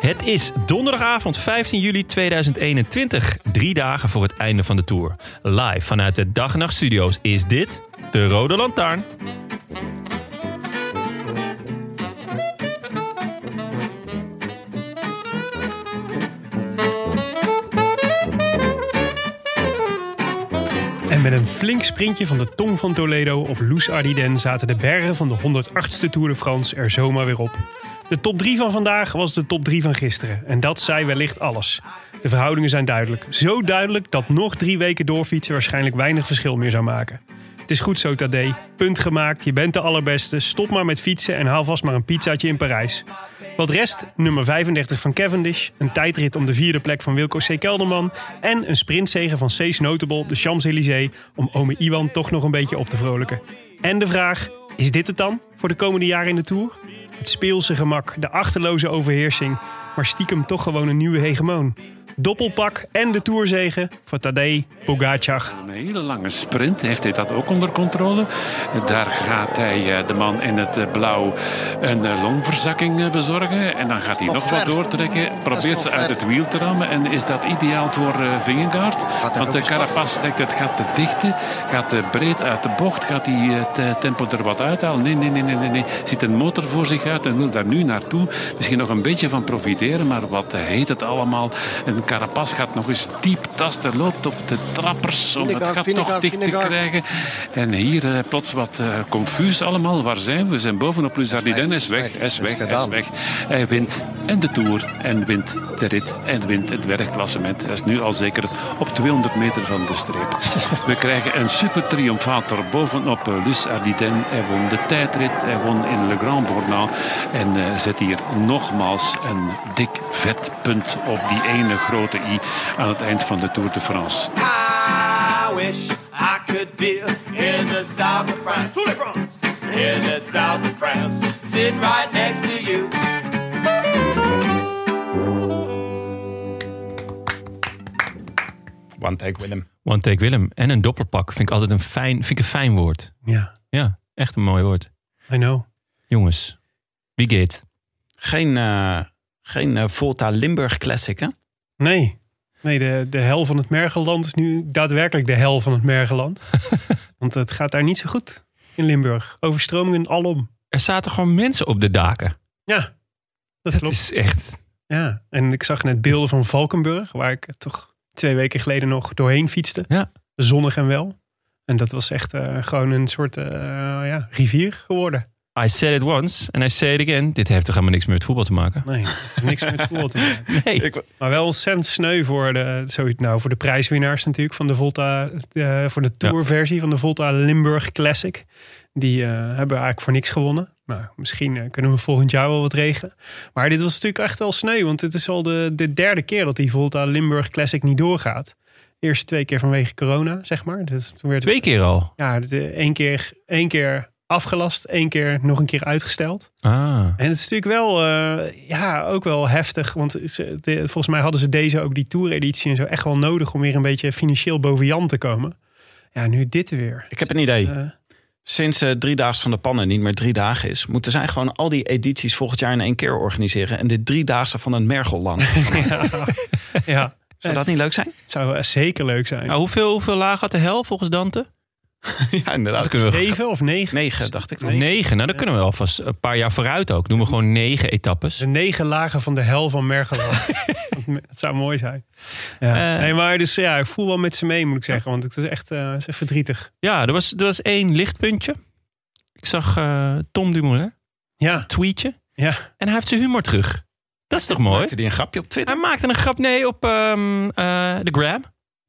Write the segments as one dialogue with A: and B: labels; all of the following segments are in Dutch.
A: Het is donderdagavond 15 juli 2021, drie dagen voor het einde van de tour. Live vanuit de Dag en Nacht Studio's is dit de Rode Lantaarn.
B: En met een flink sprintje van de tong van Toledo op Loes Ardiden zaten de bergen van de 108ste Tour de France er zomaar weer op. De top 3 van vandaag was de top 3 van gisteren. En dat zei wellicht alles. De verhoudingen zijn duidelijk. Zo duidelijk dat nog drie weken doorfietsen waarschijnlijk weinig verschil meer zou maken. Het is goed zo, Tadee. Punt gemaakt. Je bent de allerbeste. Stop maar met fietsen en haal vast maar een pizzaatje in Parijs. Wat rest, nummer 35 van Cavendish, een tijdrit om de vierde plek van Wilco C. Kelderman en een sprintzege van Cees Notable op de Champs-Élysées om ome Iwan toch nog een beetje op te vrolijken. En de vraag, is dit het dan voor de komende jaren in de Tour? Het speelse gemak, de achterloze overheersing, maar stiekem toch gewoon een nieuwe hegemoon. Doppelpak en de Tourzege voor Tadej Pogacar.
C: Een hele lange sprint heeft hij dat ook onder controle. Daar gaat hij eh, de man in het eh, blauw een eh, longverzakking eh, bezorgen. En dan gaat hij
D: nog
C: nog wat
D: ver.
C: doortrekken. Probeert
D: nog
C: ze uit
D: ver.
C: het wiel te rammen. En is dat ideaal voor eh Vingegaard?
D: hij
C: Want de
D: nog starten?
C: carapas denkt het gaat te dichten. Gaat eh, breed uit de bocht. Gaat hij het eh, tempo er wat uithalen? Nee, nee, nee, nee, nee, nee. Ziet een motor voor zich uit en wil daar nu naartoe. Misschien nog een beetje van profiteren. Maar wat heet het allemaal? Een carapas gaat nog eens diep tasten. Loopt op de trappers om het
D: Vingegaard,
C: gat toch
D: Vingegaard,
C: dicht te
D: Vingegaard.
C: krijgen. En hier eh, plots wat eh, confuus allemaal. Waar zijn we? We zijn bovenop Luz Ardiden. Hij is weg, hij is weg, hij is
D: gedaan.
C: weg. Hij wint en de Tour en wint de rit en wint het werkklassement. Hij is nu al zeker op 200 meter van de streep. We krijgen een super triomfator bovenop eh, Luz Ardiden. Hij won de tijdrit, hij won in Le Grand Bornand. En eh, zet hier nogmaals een dik vet punt op die ene grote i aan het eind van de Tour de France.
E: I wish I could be in the south of France. In the south of France, sitting right next to you.
F: One take Willem.
A: One Take Willem en een doppelpak vind ik altijd een fijn, vind ik een fijn woord.
B: Ja,
A: Ja, echt een mooi woord.
B: I know.
A: Jongens, wie gaat?
F: Geen, eh, geen eh, Volta Limburg Classic, hè?
B: Nee. Nee, de, de hel van het Mergeland is nu daadwerkelijk de hel van het Mergeland. Want het gaat daar niet zo goed in Limburg. Overstromingen alom.
A: Er zaten gewoon mensen op de daken.
B: Ja, dat
A: Dat
B: klopt.
A: is echt...
B: Ja. En ik zag net beelden van Valkenburg, waar ik toch twee weken geleden nog doorheen fietste.
A: Ja.
B: Zonnig en wel. En dat was echt eh, gewoon een soort eh, ja, rivier geworden.
A: I said it once and I say it again. Dit heeft toch helemaal niks meer met voetbal te maken?
B: Nee, niks met voetbal te maken.
A: Nee.
F: Ik,
B: Maar wel ontzettend sneu voor de, zoiets- nou, voor de prijswinnaars natuurlijk van de Volta, eh, voor de tourversie van de Volta Limburg Classic. Die eh, hebben eigenlijk voor niks gewonnen. Nou, misschien eh, kunnen we volgend jaar wel wat regelen. Maar dit was natuurlijk echt wel sneu, want het is al de, de derde keer dat die Volta Limburg Classic niet doorgaat. Eerst twee keer vanwege corona, zeg maar. Dus toen werd
A: Twee keer al.
B: ja, het, eh, één keer, één keer afgelast, één keer nog een keer uitgesteld.
A: Ah,
B: En het is natuurlijk wel, eh, ja, ook wel heftig. Want ze- de- eh, volgens mij hadden ze deze ook, die tour-editie en zo, echt wel nodig om weer een beetje financieel boven Jan te komen. Ja, nu dit weer.
F: ik heb een idee.
B: Eh,
F: Sinds eh drie dagen van de pannen niet meer drie dagen is, moeten zij gewoon al die edities volgend jaar in één keer organiseren. En de drie dagen van het Mergelland.
B: ja,
F: Zou dat niet leuk zijn?
B: het zou eh, zeker leuk zijn.
A: nou, hoeveel, hoeveel laag had de hel volgens Dante?
F: ja, inderdaad.
A: Dat kunnen we
B: Zeven of negen?
F: Negen, dacht ik. nog.
A: Negen. nou dan kunnen we alvast een paar jaar vooruit ook. Doen we gewoon negen etappes.
B: De negen lagen van de hel van Mergeland. Het zou mooi zijn. Ja.
A: Eh.
B: nee, maar dus ja, ik voel wel met ze mee, moet ik zeggen. Want het is echt eh, het is verdrietig.
A: Ja, er was, er was één lichtpuntje. Ik zag eh, Tom Dumoulin
B: Ja,
A: tweetje.
B: ja.
A: En hij heeft zijn humor terug. Dat is toch mooi?
F: Maakte die een grapje op Twitter?
A: Hij maakte een grap, nee, op ehm, eh, de Gram.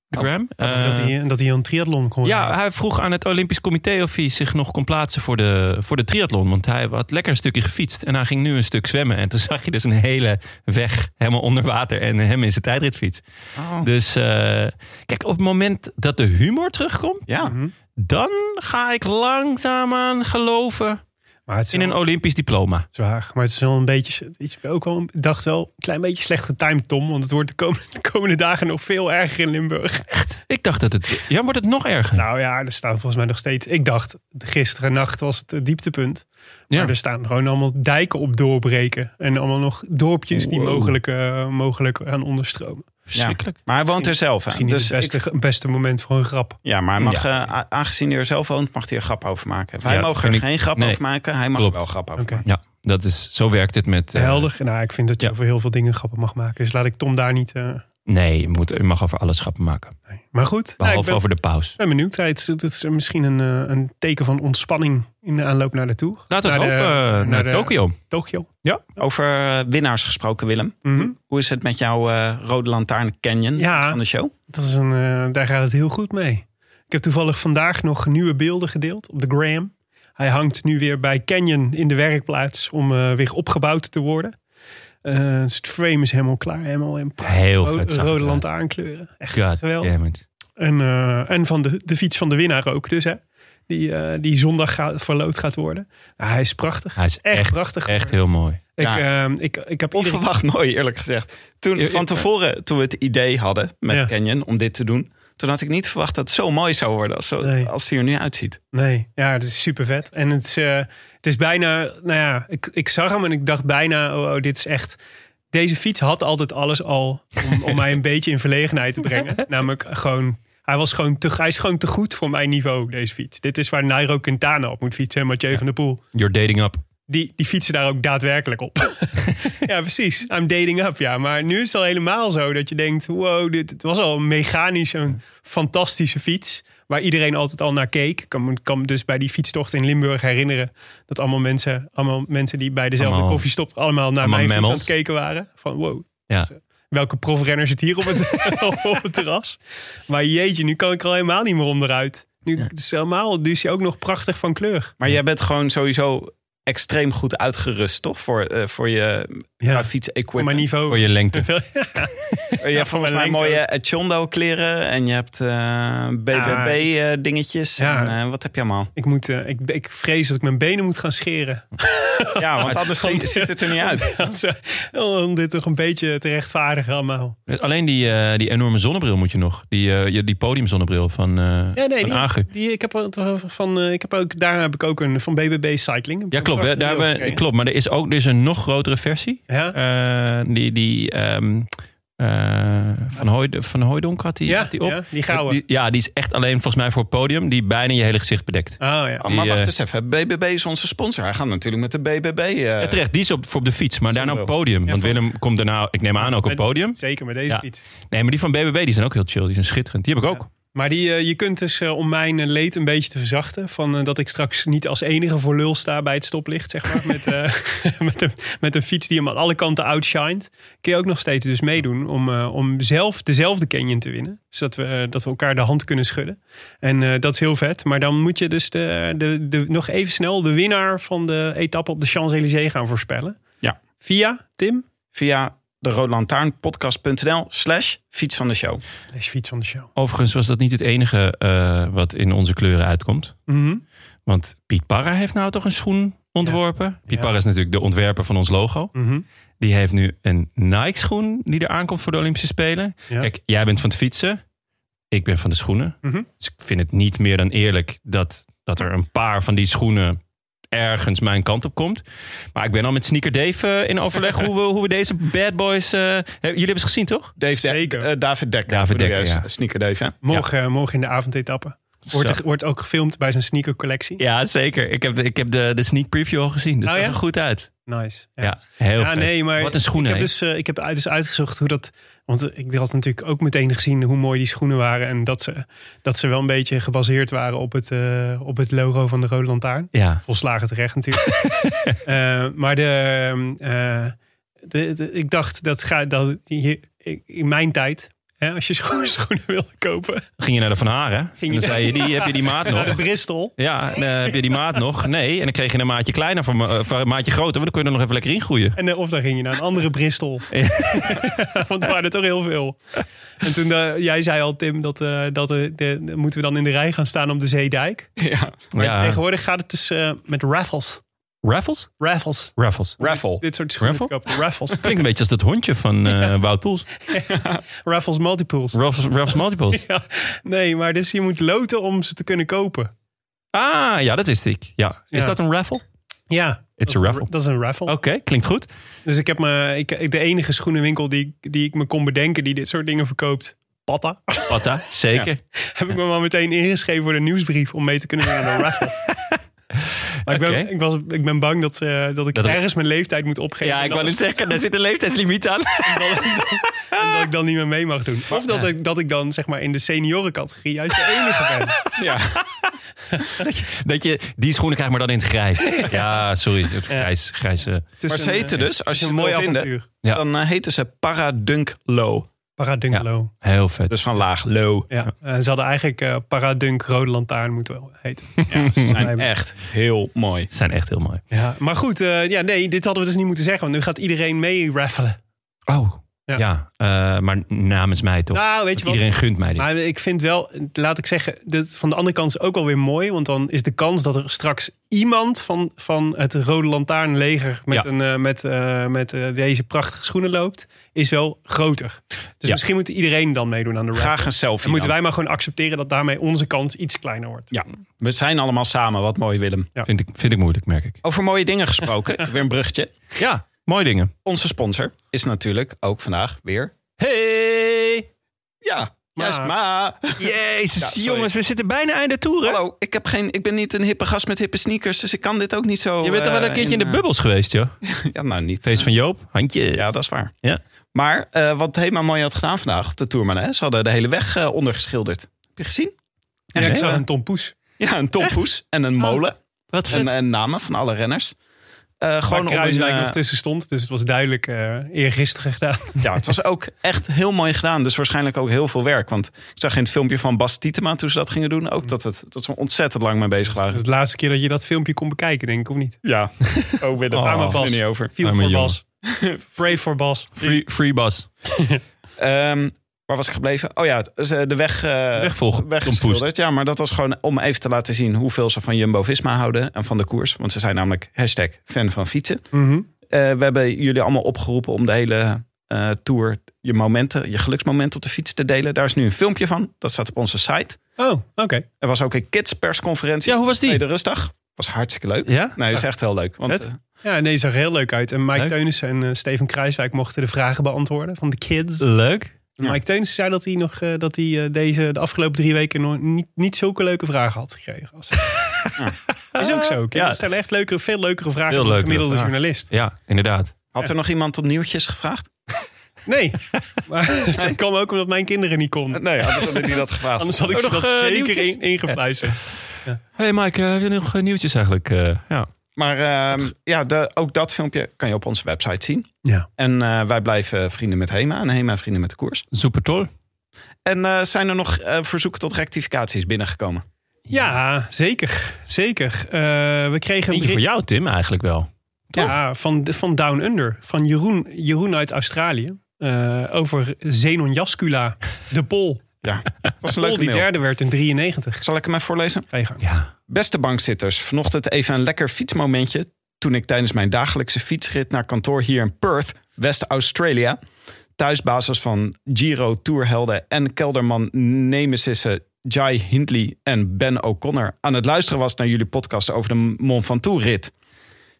A: De Gram. Eh,
B: Oh, dat, hij, dat hij een triathlon kon
A: ja, hij vroeg aan het Olympisch Comité of hij zich nog kon plaatsen voor de, voor de triathlon. Want hij had lekker een stukje gefietst en hij ging nu een stuk zwemmen. En toen zag je dus een hele weg helemaal onder water en hem in zijn tijdritfiets. Dus eh, kijk, op het moment dat de humor terugkomt,
F: Ja.
A: dan ga ik langzaamaan geloven
B: maar het is
A: in een Olympisch diploma.
B: Zwaar, maar het is wel een beetje, het is ook wel, ik dacht wel, een klein beetje slecht getimed Tom, want het wordt de komende, de komende dagen nog veel erger in Limburg.
A: Ik dacht dat het... Ja, wordt het nog erger?
B: Nou ja, er staan volgens mij nog steeds, ik dacht, gisteren nacht was het eh, dieptepunt, maar
A: Ja.
B: er staan gewoon allemaal dijken op doorbreken en allemaal nog dorpjes die
A: Wow.
B: mogelijk, eh, mogelijk aan onderstromen.
A: Verschrikkelijk.
F: Maar hij woont er zelf. Hè?
B: Misschien niet
F: Dus
B: het
F: ik-
B: beste, het beste moment voor een grap.
F: ja, maar hij mag, eh, a- aangezien hij er zelf woont, mag hij er grap over maken. Wij
A: Ja,
F: mogen
A: vind
F: er
A: ik-
F: geen grap
A: nee.
F: over maken. Hij mag
A: Klopt.
F: er wel grap over
B: Oké.
F: maken.
A: Ja, dat is, zo werkt het met... eh,
B: Helder, nou ik vind dat je
A: ja.
B: over heel veel dingen grappen mag maken, dus laat ik Tom daar niet, eh,
A: Nee, je, moet, je mag over alles grappen maken.
B: nee. maar goed. Nou,
A: Behalve
B: ik ben-
A: over de paus.
B: Ik ben benieuwd. Ja, Het is, het is misschien een, eh, een teken van ontspanning in de aanloop naar de tour.
A: Laten we
B: naar
A: het
B: de-
A: hopen eh, naar,
B: de-
A: Tokio.
B: Tokio.
F: Over eh, winnaars gesproken, Willem.
B: Mhm.
F: Hoe is het met jouw eh, Rode Lantaarn Canyon
B: Ja.
F: van de show?
B: Dat is een, eh, daar gaat het heel goed mee. Ik heb toevallig vandaag nog nieuwe beelden gedeeld op de gram. Hij hangt nu weer bij Canyon in de werkplaats om eh, weer opgebouwd te worden. Eh, dus het frame is helemaal klaar. Helemaal in prachtig
A: Heel
B: ro-
A: vet zag het
B: rode
A: uit.
B: lantaarnkleuren. Echt
A: God
B: geweldig.
A: damn it.
B: En, eh, en van de, de fiets van de winnaar ook dus. Hè? Die, eh, die zondag gaat, verloot gaat worden. Nou, hij is prachtig.
A: Hij is
B: Echt,
A: echt,
B: prachtig.
A: echt heel mooi.
B: Ik,
F: Ja.
B: ehm, ik, ik heb iedere-
F: Onverwacht mooi, eerlijk gezegd.
A: Ja,
F: Toen,
A: ja.
F: van tevoren, toen we het idee hadden met
B: Ja.
F: Canyon om dit te doen... toen had ik niet verwacht dat het zo mooi zou worden als, zo-
B: Nee.
F: als hij er nu uitziet.
B: Nee, ja, het is super vet. En het is, eh, het is bijna, nou ja, ik, ik zag hem en ik dacht bijna, oh, oh, dit is echt... Deze fiets had altijd alles al om, om mij een beetje in verlegenheid te brengen. Namelijk gewoon, hij, was gewoon te, hij is gewoon te goed voor mijn niveau, deze fiets. Dit is waar Nairo Quintana op moet fietsen en Mathieu van der Poel.
A: You're dating up.
B: Die, die fietsen daar ook daadwerkelijk op. ja, precies. I'm dating up, ja. Maar nu is het al helemaal zo dat je denkt... wow, dit het was al mechanisch een fantastische fiets... waar iedereen altijd al naar keek. Ik kan, me- kan me dus bij die fietstocht in Limburg herinneren... dat allemaal mensen, allemaal mensen die bij dezelfde
A: Allemaal-
B: koffiestop... allemaal naar
A: allemaal
B: mijn fiets aan
A: mammals.
B: het kijken waren. Van wow,
A: Ja.
B: welke profrenner zit hier op het, op het terras? Maar jeetje, nu kan ik er al helemaal niet meer onderuit. Nu het is helemaal, dus je ook nog prachtig van kleur.
F: Maar jij bent gewoon sowieso extreem goed uitgerust, toch? Voor, eh, voor je qua
B: Voor mijn
F: fiets-equipment.
B: niveau.
A: Voor je lengte.
F: Eh, Je hebt
B: voor
F: volgens mij
B: mijn lengte.
F: mooie Chondo kleren en je hebt eh, BBB eh, dingetjes.
B: Ja.
F: En, eh, wat heb je allemaal?
B: Ik, moet, eh, ik, ik vrees dat ik mijn benen moet gaan scheren.
A: Ah,
F: Ja, want
A: Het
F: anders zie- ziet het er niet uit.
B: Als, eh, om dit toch een beetje te rechtvaardigen allemaal.
A: Alleen die, eh, die enorme zonnebril moet je nog. Die, eh, je- die podiumzonnebril van, eh
B: Ja, nee,
A: van
B: die,
A: Agu.
B: die, ik heb er toch van, eh, ik heb ook, daar heb ik ook een van BBB Cycling. Heb ik
A: Ja,
B: een
A: klopt. hè. Daar
B: prachtige beeld
A: hebben, we-
B: gekregen.
A: klopt. Maar er is ook er is een nog grotere versie.
B: Ja?
A: Eh, die die ehm, eh, van, Hooy, van Hooydonk had die,
B: Ja,
A: had die op. Eh,
B: ja, die gouden.
A: Die- ja, die is echt alleen volgens mij voor het podium. Die bijna je hele gezicht bedekt.
B: Oh ja.
F: Oh, maar
A: Die, eh,
F: wacht eens even. BBB is onze sponsor. Hij gaat natuurlijk met de BBB. eh,
A: Ja, terecht, die is op, voor op de fiets, maar daarna op het podium. Want Willem komt daarna, ik neem aan, ook op het
B: Met-
A: podium.
B: Zeker met deze
A: Ja.
B: fiets.
A: Nee, maar die van BBB die zijn ook heel chill. Die zijn schitterend. Die heb ik ook.
B: Maar die, eh, je kunt dus, eh, om mijn eh, leed een beetje te verzachten... van eh, dat ik straks niet als enige voor lul sta bij het stoplicht, zeg maar. Met, eh, met, een, met een fiets die hem aan alle kanten outshined. Kun je ook nog steeds dus meedoen om, eh, om zelf dezelfde canyon te winnen. Zodat we, eh, dat we elkaar de hand kunnen schudden. En eh, dat is heel vet. Maar dan moet je dus de, de, de, nog even snel de winnaar van de etappe op de Champs-Élysées gaan voorspellen.
F: Ja.
B: Via Tim?
F: Via de roodlantaarnpodcast.nl slash fiets van de show.
B: Slash fiets van de show.
A: Overigens was dat niet het enige eh, wat in onze kleuren uitkomt.
B: Mhm.
A: Want Piet Parra heeft nou toch een schoen ontworpen. Piet
B: Ja.
A: Parra is natuurlijk de ontwerper van ons logo.
B: Mhm.
A: Die heeft nu een Nike schoen die er aankomt voor de Olympische Spelen.
B: Ja.
A: Kijk, jij bent van het fietsen. Ik ben van de schoenen.
B: Mhm.
A: Dus ik vind het niet meer dan eerlijk dat, dat er een paar van die schoenen ergens mijn kant op komt. Maar ik ben al met Sneaker Dave eh, in overleg hoe, we, hoe we deze bad boys... eh, hebben- jullie hebben ze gezien, toch?
F: Dave
B: Zeker.
F: eh, David Dekker.
A: David
F: bedoel
A: Dekker,
F: jij,
A: ja.
F: Sneaker Dave, hè?
B: Morgen, morgen in de avondetappe. Wordt, er- wordt ook gefilmd bij zijn sneakercollectie.
A: Ja, zeker. Ik heb, de- ik heb de, de sneak preview al gezien. Dat
B: Oh,
A: zag
B: ja?
A: er goed uit.
B: Nice.
A: Ja, heel
B: Ja,
A: vet.
B: nee, maar
A: Wat een
B: ik
A: schoenen.
B: heb, dus, eh, ik heb uit- dus uitgezocht hoe dat... Want eh, ik had natuurlijk ook meteen gezien hoe mooi die schoenen waren. En dat ze, dat ze wel een beetje gebaseerd waren op het, eh, op het logo van de Rode Lantaarn.
A: hè? Ja.
B: Volslagen terecht natuurlijk. Eh, maar de, ehm, eh, de- de- ik dacht, dat ga, dat, je, in mijn tijd, hè, als je scho- schoenen wilde kopen,
A: Ging je naar de Van Haren? En
B: je-
A: dan zei je, die, heb je die maat
B: naar de
A: nog?
B: Bristol.
A: Ja, en, eh, heb je die maat nog? Nee. En dan kreeg je een maatje kleiner van, eh, van een maatje groter. Want dan kun je er nog even lekker in groeien.
B: En, eh, of dan ging je naar een andere Bristol. Want er waren er toch heel veel. En toen, eh, jij zei al, Tim, dat, eh, dat eh, de, de- moeten we dan in de rij gaan staan om de Zeedijk.
F: Ja.
B: Maar
A: Ja.
B: tegenwoordig gaat het dus eh, met raffles.
A: Raffles?
B: Raffles.
A: Raffles.
F: Raffle.
B: Dit soort schoenen te
A: Raffle?
B: kopen. Raffles.
A: Klinkt een beetje als dat hondje van eh Wout Poels.
B: raffles multipools.
A: Raffles, Raffles Multiples.
B: Ja, nee, maar dus je moet loten om ze te kunnen kopen.
A: Ah, ja, dat wist ik. Ja. Is
B: Ja.
A: dat een raffle?
B: Ja.
A: It's
B: dat is
A: a
B: een-
A: raffle. Oh.
B: Dat is een raffle.
A: Oké, klinkt goed.
B: Dus ik heb me, ik, ik- de enige schoenenwinkel die, ik- die ik me kon bedenken die dit soort dingen verkoopt. Patta.
A: Patta, zeker.
B: heb ik me maar meteen ingeschreven voor de nieuwsbrief om mee te kunnen doen aan een raffle. Maar ik ben,
A: Oké.
B: ik, was, ik ben bang dat, eh, dat ik
A: Dat er-
B: ergens mijn leeftijd moet opgeven.
A: Ja,
B: en
A: ik
B: dat
A: wou net zeggen, daar zit een leeftijdslimiet aan.
B: en dat ik dan niet meer mee mag doen. Of dat, ik, dat ik dan zeg maar in de seniorencategorie juist de enige ben.
A: Dat je die schoenen krijgt, maar dan in het grijs. Ja, sorry. Het grijs, grijs. eh.
B: Het is
F: Maar ze
B: een,
F: heten
B: eh,
F: dus, als je
B: een
F: het
B: mooi
F: wil vinden,
B: avontuur.
A: Ja.
F: dan eh, heten ze Paradunk Low.
B: Paradungelo.
A: Heel vet.
F: Dus van laag, low.
B: Ja. eh, ze hadden eigenlijk eh, Paradunk Rode Lantaarn moeten wel heten. Ja, ze
F: Zijn echt heel mooi.
A: Het zijn echt heel mooi.
B: Ja, maar goed, eh, ja, nee, dit hadden we dus niet moeten zeggen. Want nu gaat iedereen mee raffelen.
A: Oh, ja.
B: Ja.
A: eh, maar namens mij toch?
B: Nou, weet je wat?
A: Iedereen gunt mij dit.
B: Maar ik vind wel, laat ik zeggen, dit van de andere kant is ook wel weer mooi. Want dan is de kans dat er straks iemand van, van het Rode Lantaarnleger met,
A: Ja.
B: een, eh, met, eh, met eh, deze prachtige schoenen loopt, is wel groter. Dus
A: Ja.
B: misschien moet iedereen dan meedoen aan de raffle.
F: Graag een
B: en
F: selfie.
B: moeten
F: dan.
B: wij maar gewoon accepteren dat daarmee onze kans iets kleiner wordt.
F: Ja, we zijn allemaal samen. Wat mooi, Willem.
A: Vind, ik, vind ik moeilijk, merk ik.
F: Over mooie dingen gesproken. weer een bruggetje.
A: Ja, mooie dingen.
F: Onze sponsor is natuurlijk ook vandaag weer... Hey! Ja, juist ma.
A: Jezus,
F: sorry.
A: jongens, we zitten bijna einde toeren.
F: Hallo, ik, heb geen, ik ben niet een hippe gast met hippe sneakers, dus ik kan dit ook niet zo...
A: Je bent er wel
F: eh,
A: een keertje in de
F: eh,
A: bubbels geweest, joh.
F: Ja, nou niet.
A: Feest van Joop, handje.
F: Ja, dat is waar.
A: Ja.
F: Maar eh, wat Hema mooi had gedaan vandaag op de Tourman, hè? ze hadden de hele weg eh, ondergeschilderd. Heb je gezien?
B: En ik
A: Nee,
B: zag
A: eh,
B: een Tom Poes.
F: Ja, een tompoes en een molen
A: Oh, Wat vet.
F: en, en namen van alle renners. Eh,
B: Waar
F: gewoon om een,
B: Kruiswijk
F: eh, Oh.
B: nog tussen stond. Dus het was duidelijk eh eergisteren gedaan.
F: ja, het was ook echt heel mooi gedaan. Dus waarschijnlijk ook heel veel werk. Want ik zag in het filmpje van Bas Tietema toen ze dat gingen doen... ook dat, het, dat ze ontzettend lang mee bezig
B: Dat
F: waren.
B: is de laatste keer dat je dat filmpje kon bekijken, denk ik, of niet?
F: Ja, oh, weer de
A: Oh.
F: arme Bas. niet over.
B: Viel
A: Arme
B: voor
A: jongen.
B: Bas. Brave voor Bas.
A: Free, free bus.
F: Ehm, waar was ik gebleven? Oh ja, ze- de weg, eh
A: Wegvolgen.
F: weggeschilderd. Ja, maar dat was gewoon om even te laten zien hoeveel ze van Jumbo-Visma houden en van de koers. Want ze zijn namelijk hashtag fan van fietsen.
B: Mhm.
F: Eh, we hebben jullie allemaal opgeroepen om de hele eh, tour je momenten, je geluksmomenten op de fiets te delen. Daar is nu een filmpje van. Dat staat op onze site.
B: Oh, oké.
F: Er was ook een kids persconferentie.
A: Ja, hoe was die?
F: Tweede rustdag. Was hartstikke leuk.
A: Ja?
F: Nee, is echt heel leuk. Want
A: Vet.
F: eh,
B: Ja, nee, zag er heel leuk uit. En Mike
A: Leuk.
B: Teunissen en eh, Steven Kruiswijk mochten de vragen beantwoorden van de kids.
A: Leuk.
F: Ja.
B: Mike Teunissen zei dat hij, nog, eh, dat hij eh, deze, de afgelopen drie weken nog niet, niet zulke leuke vragen had gekregen. Als... Is ook zo.
A: Ja.
B: Ja. Er stellen echt leukere, veel leukere vragen
A: Veel
B: dan de
A: leukere
B: gemiddelde
A: vragen.
B: journalist.
A: Ja, inderdaad.
F: had er nog iemand op nieuwtjes gevraagd?
B: Nee, maar dat kwam ook omdat mijn kinderen niet konden.
F: Nee, anders hadden die dat gevraagd.
B: Anders had ik
A: Oh,
B: ze
A: nog,
B: dat
A: eh,
B: zeker
A: nieuwtjes?
B: in, ingefluisterd.
A: hey Mike, eh, heb je nog eh, nieuwtjes eigenlijk? Eh, ja.
F: Maar ehm, ja, de, ook dat filmpje kan je op onze website zien.
B: Ja.
F: En eh, wij blijven vrienden met Hema en Hema vrienden met de koers.
A: Super toll.
F: En eh, zijn er nog eh, verzoeken tot rectificaties binnengekomen?
B: Ja, zeker. Zeker. Eh, we kregen een
A: Eentje voor
B: bericht-
A: jou, Tim, eigenlijk wel.
B: ja, van, van Down Under. Van Jeroen, Jeroen uit Australië. eh, over Zenon Jascula, de Pol.
F: Ja, dat was
B: Pol
F: een leuke
B: die
F: mail.
B: derde werd in 93.
F: Zal ik hem even voorlezen?
B: Ga je gang.
A: Ja.
F: Beste bankzitters, vanochtend even een lekker fietsmomentje. Toen ik tijdens mijn dagelijkse fietsrit naar kantoor hier in Perth, West-Australia, thuisbasis van Giro Tourhelden en kelderman Nemesissen Jai Hindley en Ben O'Connor, aan het luisteren was naar jullie podcast over de Mont Ventoux rit.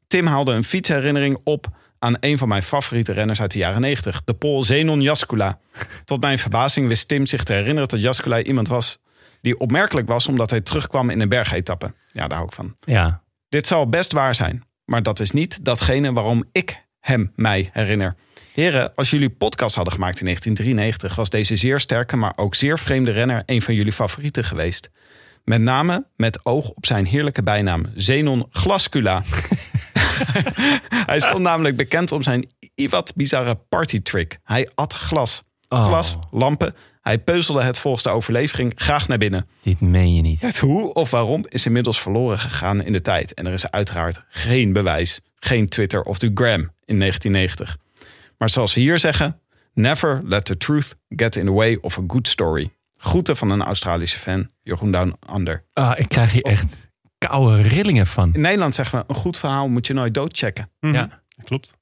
F: Tim haalde een fietsherinnering op aan een van mijn favoriete renners uit de jaren 90, de Pool Zenon Jaskula. Tot mijn verbazing wist Tim zich te herinneren dat Jaskula iemand was die opmerkelijk was omdat hij terugkwam in een bergetappe. Ja, daar hou ik van.
A: Ja.
F: Dit zal best waar zijn, maar dat is niet datgene waarom ik hem mij herinner. Heren, als jullie podcast hadden gemaakt in 1993, was deze zeer sterke, maar ook zeer vreemde renner een van jullie favorieten geweest. Met name met oog op zijn heerlijke bijnaam, Zenon Glascula. hij stond namelijk bekend om zijn iwat bizarre partytrick. Hij at glas.
A: Oh.
F: Glas, lampen. Hij peuzelde het volgens de overlevering graag naar binnen.
A: Dit meen je niet.
F: Het hoe of waarom is inmiddels verloren gegaan in de tijd. En er is uiteraard geen bewijs. Geen Twitter of de Gram in 1990. Maar zoals ze hier zeggen... Never let the truth get in the way of a good story. Groeten van een Australische fan, Jeroen Down Under.
A: Ah, ik krijg hier echt koude rillingen van.
F: In Nederland zeggen we, een goed verhaal moet je nooit doodchecken.
B: Mhm.
A: Ja.
B: klopt.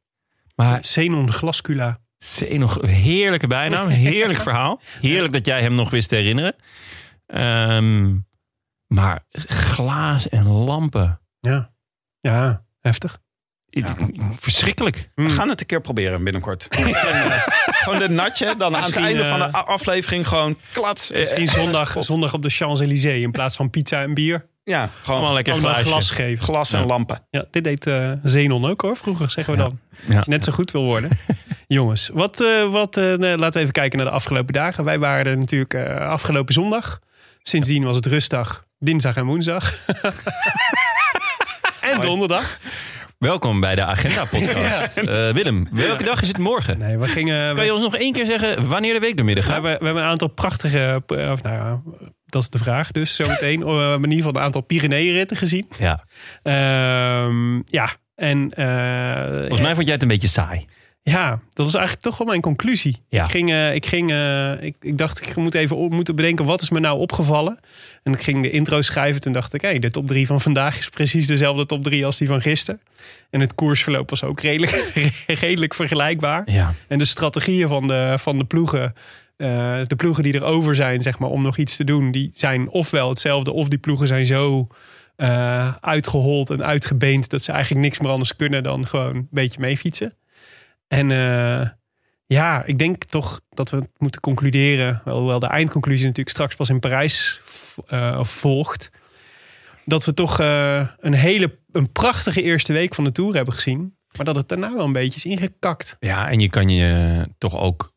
A: Maar
B: Xenon glascula.
A: Zenog, heerlijke bijnaam. Heerlijk verhaal. Heerlijk dat jij hem nog wist te herinneren. Ehm, maar glaas en lampen.
B: Ja. Ja, heftig.
A: Verschrikkelijk.
F: We gaan het een keer proberen binnenkort. eh, gewoon de natje, dan aan het
B: Misschien,
F: einde van de
B: eh,
F: a- aflevering gewoon klats. Eh,
B: Misschien zondag, zondag op de Champs-Élysées in plaats van pizza en bier.
F: Ja,
A: Allemaal
F: gewoon
A: lekker
B: Allemaal
A: glaasje.
B: glas geven.
F: glas en
A: Ja.
F: lampen.
B: Ja, dit deed eh Zenon ook hoor, vroeger zeggen we
A: Ja.
B: dan.
A: Ja.
B: Als je net zo goed wil worden. Jongens, wat, eh, wat, eh, nee, laten we even kijken naar de afgelopen dagen. Wij waren er natuurlijk eh, afgelopen zondag. Sindsdien was het rustdag, dinsdag en woensdag. en donderdag.
A: Welkom bij de Agenda Podcast. Eh, Willem, welke dag is het morgen?
B: Nee, we gingen.
A: Kan je
B: We,
A: ons nog één keer zeggen wanneer de week door midden
B: we,
A: gaat?
B: hebben- we hebben een aantal prachtige. eh, Of nou ja, dat is de vraag. Dus zometeen. Oh, We hebben in ieder geval een aantal Pyrenee-ritten gezien.
A: Ja.
B: Ehm, ja. En, eh,
A: Volgens mij vond jij het een beetje saai.
B: Ja, dat was eigenlijk toch wel mijn conclusie.
A: Ja.
B: Ik, ging, eh, ik, ging, eh, ik, ik dacht, ik moet even op, moeten bedenken wat is me nou opgevallen. En ik ging de intro schrijven. Toen dacht ik, hé, de top 3 van vandaag is precies dezelfde top 3 als die van gisteren. En het koersverloop was ook redelijk, redelijk vergelijkbaar.
A: Ja.
B: En de strategieën van de, van de ploegen. eh, de ploegen die erover zijn, zeg maar, om nog iets te doen, die zijn ofwel hetzelfde, of die ploegen zijn zo eh, uitgehold en uitgebeend dat ze eigenlijk niks meer anders kunnen dan gewoon een beetje meefietsen. En eh, ja, ik denk toch dat we het moeten concluderen, wel- hoewel de eindconclusie natuurlijk straks pas in Parijs v- eh, volgt, dat we toch eh, een hele een prachtige eerste week van de Tour hebben gezien, maar dat het daarna wel een beetje is ingekakt.
A: Ja, en je kan je toch ook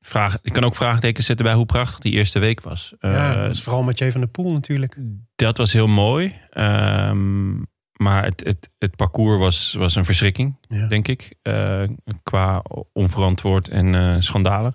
A: vragen. Je kan ook vraagtekens zetten bij hoe prachtig die eerste week was.
B: ja,
A: Eh,
B: dat is vooral Mathieu van der Poel natuurlijk.
A: dat was heel mooi. Ehm, maar het, het, het parcours was, was een verschrikking,
B: Ja.
A: denk ik. Eh, qua onverantwoord en eh schandalen.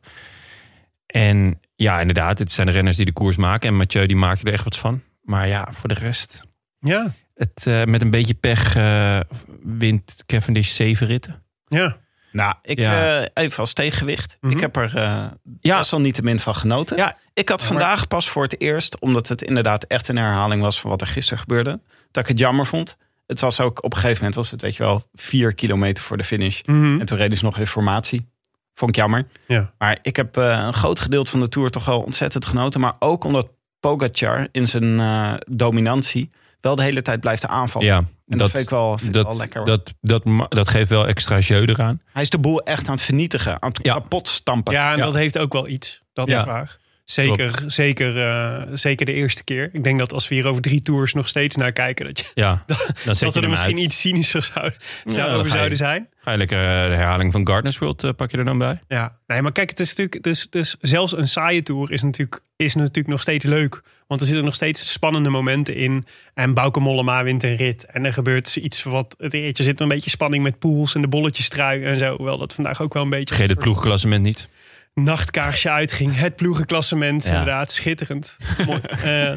A: En ja, inderdaad, het zijn de renners die de koers maken. En Mathieu die maakte er echt wat van. Maar ja, voor de rest.
B: Ja,
A: Het, eh, met een beetje pech eh, wint Cavendish zeven ritten.
B: ja.
F: Nou, ik,
A: Ja.
F: eh, even als tegenwicht.
B: Mhm.
F: Ik heb er eh
A: Ja.
F: best wel niet te min van genoten.
A: Ja.
F: Ik had vandaag pas voor het eerst, omdat het inderdaad echt een herhaling was van wat er gisteren gebeurde, dat ik het jammer vond. Het was ook op een gegeven moment, was het weet je wel, vier kilometer voor de finish.
A: Mhm.
F: En toen reden ze nog informatie. Vond ik jammer.
B: Ja.
F: Maar ik heb eh, een groot gedeelte van de Tour toch wel ontzettend genoten. Maar ook omdat Pogacar in zijn eh, dominantie wel de hele tijd blijft aanvallen.
A: Ja,
F: Oh. en dat, vind ik wel, vind ik wel
A: dat,
F: lekker. hoor.
A: dat, dat, ma- dat geeft wel extra jeu eraan.
F: Hij is de boel echt aan het vernietigen, aan het
A: Ja.
F: kapot stampen.
B: Ja, en
A: Ja.
B: dat heeft ook wel iets. Dat
A: Ja.
B: is waar. Zeker, zeker, eh, zeker de eerste keer. Ik denk dat als we hier over drie tours nog steeds naar kijken, dat, je,
A: Ja, dan zet
B: dat
A: je
B: we er
A: hem
B: misschien
A: uit.
B: iets cynischer zouden, zou
A: dan ga
B: over
A: je-
B: zouden zijn.
A: Ga je lekker eh, de herhaling van Gardner's World eh, pak je er dan bij?
B: Ja, nee, maar kijk, het is natuurlijk, dus, dus zelfs een saaie tour is natuurlijk, is natuurlijk nog steeds leuk. Want er zitten nog steeds spannende momenten in. En Bauke Mollema wint een rit. En er gebeurt iets wat. Het eertje zit een beetje spanning met pools en de bolletjes trui en zo. Hoewel dat vandaag ook wel een beetje.
A: Vergeet het
B: een soort
A: ploegklassement niet.
B: nachtkaarsje uitging. Het ploegenklassement,
A: Ja.
B: inderdaad. Schitterend. Mooi. Eh,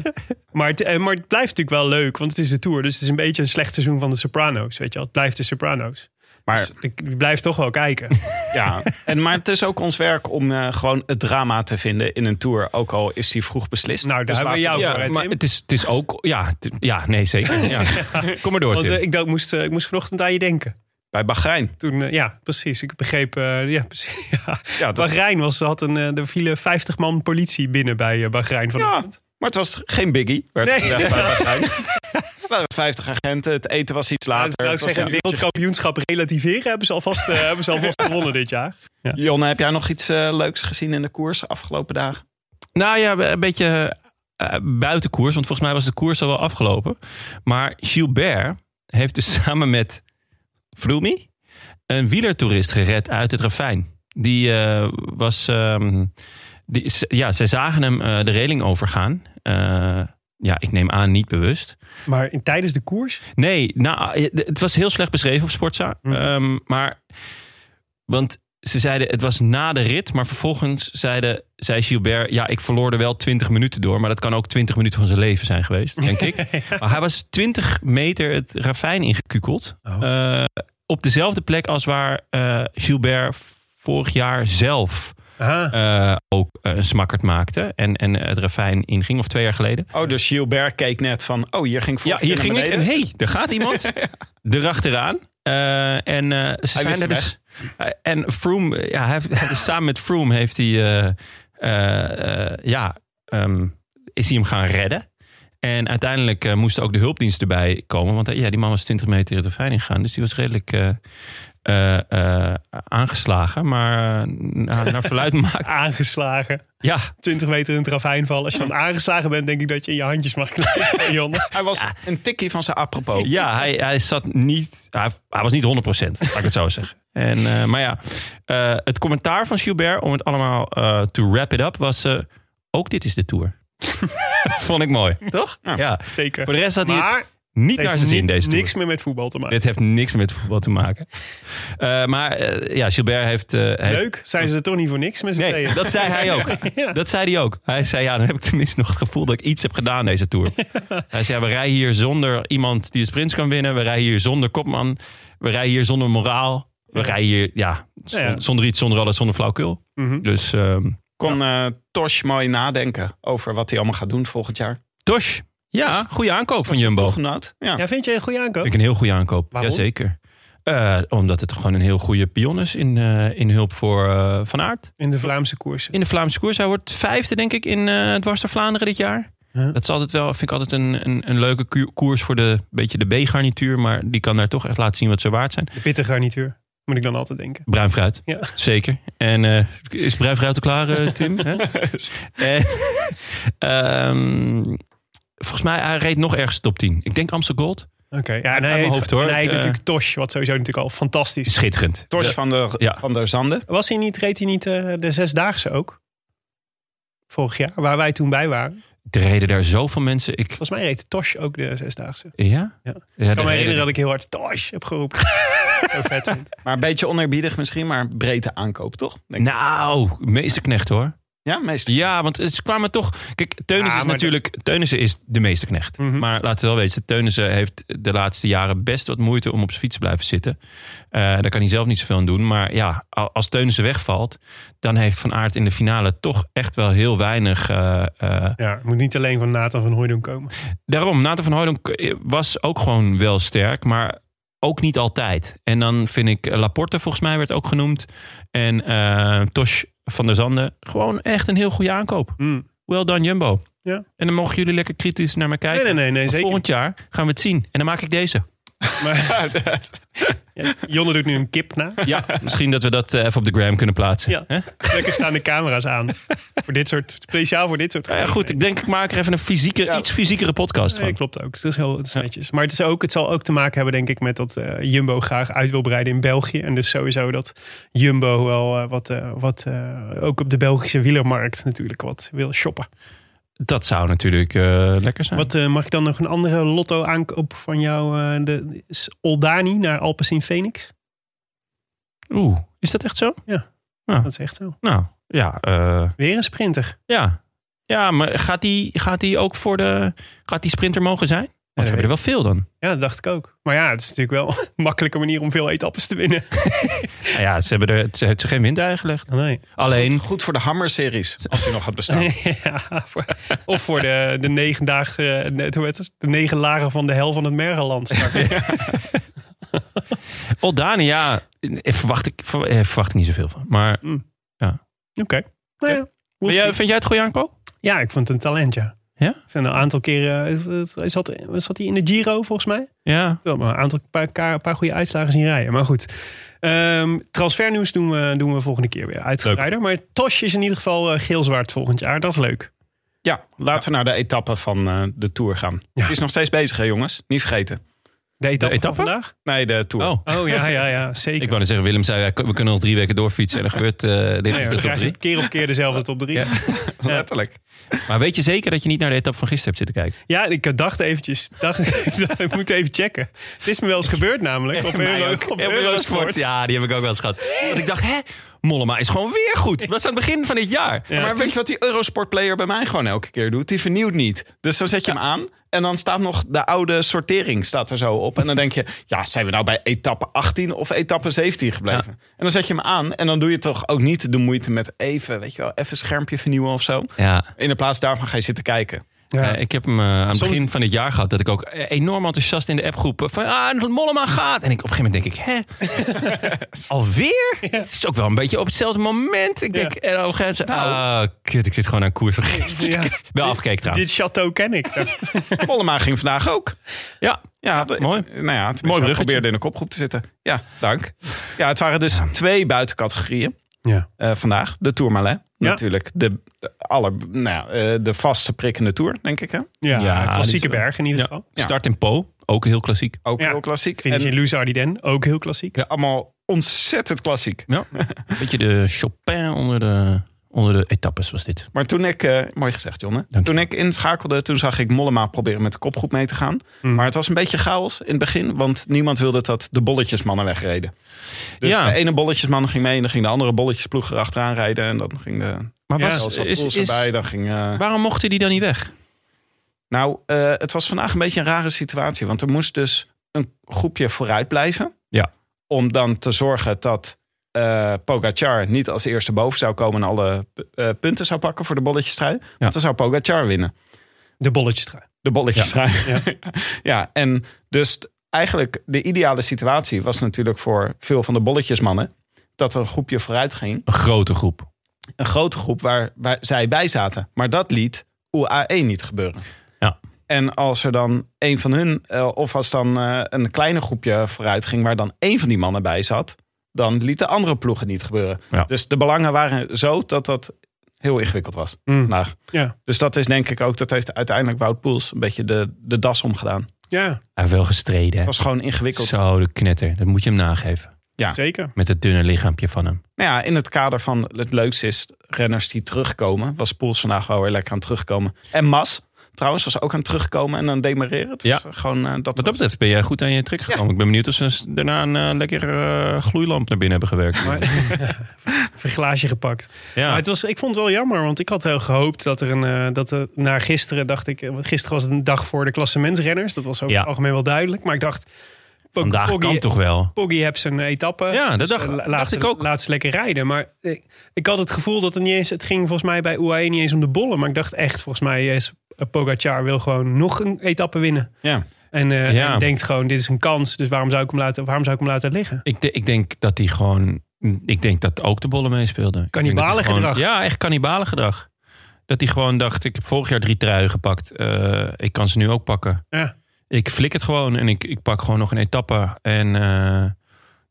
B: maar, het, eh, maar het blijft natuurlijk wel leuk, want het is de Tour. Dus het is een beetje een slecht seizoen van de Sopranos, weet je wel. Het blijft de Sopranos.
F: maar,
B: Dus ik ik blijf toch wel kijken. Nou,
F: ja. en, maar het is ook ons werk om eh, gewoon het drama te vinden in een tour. Ook al is die vroeg beslist. Dus
B: Nou, daar hebben we
F: laten
B: jou voor, hè,
A: Ja, maar
B: Tim?
A: het is, het is ook... Ja, het- ja nee, zeker. Ja. Kom maar door,
B: Want
A: Tim.
B: eh, ik, dacht, moest, eh, ik moest vanochtend aan je denken.
F: Bij Bahrein.
B: Toen, eh, ja, precies. Ik begreep, eh, ja, precies. Ja.
F: Ja, dat is-
B: Bahrein was, had een, eh, er vielen 50 man politie binnen bij eh, Bahrein
F: ja,
B: vanochtend.
F: maar het was geen biggie. Werd
B: Nee.
F: gezegd bij Bahrein. Er waren 50 agenten, het eten was iets
B: Ja,
F: later.
B: zou ik
F: Het was
B: zeggen, het
F: een beetje-
B: wereldkampioenschap relativeren hebben ze alvast, eh, hebben ze alvast gewonnen dit jaar.
F: Jonne, heb jij nog iets eh, leuks gezien in de koers de afgelopen dagen?
A: Nou ja, een beetje eh, buiten koers. Want volgens mij was de koers al wel afgelopen. Maar Gilbert heeft dus samen met Froome een wielertoerist gered uit het ravijn. Die eh, was... ehm, die, is- ja, ze zagen hem eh, de reling overgaan. Eh, ja, ik neem aan niet bewust.
B: Maar in, tijdens de koers?
A: Nee, nou, het was heel slecht beschreven op Sportza.
B: Mhm.
A: Ehm, maar Want ze zeiden, het was na de rit. Maar vervolgens zeiden, zei Gilbert, ja, ik verloor er wel 20 minuten door. Maar dat kan ook 20 minuten van zijn leven zijn geweest, denk ik. Maar hij was 20 meter het ravijn ingekukeld. Eh, op dezelfde plek als waar eh, Gilbert vorig jaar zelf
B: Ah,
A: eh, ook eh, een smakkerd maakte. En, en het ravijn inging, of twee jaar geleden.
F: Oh, dus Gilbert keek net van, oh, hier ging
A: Ja,
F: vorige
A: hier
F: keer
A: ging
F: naar
A: ik en
F: beneden.
A: hey, er gaat iemand. Erachteraan. Eh en eh, ze
F: wist
A: zijn er
F: de
A: dus. eh, en Froome, eh, ja, hij heeft, hij heeft dus samen met Froome heeft hij, eh, eh, eh, ja, ehm, is hij hem gaan redden. En uiteindelijk eh, moest ook de hulpdienst erbij komen. Want eh, ja, die man was 20 meter de veiling gegaan. Dus die was redelijk eh, eh, eh, aangeslagen. Maar eh, na- naar verluid maakt.
B: aangeslagen.
A: Ja,
B: 20 meter in het ravijn vallen. Als je dan aangeslagen bent, denk ik dat je in je handjes mag knijpen, Jonne.
F: Hij was een tikkie van zijn apropos.
A: Ja, hij, hij zat niet. Hij, hij was niet 100%, laat ik het zo zeggen. En, eh, maar ja, eh, het commentaar van Gilbert, om het allemaal eh to wrap it up, was. eh, ook dit is de tour. Vond ik mooi, toch? Ja.
B: Zeker.
A: Voor de rest had hij het
B: maar
A: niet
B: het
A: naar
B: heeft
A: zijn zin,
B: ni-
A: deze tour.
B: niks meer met voetbal te maken.
A: Dit heeft niks met voetbal te maken. Eh, maar eh, ja, Gilbert heeft. eh, heeft-
B: Leuk, zijn ze er toch niet voor niks met z'n
A: Nee,
B: tweeën?
A: dat zei hij ook.
B: Ja.
A: Dat zei hij ook. Hij zei, ja, dan heb ik tenminste nog het gevoel dat ik iets heb gedaan deze Tour. Hij zei, ja, we rijden hier zonder iemand die de sprints kan winnen. We rijden hier zonder kopman. We rijden hier zonder moraal. We rijden hier, ja, zon-
B: Ja, ja.
A: zonder iets, zonder alles, zonder flauwkul.
B: Mhm.
A: Dus ehm
F: Kon eh, Tosh mooi nadenken over wat hij allemaal gaat doen volgend jaar.
A: Tosh, ja, goede aankoop van Jumbo. Vind
F: Ploeggenoot. Ja.
B: Ja, vind je een goede aankoop?
A: ik een heel goede aankoop.
B: Waarom?
A: Jazeker. Eh, omdat het gewoon een heel goede pion is in, eh, in hulp voor eh, Van Aert.
B: In de Vlaamse koersen.
A: in de Vlaamse koers. Hij wordt vijfde, denk ik, in eh dwars door Vlaanderen dit jaar.
B: Ja.
A: Dat is altijd wel, vind ik altijd een, een, een leuke ku- koers voor de, beetje de B-garnituur. Maar die kan daar toch echt laten zien wat ze waard zijn.
B: De pittige garnituur. Moet ik dan altijd denken.
A: Bruin fruit,
B: Ja.
A: zeker. En eh, is bruin fruit al klaar, eh, Tim? Hè? En, ehm, volgens mij, hij reed nog ergens top 10. Ik denk Amstel Gold.
B: Oké, ja, en hij
A: mijn
B: heet,
A: hoofd, hoor.
B: en hij heet
A: Ik, eh,
B: natuurlijk Tosh, wat sowieso natuurlijk al fantastisch is.
A: Schitterend.
F: Tosh van, der,
A: Ja.
F: van der Zanden.
B: Was hij niet, reed hij niet eh, de Zesdaagse ook? Vorig jaar, waar wij toen bij waren.
A: Er reden daar zoveel mensen. Ik,
B: Volgens mij reed Tosh ook de Zesdaagse. Ik
A: ja?
B: Ja.
A: ja
B: kan me herinneren dat ik heel hard Tosh heb geroepen. Zo vet vind.
F: Maar een beetje onerbiedig misschien, maar brede aankoop toch? Denk ik.
A: Nou, meesterknecht hoor.
F: Ja, meestal.
A: Ja, want ze kwamen toch. Kijk, Teunissen
B: Ah,
A: is
B: maar
A: natuurlijk. Teunissen is de meesterknecht.
B: Mhm.
A: Maar laten we wel weten, Teunissen heeft de laatste jaren best wat moeite om op zijn fiets te blijven zitten. Eh, daar kan hij zelf niet zoveel aan doen. Maar ja, a- als Teunissen wegvalt, dan heeft Van Aert in de finale toch echt wel heel weinig. eh, eh.
B: Ja, het moet niet alleen van Nathan van Hooydonk komen.
A: Daarom, Nathan van Hooydonk eh, was ook gewoon wel sterk, maar ook niet altijd. En dan vind ik eh, Laporte, volgens mij, werd ook genoemd. En eh, Tosh van der Zanden, gewoon echt een heel goede aankoop.
B: Hmm.
A: Well done, Jumbo.
B: Ja.
A: En dan mogen jullie lekker kritisch naar me kijken.
B: Nee, nee, nee, nee
A: Maar
B: zeker.
A: Volgend jaar gaan we het zien. En dan maak ik deze.
B: Maar, ja, Jonne doet nu een kip na.
A: Ja, misschien dat we dat eh, even op de gram kunnen plaatsen.
B: Ja.
A: Hè?
B: Lekker staan de camera's aan. Voor dit soort, speciaal voor dit soort
A: Nou ja, goed, ik denk ik maak er even een fysieke, iets fysiekere podcast
B: Nee,
A: van.
B: klopt ook. Het is heel het is netjes. Maar het, is ook, het zal ook te maken hebben, denk ik, met dat eh, Jumbo graag uit wil breiden in België. En dus sowieso dat Jumbo wel eh, wat, eh, wat eh, ook op de Belgische wielermarkt natuurlijk wat wil shoppen.
A: Dat zou natuurlijk eh, lekker zijn.
B: Wat eh, mag ik dan nog een andere lotto aankoop van jou? eh, de is Oldani naar Alpes in Phoenix?
A: Oeh, is dat echt zo?
B: Dat is echt zo.
A: Nou, ja. eh,
B: Weer een sprinter.
A: ja. ja, maar gaat die, gaat die ook voor de... Gaat die sprinter mogen zijn? Want we hebben er wel veel dan.
B: Ja, dat dacht ik ook. Maar ja, het is natuurlijk wel een makkelijke manier om veel etappes te winnen.
A: Nou ja, ze hebben er, ze heeft ze geen windeigen gelegd.
B: Oh, Nee.
A: Alleen,
F: Goed, goed voor de Hammer-series, als hij nog had bestaan.
B: Ja, voor- of voor de, de, negen dagen, eh, hoe heet het? de negen lagen van de hel van het Mergeland. straks.
A: Oldani, oh, ja, eh, verwacht ik, ver- eh, verwacht ik niet zoveel van. Maar
B: Oké. Nou ja, we'll
A: Vind jij,
B: see.
A: vind jij het goede aankoop?
B: ja, ik vond het een talent, ja.
A: Ja?
B: Ik vind een aantal keren... eh, hij Zat, zat hij in de Giro, volgens mij?
A: Ja.
B: Wel, maar een aantal paar, paar, paar goede uitslagen zien rijden. Maar goed. Ehm, transfernieuws doen we, doen we volgende keer weer uitgebreider. Maar Tosh is in ieder geval eh, geelzwart volgend jaar. Dat is leuk.
F: Ja, laten we naar de etappe van eh, de Tour gaan. Die is nog steeds bezig, hè jongens? Niet vergeten.
B: De etappe,
A: De
B: van
A: etappe?
B: vandaag?
F: Nee, de Tour.
A: Oh.
B: Oh ja, ja, ja, zeker.
A: Ik wou net zeggen, Willem zei, ja, we kunnen al drie weken doorfietsen. En er gebeurt eh, dit
B: Ja,
A: is
B: dan
A: de top
B: krijg je
A: drie.
B: keer op keer dezelfde top drie.
A: Ja.
B: Ja.
F: Letterlijk.
A: Maar weet je zeker dat je niet naar de etappe van gisteren hebt zitten kijken?
B: ik dacht eventjes, dacht, ik moet even checken. Het is me wel eens gebeurd namelijk op,
A: Mij
B: Euro,
A: ook.
B: op
A: Op
B: Eurosport.
A: Ja, die heb ik ook wel eens gehad. Want ik dacht, hè, Mollema is gewoon weer goed. Dat was aan het begin van dit jaar.
B: Ja.
F: maar weet je wat die Eurosport-player bij mij gewoon elke keer doet? Die vernieuwt niet. Dus dan zet je hem aan en dan staat nog de oude sortering staat er zo op. En dan denk je, ja, zijn we nou bij etappe 18 of etappe 17 gebleven? En dan zet je hem aan en dan doe je toch ook niet de moeite met even, weet je wel, even schermpje vernieuwen of zo.
A: Ja.
F: In de plaats daarvan ga je zitten kijken.
B: Ja.
A: Eh, ik heb hem eh, aan het
F: Soms-
A: begin van dit jaar gehad. Dat ik ook eh, enorm enthousiast in de appgroep eh, van ah, Mollema gaat. En ik, op een gegeven moment denk ik, hè? Alweer? Het is ook wel een beetje op hetzelfde moment. Ik denk, en op een gegeven moment, ah, kut, ik zit gewoon aan koers van gisteren.
B: Ja.
A: Wel afgekeken trouwens.
B: Dit château ken ik.
F: Mollema ging vandaag ook.
A: Ja,
F: Ja, dat-
A: mooi.
F: Nou ja,
A: Mooi
F: Mooi
A: bruggetje.
F: probeerde in de kopgroep te zitten. Ja, dank. Ja, het waren dus twee buitencategorieën
B: Ja.
F: eh, vandaag. De Tourmalet
B: Ja.
F: natuurlijk. De, de aller, nou, ja, eh, de vaste prikkende Tour, denk ik. Hè?
B: Ja,
A: Ja,
B: klassieke
A: dit is-
B: berg in ieder geval.
F: Ja.
A: start in Po, ook heel klassiek.
F: Ook
B: Ja.
F: heel klassiek.
B: Finish
F: En
B: in Luce Ardennes, ook heel klassiek.
F: allemaal ontzettend klassiek.
A: Ja, een beetje de Chopin onder de, onder de etappes was dit.
F: Maar toen ik, eh, mooi gezegd John, hè?
A: Dank je.
F: toen ik inschakelde, toen zag ik Mollema proberen met de kopgroep mee te gaan. Maar het was een beetje chaos in het begin, want niemand wilde dat de bolletjesmannen wegreden. Dus
A: Ja.
F: de ene bolletjesman ging mee en dan ging de andere bolletjesploeg erachteraan rijden. En dan ging de
A: Maar
B: Ja,
A: was,
F: Elsa
A: is,
F: Poels
A: is-
F: erbij, dan ging... eh,
A: waarom mochten die dan niet weg?
F: Nou, eh, het was vandaag een beetje een rare situatie. Want er moest dus een groepje vooruit blijven.
A: Ja.
F: Om dan te zorgen dat eh Pogacar niet als eerste boven zou komen... en alle eh, punten zou pakken voor de bolletjestrui. Want dan zou Pogacar winnen.
B: De bolletjes trui.
F: De bolletjestrui. Ja. ja. en dus t- eigenlijk de ideale situatie was natuurlijk voor veel van de bolletjesmannen... dat er een groepje vooruit ging.
A: Een grote groep.
F: Een grote groep waar, waar zij bij zaten. Maar dat liet UAE niet gebeuren.
A: Ja.
F: En als er dan een van hun, eh, of als dan eh, een kleine groepje vooruit ging waar dan één van die mannen bij zat, dan liet de andere ploegen niet gebeuren.
A: Ja.
F: Dus de belangen waren zo dat dat heel ingewikkeld was
A: Hm.
F: vandaag.
B: Ja.
F: Dus dat is denk ik ook, dat heeft uiteindelijk Wout Poels een beetje de, de das omgedaan.
B: Ja,
A: Hij heeft wel gestreden. hè?
F: Het was gewoon ingewikkeld.
A: Zo, de knetter. Dat moet je hem nageven.
F: Ja.
B: zeker.
A: Met het dunne lichaampje van hem.
F: Nou ja, in het kader van het leukste is renners die terugkomen, was Poels vandaag wel weer lekker aan het terugkomen. En Mas, trouwens, was ook aan het terugkomen en aan het demareren. Dus
A: Ja.
F: gewoon eh, dat,
A: Wat dat
F: was-
A: betreft ben jij goed aan je trick gekomen. Ik ben benieuwd of ze s- daarna een eh, lekker eh, gloeilamp naar binnen hebben gewerkt.
B: Verglaasje gepakt.
A: ja.
B: Maar het was, ik vond het wel jammer, want ik had heel gehoopt dat er een. eh, dat er, na gisteren dacht ik. eh, want Gisteren was het een dag voor de klassementsrenners. Dat was ook
A: Ja.
B: het algemeen wel duidelijk. Maar ik dacht. Pog-
A: Vandaag
B: Poggi-
A: kan toch wel.
B: Poggi heeft zijn etappe.
A: Ja, dat dacht-
B: eh, la-
A: dacht
B: laat ze-
A: ik ook.
B: Laat ze lekker rijden. Maar ik, ik had het gevoel dat het niet eens. Het ging volgens mij bij UAE niet eens om de bollen. Maar ik dacht echt, volgens mij is eh, Pogacar wil gewoon nog een etappe winnen.
F: Ja.
B: En, eh,
A: Ja.
B: en denkt gewoon, dit is een kans. Dus waarom zou ik hem laten, waarom zou ik hem laten liggen?
A: Ik, de- ik denk dat hij gewoon... Ik denk dat ook de bollen meespeelden.
B: Kannibale
A: Ik denk dat hij gewoon-
B: gedrag.
A: Ja, echt kannibale gedrag. Dat hij gewoon dacht, ik heb vorig jaar drie truien gepakt. Eh, ik kan ze nu ook pakken.
B: Ja.
A: Ik flik het gewoon en ik, ik pak gewoon nog een etappe. En eh,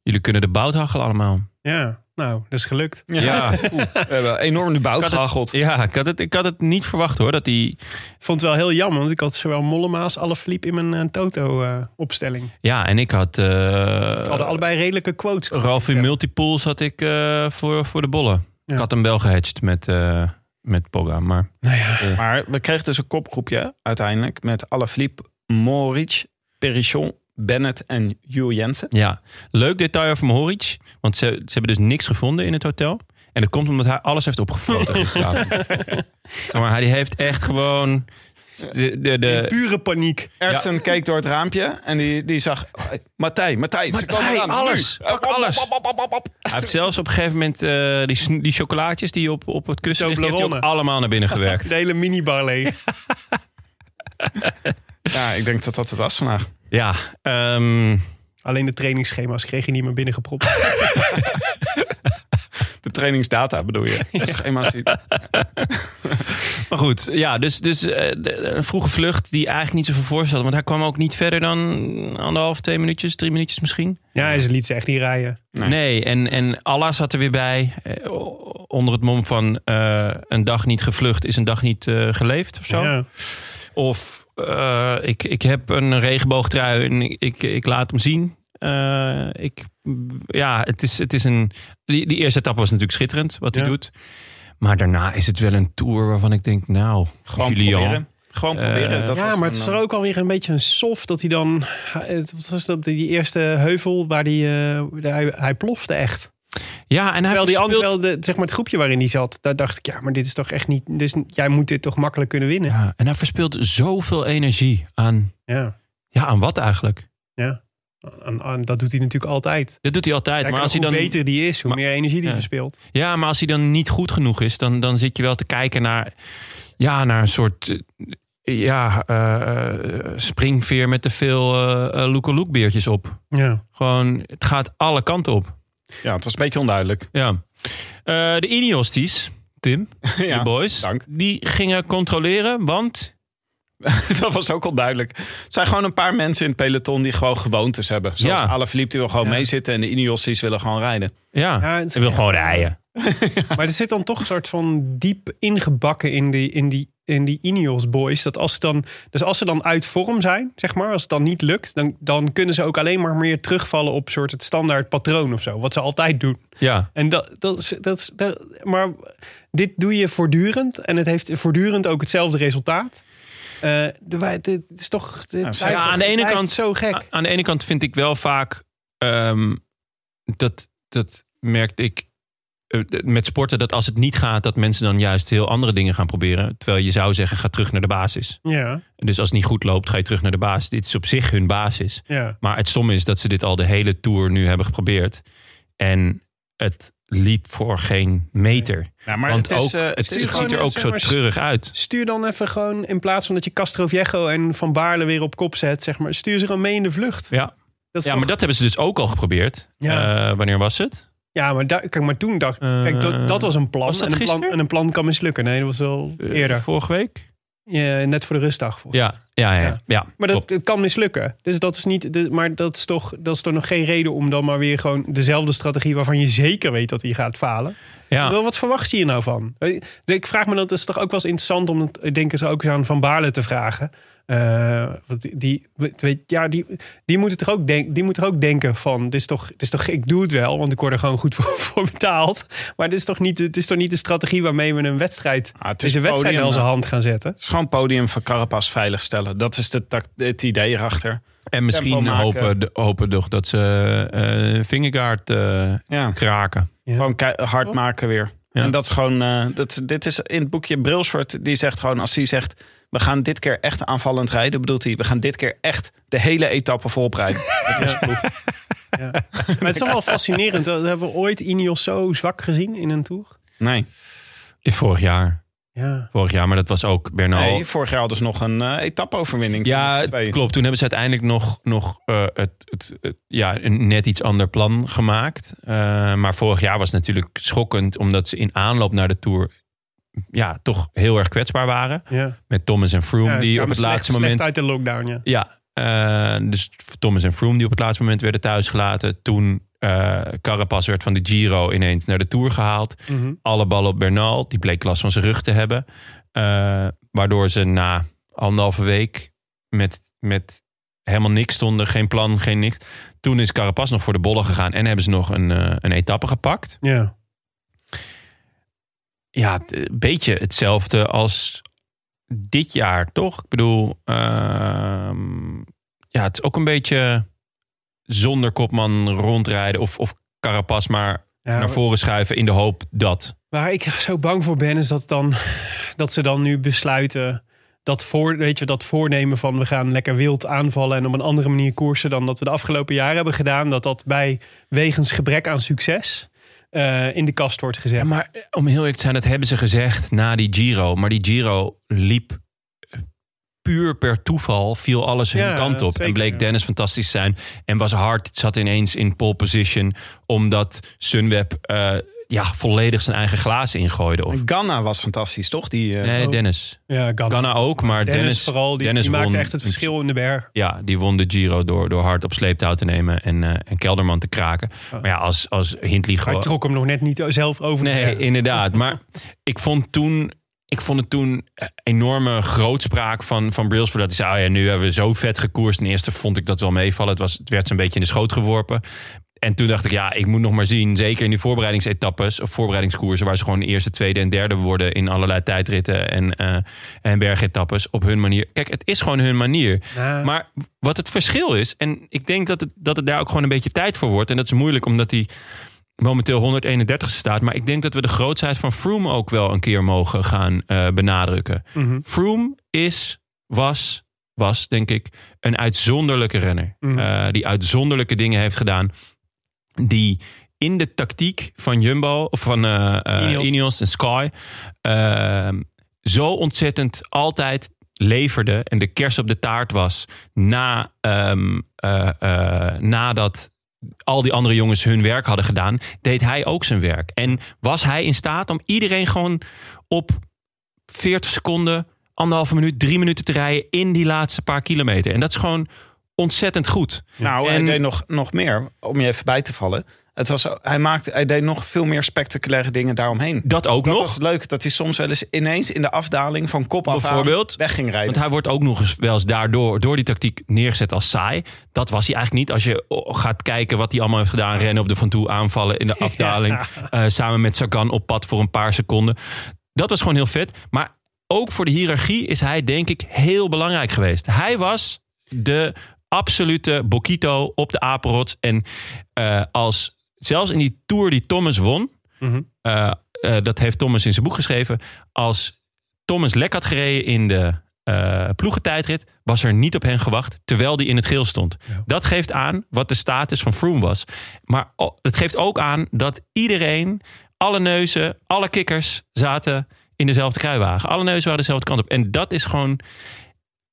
A: jullie kunnen de bout hachelen allemaal.
B: Ja, nou, dat is gelukt.
A: Ja,
F: We hebben enorm de bout
A: Kan het-
F: gehageld.
A: ja ik, had het, ik had het niet verwacht hoor. Dat die,
B: Ik vond het wel heel jammer, want ik had zowel Mollema als Alaphilippe in mijn eh, Toto-opstelling.
A: ja, en ik had...
B: We hadden
A: eh
B: allebei redelijke quotes.
A: Ralf in multipools had ik eh, voor, voor de bollen.
B: Ja.
A: Ik had hem wel gehedged met, eh met Pogga. Maar
B: Nou ja,
F: Maar we kregen dus een kopgroepje uiteindelijk met Alaphilippe, Moric, Perichon, Bennett en Jules Jensen.
A: ja, leuk detail over Mohoric. Want ze, ze hebben dus niks gevonden in het hotel. En dat komt omdat hij alles heeft opgefroten gisteravond. zeg maar, hij heeft echt gewoon... De, de,
B: in
A: de,
B: pure paniek.
F: Ertsen keek door het raampje en die, die zag... oh, Matthij, Matthij, ze
A: Matthij,
F: komen eraan.
A: alles.
F: Nu.
A: Pak
F: Op, op,
A: alles.
F: op, op, op, op, op.
A: hij heeft zelfs op een gegeven moment eh, die, sno- die chocolaatjes die op, op het kussen liggen... heeft hij ook
B: Toblerone.
A: allemaal naar binnen gewerkt.
B: De hele minibar leeg.
F: Ja, ik denk dat dat het was vandaag.
A: Ja, ehm,
B: Alleen de trainingsschema's kreeg je niet meer binnengepropt.
F: De trainingsdata bedoel je. De schema's die-
A: maar goed. Ja, dus, dus eh, de- de- een vroege vlucht die eigenlijk niet zoveel voorstelde. Want hij kwam ook niet verder dan anderhalf, twee minuutjes, drie minuutjes misschien.
B: Ja, en ze liet ze echt niet rijden.
A: Nee, en, en Allah zat er weer bij. eh, onder het mom van eh, een dag niet gevlucht is een dag niet eh, geleefd of zo.
B: Ja.
A: Of eh, ik, ik heb een regenboogtrui en ik, ik, ik laat hem zien. Eh, ik, ja, het is, het is een. Die, die eerste etappe was natuurlijk schitterend wat hij
B: Ja.
A: doet. Maar daarna is het wel een tour waarvan ik denk, nou,
F: Gewoon
A: Julian.
F: proberen. Gewoon
A: Eh,
F: proberen. Dat was
B: ja, maar het is
F: dan-
B: er ook alweer een beetje een soft dat hij dan. het- Wat was dat? Die eerste heuvel waar die, eh, hij. Hij plofte echt.
A: Ja, en hij
B: Terwijl, die,
A: verspeelt-
B: andere terwijl de, zeg maar het groepje waarin hij zat, daar dacht ik, ja, maar dit is toch echt niet. Dus jij moet dit toch makkelijk kunnen winnen.
A: Ja, en hij verspeelt zoveel energie aan.
B: Ja.
A: Ja, aan wat eigenlijk?
B: En- en dat doet hij natuurlijk altijd.
A: Dat doet hij altijd.
B: Kijk,
A: maar als hij
B: hoe
A: dan,
B: beter die is, hoe
A: maar-
B: meer energie die
A: ja.
B: verspeelt.
A: Ja, maar als hij dan niet goed genoeg is, dan, dan zit je wel te kijken naar, ja, naar een soort eh, ja, eh, eh, springveer met te veel eh look beertjes op.
B: Ja.
A: Gewoon, het gaat alle kanten op.
F: Ja, het was een beetje onduidelijk.
A: Ja. Eh, de Ineosties, Tim,
F: ja,
A: de boys,
F: dank.
A: die gingen controleren, want
F: dat was ook onduidelijk. Het zijn gewoon een paar mensen in het peloton die gewoon gewoontes hebben. Zoals
A: Ja.
F: Alaphilippe die wil gewoon
B: Ja.
F: meezitten en de Ineosties willen gewoon rijden.
A: ja,
B: Ja, het is
A: ze wil
B: echt-
A: gewoon rijden.
B: Maar er zit dan toch een soort van diep ingebakken in die, in die, in die Ineos boys. Dat als ze dan, dus als ze dan uit vorm zijn, zeg maar, als het dan niet lukt, dan, dan kunnen ze ook alleen maar meer terugvallen op soort het standaard patroon of zo. Wat ze altijd doen.
A: Ja,
B: En dat, dat, is, dat, is, dat- maar dit doe je voortdurend. En het heeft voortdurend ook hetzelfde resultaat. Eh, de, wij- dit is toch. dit blijft
F: ja,
B: toch-
A: aan de ene
B: blijft
A: kant-
B: zo gek.
A: A- Aan de ene kant vind ik wel vaak ehm, dat, dat merkte ik eh, d- met sporten dat als het niet gaat, dat mensen dan juist heel andere dingen gaan proberen. Terwijl je zou zeggen, ga terug naar de basis.
B: Ja,
A: Dus als het niet goed loopt, ga je terug naar de basis. Dit is op zich hun basis.
B: ja.
A: Maar het stom is dat ze dit al de hele tour nu hebben geprobeerd. En het liep voor geen meter.
F: Ja, maar
A: Want
F: het is,
A: ook,
F: eh,
A: het,
F: het is
A: het
F: gewoon,
A: ziet er ook
B: zeg
A: zo
B: maar, st-
A: treurig uit.
B: Stuur dan even gewoon, in plaats van dat je Castroviejo en Van Baarle weer op kop zet, zeg maar, stuur ze gewoon mee in de vlucht.
A: Ja,
B: Dat is
A: ja
B: toch-
A: maar dat hebben ze dus ook al geprobeerd.
B: Ja.
A: Eh, wanneer was het?
B: ja, maar, daar- kijk, maar toen dacht ik, kijk,
A: Eh,
B: dat, dat was een plan.
A: was dat
B: en, een plan
A: gisteren?
B: en een plan kan mislukken. Nee, dat was wel
A: Eh,
B: eerder.
A: Vorige week?
B: Ja, net voor de rustdag. Volgens
A: Ja, ja, ja. ja.
B: Ja. Maar dat, het kan mislukken. Dus dat is niet. de- maar dat is, toch, dat is toch nog geen reden om dan maar weer gewoon dezelfde strategie waarvan je zeker weet dat die gaat falen.
A: Ja.
B: Wel, Wat verwacht je hier nou van? Ik vraag me dat het is toch ook wel eens interessant om het, ik denk eens ook eens aan Van Baarle te vragen. Eh, want die, die, weet, ja, die, die, moet toch ook denk, die moet er ook denken van, dit is, toch, dit is toch, ik doe het wel, want ik word er gewoon goed voor, voor betaald. Maar dit is, toch niet, dit is toch niet de strategie waarmee we een wedstrijd,
F: Ah, het is
B: deze wedstrijd
F: podium,
B: in onze
F: eh.
B: hand gaan zetten.
F: het is gewoon podium van Carapas veiligstellen. Dat is de tact- het idee erachter.
A: En misschien
F: tempo maken.
A: hopen, de- hopen toch dat ze eh Vingegaard eh,
F: Ja.
A: kraken.
F: Gewoon kei- hard maken weer.
A: Ja.
F: En dat is gewoon, eh, dat, dit is in het boekje Brilswart, die zegt gewoon, als hij zegt, we gaan dit keer echt aanvallend rijden, bedoelt hij, we gaan dit keer echt de hele etappe volop rijden. Dat is proef.
B: Ja. Maar het is toch wel fascinerend. Dat hebben we ooit Ineos zo zwak gezien in een tour?
F: Nee.
A: Vorig jaar.
B: Ja.
A: Vorig jaar, maar dat was ook Bernal.
F: nee, vorig jaar hadden ze nog een eh etappe-overwinning.
A: Nou. ja,
F: Toen was het twee.
A: klopt. Toen hebben ze uiteindelijk nog, nog eh, het, het, het- ja, een net iets ander plan gemaakt. Eh, maar vorig jaar was het natuurlijk schokkend, omdat ze in aanloop naar de Tour ja, toch heel erg kwetsbaar waren.
B: ja.
A: Met Thomas en Froome,
B: Ja,
A: die
B: kwamen
A: op het
B: slecht-
A: laatste
B: slecht
A: moment
B: uit de lockdown, ja.
A: Ja, eh, dus Thomas en Froome die op het laatste moment werden thuisgelaten. Toen eh Carapaz werd van de Giro ineens naar de Tour gehaald.
B: Mhm.
A: Alle ballen op Bernal, die bleek last van zijn rug te hebben. Eh, waardoor ze na anderhalve week met, met helemaal niks stonden. Geen plan, geen niks. Toen is Carapaz nog voor de bollen gegaan en hebben ze nog een, eh, een etappe gepakt.
B: Ja.
A: Ja, t- een beetje hetzelfde als dit jaar, toch? Ik bedoel, ehm, ja, het is ook een beetje zonder kopman rondrijden of, of Carapas maar
B: Ja,
A: naar voren schuiven in de hoop dat.
B: Waar ik zo bang voor ben, is dat, dan, dat ze dan nu besluiten... Dat, voor, weet je, dat voornemen van we gaan lekker wild aanvallen... en op een andere manier koersen dan dat we de afgelopen jaren hebben gedaan... dat dat bij wegens gebrek aan succes eh, in de kast wordt gezet.
A: Ja, maar eh, om heel eerlijk te zijn, dat hebben ze gezegd na die Giro. Maar die Giro liep eh, puur per toeval, viel alles hun
B: Ja,
A: kant op.
B: zeker,
A: en bleek
B: ja.
A: Dennis fantastisch te zijn. En was hard, zat ineens in pole position. Omdat Sunweb eh, ja, volledig zijn eigen glazen ingooide. Of,
F: En Ganna was fantastisch, toch? Die, eh,
A: nee, Dennis.
B: ja, Ganna.
A: Ganna ook, maar
B: Dennis,
A: Dennis,
B: vooral, die,
A: Dennis
B: die maakte
A: won-
B: echt het verschil in de berg.
A: Ja, die won de Giro door, door hard op sleeptouw te nemen en, eh, en Kelderman te kraken. Maar ja, als, als Hindley
B: Hij
A: gewoon...
B: trok hem nog net niet zelf over de
A: Oh. Nee,
B: berg.
A: inderdaad. Maar ik vond toen... ik vond het toen eh, enorme grootspraak van, van Brailsford. Dat hij zei, oh ja, nu hebben we zo vet gekoerst. Ten eerste vond ik dat wel meevallen. Het, was, het werd zo'n beetje in de schoot geworpen. En toen dacht ik, ja, ik moet nog maar zien. Zeker in die voorbereidingsetappes of voorbereidingskoersen... waar ze gewoon eerste, tweede en derde worden... in allerlei tijdritten en, eh, en bergetappes op hun manier. Kijk, het is gewoon hun manier.
B: Nou,
A: Maar wat het verschil is, en ik denk dat het, dat het daar ook gewoon een beetje tijd voor wordt. En dat is moeilijk omdat hij momenteel 131 staat. Maar ik denk dat we de grootheid van Froome ook wel een keer mogen gaan eh, benadrukken.
B: mhm,
A: Froome is, was, was denk ik, een uitzonderlijke renner.
B: Mhm.
A: Eh, die uitzonderlijke dingen heeft gedaan. Die in de tactiek van Jumbo, of van eh, eh,
B: Ineos.
A: Ineos. en Sky, eh, zo ontzettend altijd leverde en de kers op de taart was na, ehm, eh, eh, nadat al die andere jongens hun werk hadden gedaan, deed hij ook zijn werk. En was hij in staat om iedereen gewoon op 40 seconden, anderhalve minuut, drie minuten te rijden in die laatste paar kilometer. En dat is gewoon ontzettend goed.
F: Nou, hij
A: En-
F: deed nog, nog meer, om je even bij te vallen. Het was, hij, maakte, hij deed nog veel meer spectaculaire dingen daaromheen.
A: Dat ook
F: dat
A: nog.
F: was leuk, dat hij soms wel eens ineens in de afdaling van kop af aan
A: Bijvoorbeeld.
F: weg ging rijden.
A: Want hij wordt ook nog eens wel eens daardoor door die tactiek neergezet als saai. Dat was hij eigenlijk niet. Als je oh, gaat kijken wat hij allemaal heeft gedaan. Rennen op de Van Toe aanvallen in de afdaling. eh, samen met Sagan op pad voor een paar seconden. Dat was gewoon heel vet. Maar ook voor de hiërarchie is hij denk ik heel belangrijk geweest. Hij was de absolute Bokito op de apenrots. En eh, als, zelfs in die Tour die Thomas won...
B: mhm.
A: eh, eh, dat heeft Thomas in zijn boek geschreven. Als Thomas lek had gereden in de eh ploegentijdrit, was er niet op hen gewacht, terwijl die in het geel stond. Dat geeft aan wat de status van Froome was. Maar o- het geeft ook aan dat iedereen, alle neuzen, alle kikkers zaten in dezelfde kruiwagen. Alle neuzen waren dezelfde kant op. En dat is gewoon,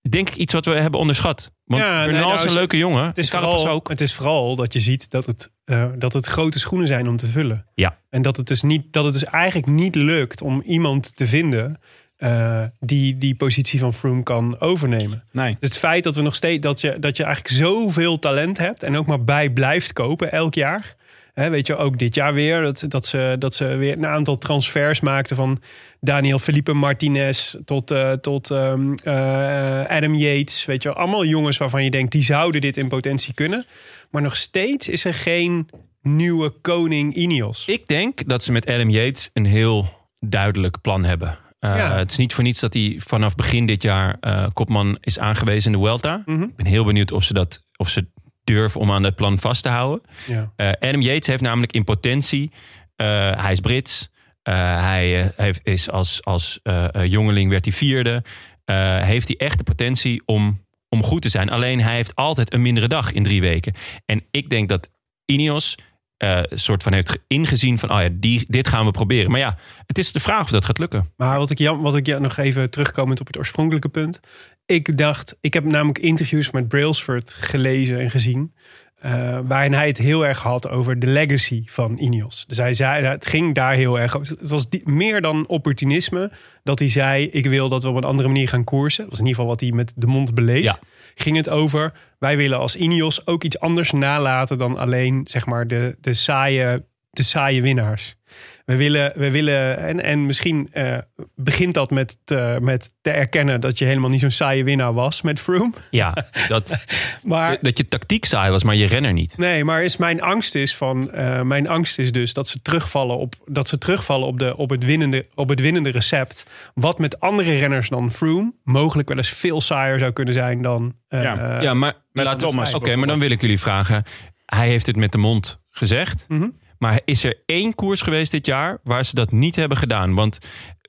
A: denk ik, iets wat we hebben onderschat. Want
B: Ja, nee,
A: Bernal
B: nou,
A: is een
B: is-
A: leuke jongen.
B: Het is,
A: Carapaz
B: vooral,
A: ook.
B: het is vooral dat je ziet dat het, eh, dat het grote schoenen zijn om te vullen.
A: Ja.
B: En dat het, dus niet, dat het dus eigenlijk niet lukt om iemand te vinden eh, die die positie van Froome kan overnemen.
F: nee.
B: Dus het feit dat, we nog steeds, dat, je, dat je eigenlijk zoveel talent hebt en ook maar bij blijft kopen elk jaar. Hè, weet je, ook dit jaar weer dat, dat, ze, dat ze weer een aantal transfers maakten van Daniel Felipe Martinez tot, eh, tot ehm, eh, Adam Yates. Weet je, allemaal jongens waarvan je denkt die zouden dit in potentie kunnen. Maar nog steeds is er geen nieuwe koning Ineos.
A: Ik denk dat ze met Adam Yates een heel duidelijk plan hebben. Uh,
B: Ja.
A: Het is niet voor niets dat hij vanaf begin dit jaar eh, kopman is aangewezen in de Welta.
B: Mhm.
A: Ik ben heel benieuwd of ze, dat, of ze durven om aan dat plan vast te houden.
B: Ja.
A: Eh, Adam Yates heeft namelijk in potentie, eh, hij is Brits. eh, hij eh, heeft, is als, als eh, eh, jongeling werd hij vierde. Eh, heeft hij echt de potentie om, om goed te zijn. Alleen hij heeft altijd een mindere dag in drie weken. En ik denk dat Ineos eh, soort van heeft ge- ingezien van... oh ja, die, dit gaan we proberen. Maar ja, het is de vraag of dat gaat lukken.
B: Maar wat ik, jam, wat ik ja, nog even terugkomend op het oorspronkelijke punt. Ik dacht, ik heb namelijk interviews met Brailsford gelezen en gezien. eh, waarin hij het heel erg had over de legacy van Ineos. Dus hij zei, het ging daar heel erg over. Het was die- meer dan opportunisme. Dat hij zei, ik wil dat we op een andere manier gaan koersen. Dat was in ieder geval wat hij met de mond beleed.
A: Ja.
B: Ging het over, wij willen als Ineos ook iets anders nalaten... dan alleen zeg maar, de, de, saaie, de saaie winnaars. We willen, we willen en, en misschien eh, begint dat met te, met te erkennen dat je helemaal niet zo'n saaie winnaar was met Froome.
A: Ja, dat,
B: Maar
A: dat je tactiek saai was, maar je renner niet.
B: nee, maar is mijn angst is van eh, mijn angst is dus dat ze terugvallen op dat ze terugvallen op, de, op, het winnende, op het winnende recept. Wat met andere renners dan Froome mogelijk wel eens veel saaier zou kunnen zijn dan. eh,
F: Ja.
B: eh,
A: ja, maar
F: met
A: laten we-
F: Thomas
A: Oké, maar
F: bijvoorbeeld.
A: dan wil ik jullie vragen. Hij heeft het met de mond gezegd.
B: mhm.
A: Maar is er één koers geweest dit jaar waar ze dat niet hebben gedaan? Want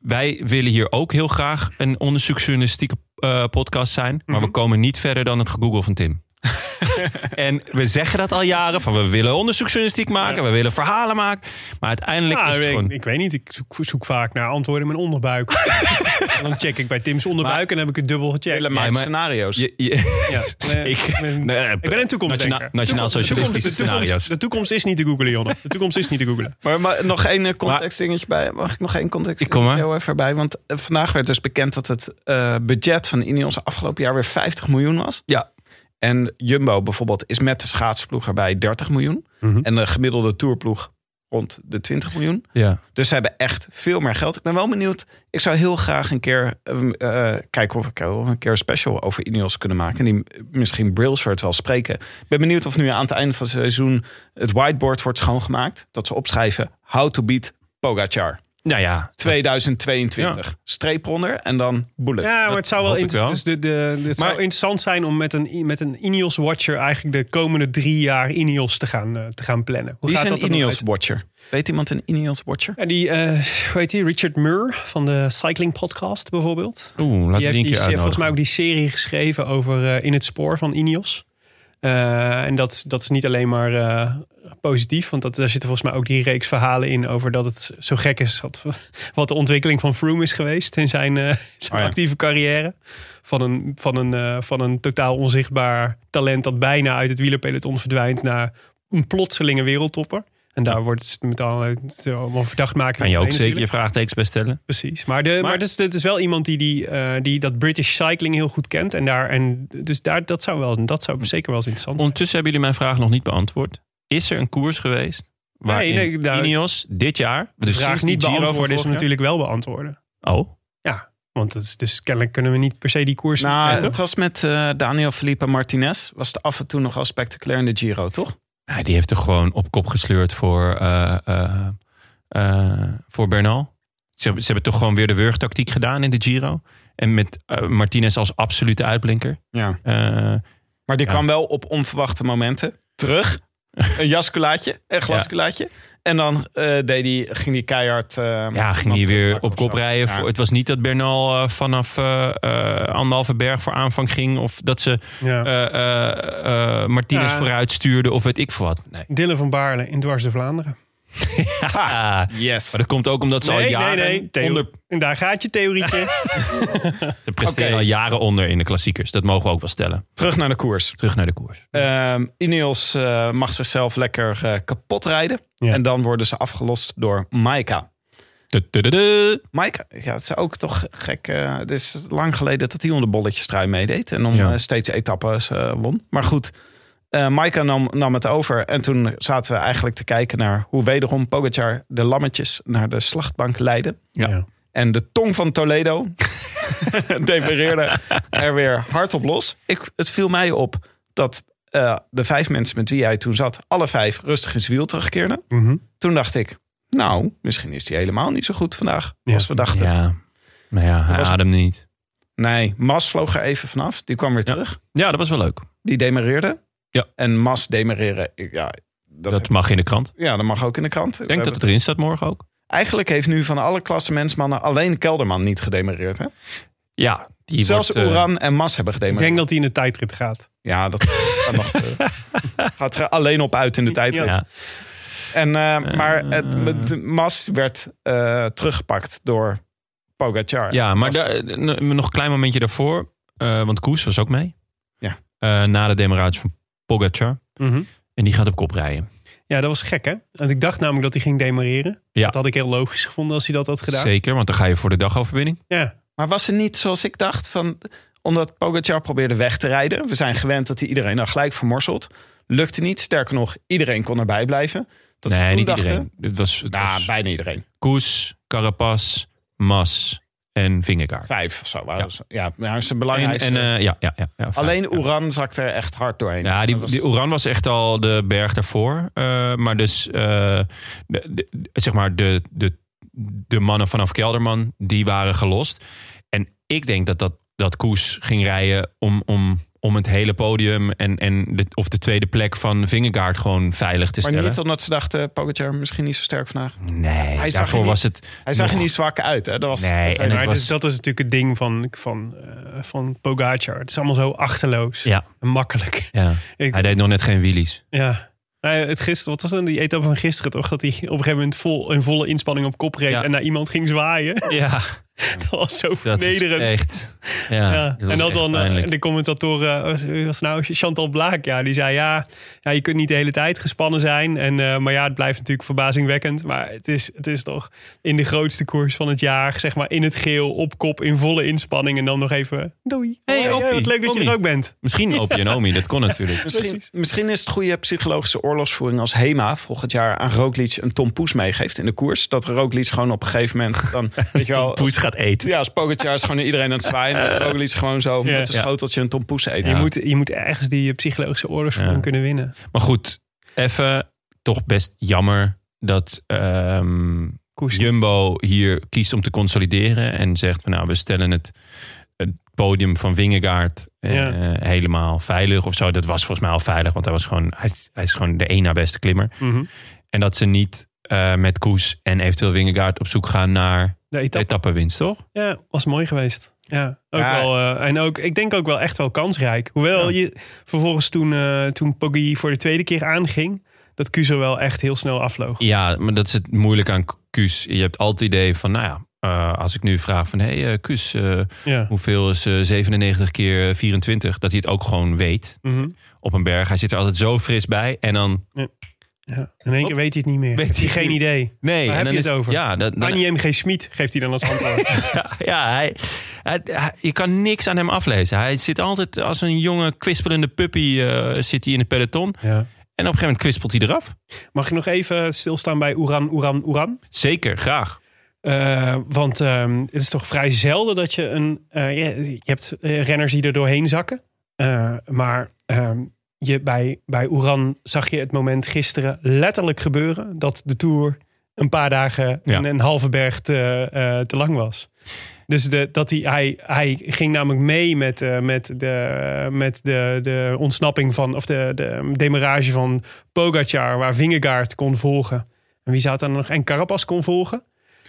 A: wij willen hier ook heel graag een onderzoeksjournalistieke eh, podcast zijn. Maar
B: Mhm.
A: we komen niet verder dan het Google van Tim. en we zeggen dat al jaren. Van we willen onderzoeksjournalistiek maken. We willen verhalen maken. Maar uiteindelijk
B: Nou,
A: is het
B: ik,
A: gewoon...
B: ik weet niet, ik zoek, zoek vaak naar antwoorden in mijn onderbuik. En dan check ik bij Tim's onderbuik en dan heb ik het dubbel gecheckt.
F: Helemaal
A: maar-
F: scenario's.
A: Je- je-
B: Ja,
A: Zeker.
B: Nee,
A: Nee, nee,
B: ik ben een toekomstdenker.
A: Nationaal- nationaal
B: Toekomst- de toekomst-
A: socialistische
B: de toekomst-
A: scenario's.
B: De toekomst is niet te googelen, Jonne. De toekomst is niet te googelen.
F: Maar, maar nog één eh, contextdingetje bij. Mag ik nog één
A: Ik kom
F: contextdingetje
A: maar.
F: heel even bij? Want eh, vandaag werd dus bekend dat het eh, budget van Ineos afgelopen jaar weer 50 miljoen was.
A: Ja.
B: Mhm.
F: En Jumbo bijvoorbeeld is met de schaatsploeg erbij 30 miljoen. En de gemiddelde tourploeg rond de 20 miljoen.
A: Ja.
F: Dus ze hebben echt veel meer geld. Ik ben wel benieuwd. Ik zou heel graag een keer ehm, eh, kijken of ik wel een keer een special over Ineos kunnen maken. Die misschien Brailsford wel spreken. Ik ben benieuwd of nu aan het einde van het seizoen het whiteboard wordt schoongemaakt. Dat ze opschrijven how to beat Pogachar
A: Nou ja,
F: 2022. Streep onder en dan bullet.
B: Ja, maar het zou wel,
A: hoop ik
B: inter-
A: wel.
B: dus de, de, het zou
A: Maar-
B: interessant zijn om met een, met een Ineos Watcher eigenlijk de komende drie jaar Ineos te gaan, eh, te gaan plannen. Hoe
F: Wie is
B: gaat
F: een
B: dat er dan
F: Ineos
B: uit?
F: watcher? Weet iemand een Ineos watcher?
B: Ja, die, eh, hoe heet die? Richard Murr van de Cycling Podcast bijvoorbeeld.
A: oeh, laat
B: die
A: die
B: heeft
A: een
B: die,
A: keer
B: se- volgens mij ook
A: uitnodigen.
B: die serie geschreven over eh, In het Spoor van Ineos. Eh, en dat, dat is niet alleen maar eh, positief, want dat, daar zitten volgens mij ook die reeks verhalen in over dat het zo gek is wat, wat de ontwikkeling van Froome is geweest in zijn, eh, zijn
F: Oh ja.
B: actieve carrière. Van een, van, een, eh, van een totaal onzichtbaar talent dat bijna uit het wielerpeloton verdwijnt naar een plotselinge wereldtopper. En daar wordt het met alle- het allemaal verdacht maken.
A: Kan je ook
B: omheen
A: zeker je
B: natuurlijk.
A: vraagtekens bij stellen?
B: Precies. Maar, de, maar,
A: Maar-
B: dat, is, dat is wel iemand die, die, eh, die dat British cycling heel goed kent. En daar, en dus daar, dat, zou wel, dat zou zeker wel eens interessant zijn.
A: Ondertussen hebben jullie mijn vraag nog niet beantwoord. Is er een koers geweest waarin
B: nee, daar-
A: Ineos dit jaar...
B: De
A: Dus
B: vraag
A: sinds die
B: niet
A: Giro van
B: beantwoorden is
A: vorig jaar-
B: natuurlijk wel beantwoorden.
A: Oh,
B: Want het is, dus kennelijk kunnen we niet per se die koers...
F: Nou,
B: eh,
F: dat
B: toch?
F: was met eh, Daniel Felipe Martinez. Was het af en toe nogal spectaculair in de Giro, toch?
A: ja, die heeft er gewoon op kop gesleurd voor, eh, eh, eh, voor Bernal. Ze, hebben- ze hebben toch gewoon weer de wurgtactiek gedaan in de Giro. En met eh, Martinez als absolute uitblinker.
F: Ja.
A: Eh,
F: Maar die
A: Ja.
F: kwam wel op onverwachte momenten terug. een jaskulaatje, een glaskulaatje. En dan eh, deed die, ging die keihard... eh,
A: ja, ging
F: iemand
A: hij weer
F: terugpakken
A: op
F: of
A: kop
F: zo.
A: rijden.
F: Ja.
A: Voor, het was niet dat Bernal eh, vanaf eh, eh, anderhalve berg voor aanvang ging. Of dat ze
B: ja.
A: eh, eh, eh, Martinez
B: Ja.
A: vooruit stuurde. Of weet ik veel wat. Nee.
B: Dylan van Baarle in Dwars de Vlaanderen.
A: Ah,
F: Yes.
A: Maar dat komt ook omdat ze al
B: nee, nee,
A: jaren
B: nee. Theo-
A: onder...
B: En daar gaat je theorietje.
A: Ze presteren
F: Oké.
A: al jaren onder in de klassiekers. Dat mogen we ook wel stellen.
F: Terug naar de koers.
A: Terug naar de koers.
F: Ehm, Ineos eh, mag zichzelf lekker eh, kapot rijden.
B: Ja.
F: En dan worden ze afgelost door Maika.
A: Tudududu.
F: Mike, ja, het is ook toch gek. eh, het is lang geleden dat hij onder bolletjes trui meedeed. En om
A: Ja.
F: eh, steeds etappes eh, won. Maar goed, eh Maaike nam, nam het over. En toen zaten we eigenlijk te kijken naar hoe wederom Pogacar de lammetjes naar de slachtbank leidde.
A: Ja.
F: En de tong van Toledo demereerde er weer hard op los. Ik, het viel mij op dat eh, de vijf mensen met wie hij toen zat, alle vijf rustig in zijn wiel terugkeerden.
B: Mhm.
F: Toen dacht ik, nou, misschien is hij helemaal niet zo goed vandaag
B: Ja.
F: als we dachten.
A: Ja, maar ja, hij
F: was-
A: ademde niet.
F: Nee, Mas vloog er even vanaf. Die kwam weer terug.
A: Ja, dat was wel leuk.
F: Die demereerde.
A: Ja.
F: En Mas demereren, ik- ja dat,
A: Dat mag in de krant. Ik
F: ja, dat mag ook in de krant. We
A: denk
F: hebben-
A: dat het erin staat morgen ook.
F: Eigenlijk heeft nu van alle klassementsmannen alleen Kelderman niet gedemereerd. Hè?
A: Ja, die
F: Zelfs
A: wordt, eh,
F: Oran en Mas hebben
B: Ik
F: gedemereerd.
B: denk dat hij in de tijdrit gaat.
F: Ja, dat kan nog, eh, gaat er alleen op uit in de tijd.
A: ja.
F: En, eh, maar het,
A: Eh.
F: het- Mas werd eh, teruggepakt door Pogacar.
A: ja,
F: Het
A: maar
F: was-
A: daar- eh, nog een klein momentje daarvoor. eh, want Koes was ook mee.
F: Ja.
A: Eh, na de demarage van Pogacar.
B: Mhm.
A: En die gaat op kop rijden.
B: Ja, dat was gek hè. Want ik dacht namelijk dat hij ging demareren.
A: Ja.
B: Dat had ik heel logisch gevonden als hij dat had gedaan.
A: Zeker, want dan ga je voor de dagoverwinning.
B: Ja.
F: Maar was het niet zoals ik dacht? Van, omdat Pogacar probeerde weg te rijden. We zijn gewend dat hij iedereen dan gelijk vermorselt. Lukte niet. Sterker nog, iedereen kon erbij blijven. Dat ze
A: nee,
F: toen
A: niet
F: dachten,
A: iedereen. Het was, het
F: Nou,
A: was
F: bijna iedereen.
A: Koes, Carapaz, Mas en Vingegaard.
F: Vijf of zo waren
A: Ja.
F: ze. Ja, maar zijn
A: En,
F: belangrijkste.
A: en, eh, ja, ja, ja, ja, vijf,
F: Alleen
A: ja.
F: Oeran zakte er echt hard doorheen.
A: Ja, die,
F: Dat was-
A: die Oran was echt al de berg daarvoor. Eh, maar dus, eh, de, de- zeg maar, de, de, de mannen vanaf Kelderman, die waren gelost. En ik denk dat dat, dat Koes ging rijden om, om, om het hele podium... En, en de, of de tweede plek van Vingegaard gewoon veilig te
F: maar
A: stellen.
F: niet omdat ze dachten, Pogacar misschien niet zo sterk vandaag.
A: nee,
F: zag er
A: daarvoor
F: niet-
A: was het...
F: Hij zag
A: nog-
F: er niet zwak uit. Hè? Dat was
A: Nee, en
F: vervelend.
A: het
B: maar
A: was-
B: dus dat is natuurlijk het ding van, van, eh, van Pogacar. Het is allemaal zo achterloos
A: Ja,
B: en makkelijk.
A: ja.
B: Ik,
A: hij deed nog net geen wheelies.
B: ja. Nou ja, het gisteren, wat was dan die etappe van gisteren toch? Dat hij op een gegeven moment vol, in volle inspanning op kop reed
A: Ja.
B: en naar iemand ging zwaaien.
A: Ja,
B: Dat was zo
A: dat is
B: vernederend.
A: echt... Ja,
B: Ja,
A: was
B: en dat
A: echt
B: dan eh,
A: pijnlijk.
B: de commentatoren, eh, was- wie was het nou Chantal Blaak, ja, die zei ja, ja, je kunt niet de hele tijd gespannen zijn. En, eh, maar ja, het blijft natuurlijk verbazingwekkend. Maar het is, het is toch in de grootste koers van het jaar, zeg maar in het geel, op kop, in volle inspanning. En dan nog even doei.
A: Hey,
B: Hoi,
A: Oppie.
B: wat leuk dat je
A: Ommie.
B: er ook bent.
A: Misschien Opie en Omi, dat kon natuurlijk.
F: Misschien,
B: Precies.
F: misschien is het goede psychologische oorlogsvoering als HEMA volgend jaar aan Roglic een tompoes meegeeft in de koers. Dat Roglic gewoon op een gegeven moment dan, weet je wel,
A: Poets gaat eten.
F: ja, als Pogacar is gewoon iedereen aan het zwaaien. En Roglic gewoon zo
B: Ja.
F: met een
A: Ja.
F: schoteltje een tompoes eten.
B: Je,
A: Ja.
B: moet, je moet ergens die psychologische oorlogsvorm
A: Ja.
B: kunnen winnen.
A: Maar goed, even toch best jammer dat ehm,
B: Koers.
A: Jumbo hier kiest om te consolideren. En zegt van nou, we stellen het, het podium van Vingegaard eh,
B: Ja.
A: helemaal veilig of zo. Dat was volgens mij al veilig, want hij, was gewoon, hij, is- hij is gewoon de één na beste klimmer.
B: Mhm.
A: En dat ze niet eh, met Koes en eventueel Vingegaard op zoek gaan naar
B: De etappe.
A: etappenwinst, toch?
B: Ja, was mooi geweest. Ja, ook
F: Ja.
B: Wel, eh, en ook, ik denk ook wel echt wel kansrijk. Hoewel je vervolgens toen, eh toen Poggi voor de tweede keer aanging, dat Kuzo wel echt heel snel afloog.
A: Ja, maar dat is het moeilijk aan Koes. Je hebt altijd het idee van, nou ja, eh, als ik nu vraag van, hé hey, Koes, eh,
B: Ja.
A: hoeveel is eh, 97 keer 24? Dat hij het ook gewoon weet
B: Mhm.
A: op een berg. Hij zit er altijd zo fris bij en dan...
B: ja. In één keer weet hij het niet meer.
A: Weet
B: Heeft hij
A: hij
B: geen
A: niet.
B: idee.
A: Nee, en
B: Waar heb
A: dan
B: je
A: is
B: het over?
A: Ja, dat, dan-
B: Annie M.G. Schmid geeft hij dan als antwoord.
A: ja hij, hij- hij- je kan niks aan hem aflezen. Hij zit altijd als een jonge kwispelende puppy eh, zit hij in het peloton.
B: ja.
A: En op een gegeven moment kwispelt hij eraf.
B: Mag ik nog even stilstaan bij Oeran, Oeran, Oeran?
A: Zeker, graag.
B: Eh, want ehm, het is toch vrij zelden dat je een. eh, je, je hebt eh, renners die er doorheen zakken. Eh, maar ehm, je, bij, bij Oeran zag je het moment gisteren letterlijk gebeuren. dat de tour een paar dagen
A: Ja.
B: en een halve berg te, eh, te lang was. Dus de, dat hij, hij, hij ging namelijk mee met, eh, met, de, met de, de ontsnapping van. of de, de demarage van Pogacar, waar Vingegaard kon volgen. En wie zat daar nog? En Carapaz kon volgen.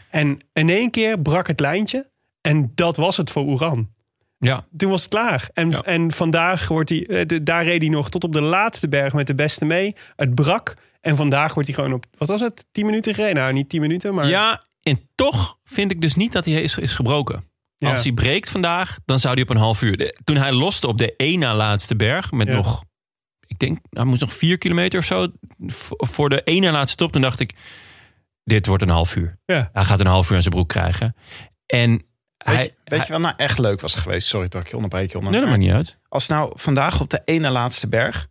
B: En in één keer brak het lijntje. En dat was het voor Oeran.
A: Ja.
B: Toen was het klaar. En,
A: Ja.
B: en vandaag wordt hij, eh, de- daar reed hij nog tot op de laatste berg met de beste mee. Het brak. En vandaag wordt hij gewoon op, wat was het? 10 minuten gereden? Nou, niet 10 minuten,
F: Ehm,
B: maar.
A: Ja, en toch vind ik dus niet dat hij is, is gebroken.
B: Ja.
A: Als hij breekt vandaag, dan zou hij op een half uur. De- toen hij loste op de één na laatste berg met
B: Ja.
A: nog, ik denk, hij moest nog vier kilometer of zo v- voor de één na laatste stop. Toen dacht ik, dit wordt een half uur.
B: Ja.
A: Hij gaat een half uur aan zijn broek krijgen. En
F: Weet,
A: hij,
F: je- weet je wat nou echt leuk was geweest? Sorry dat ik je onderbreek, Jonne.
A: hij- nee, dat maakt niet uit.
F: Als nou vandaag op de ene laatste berg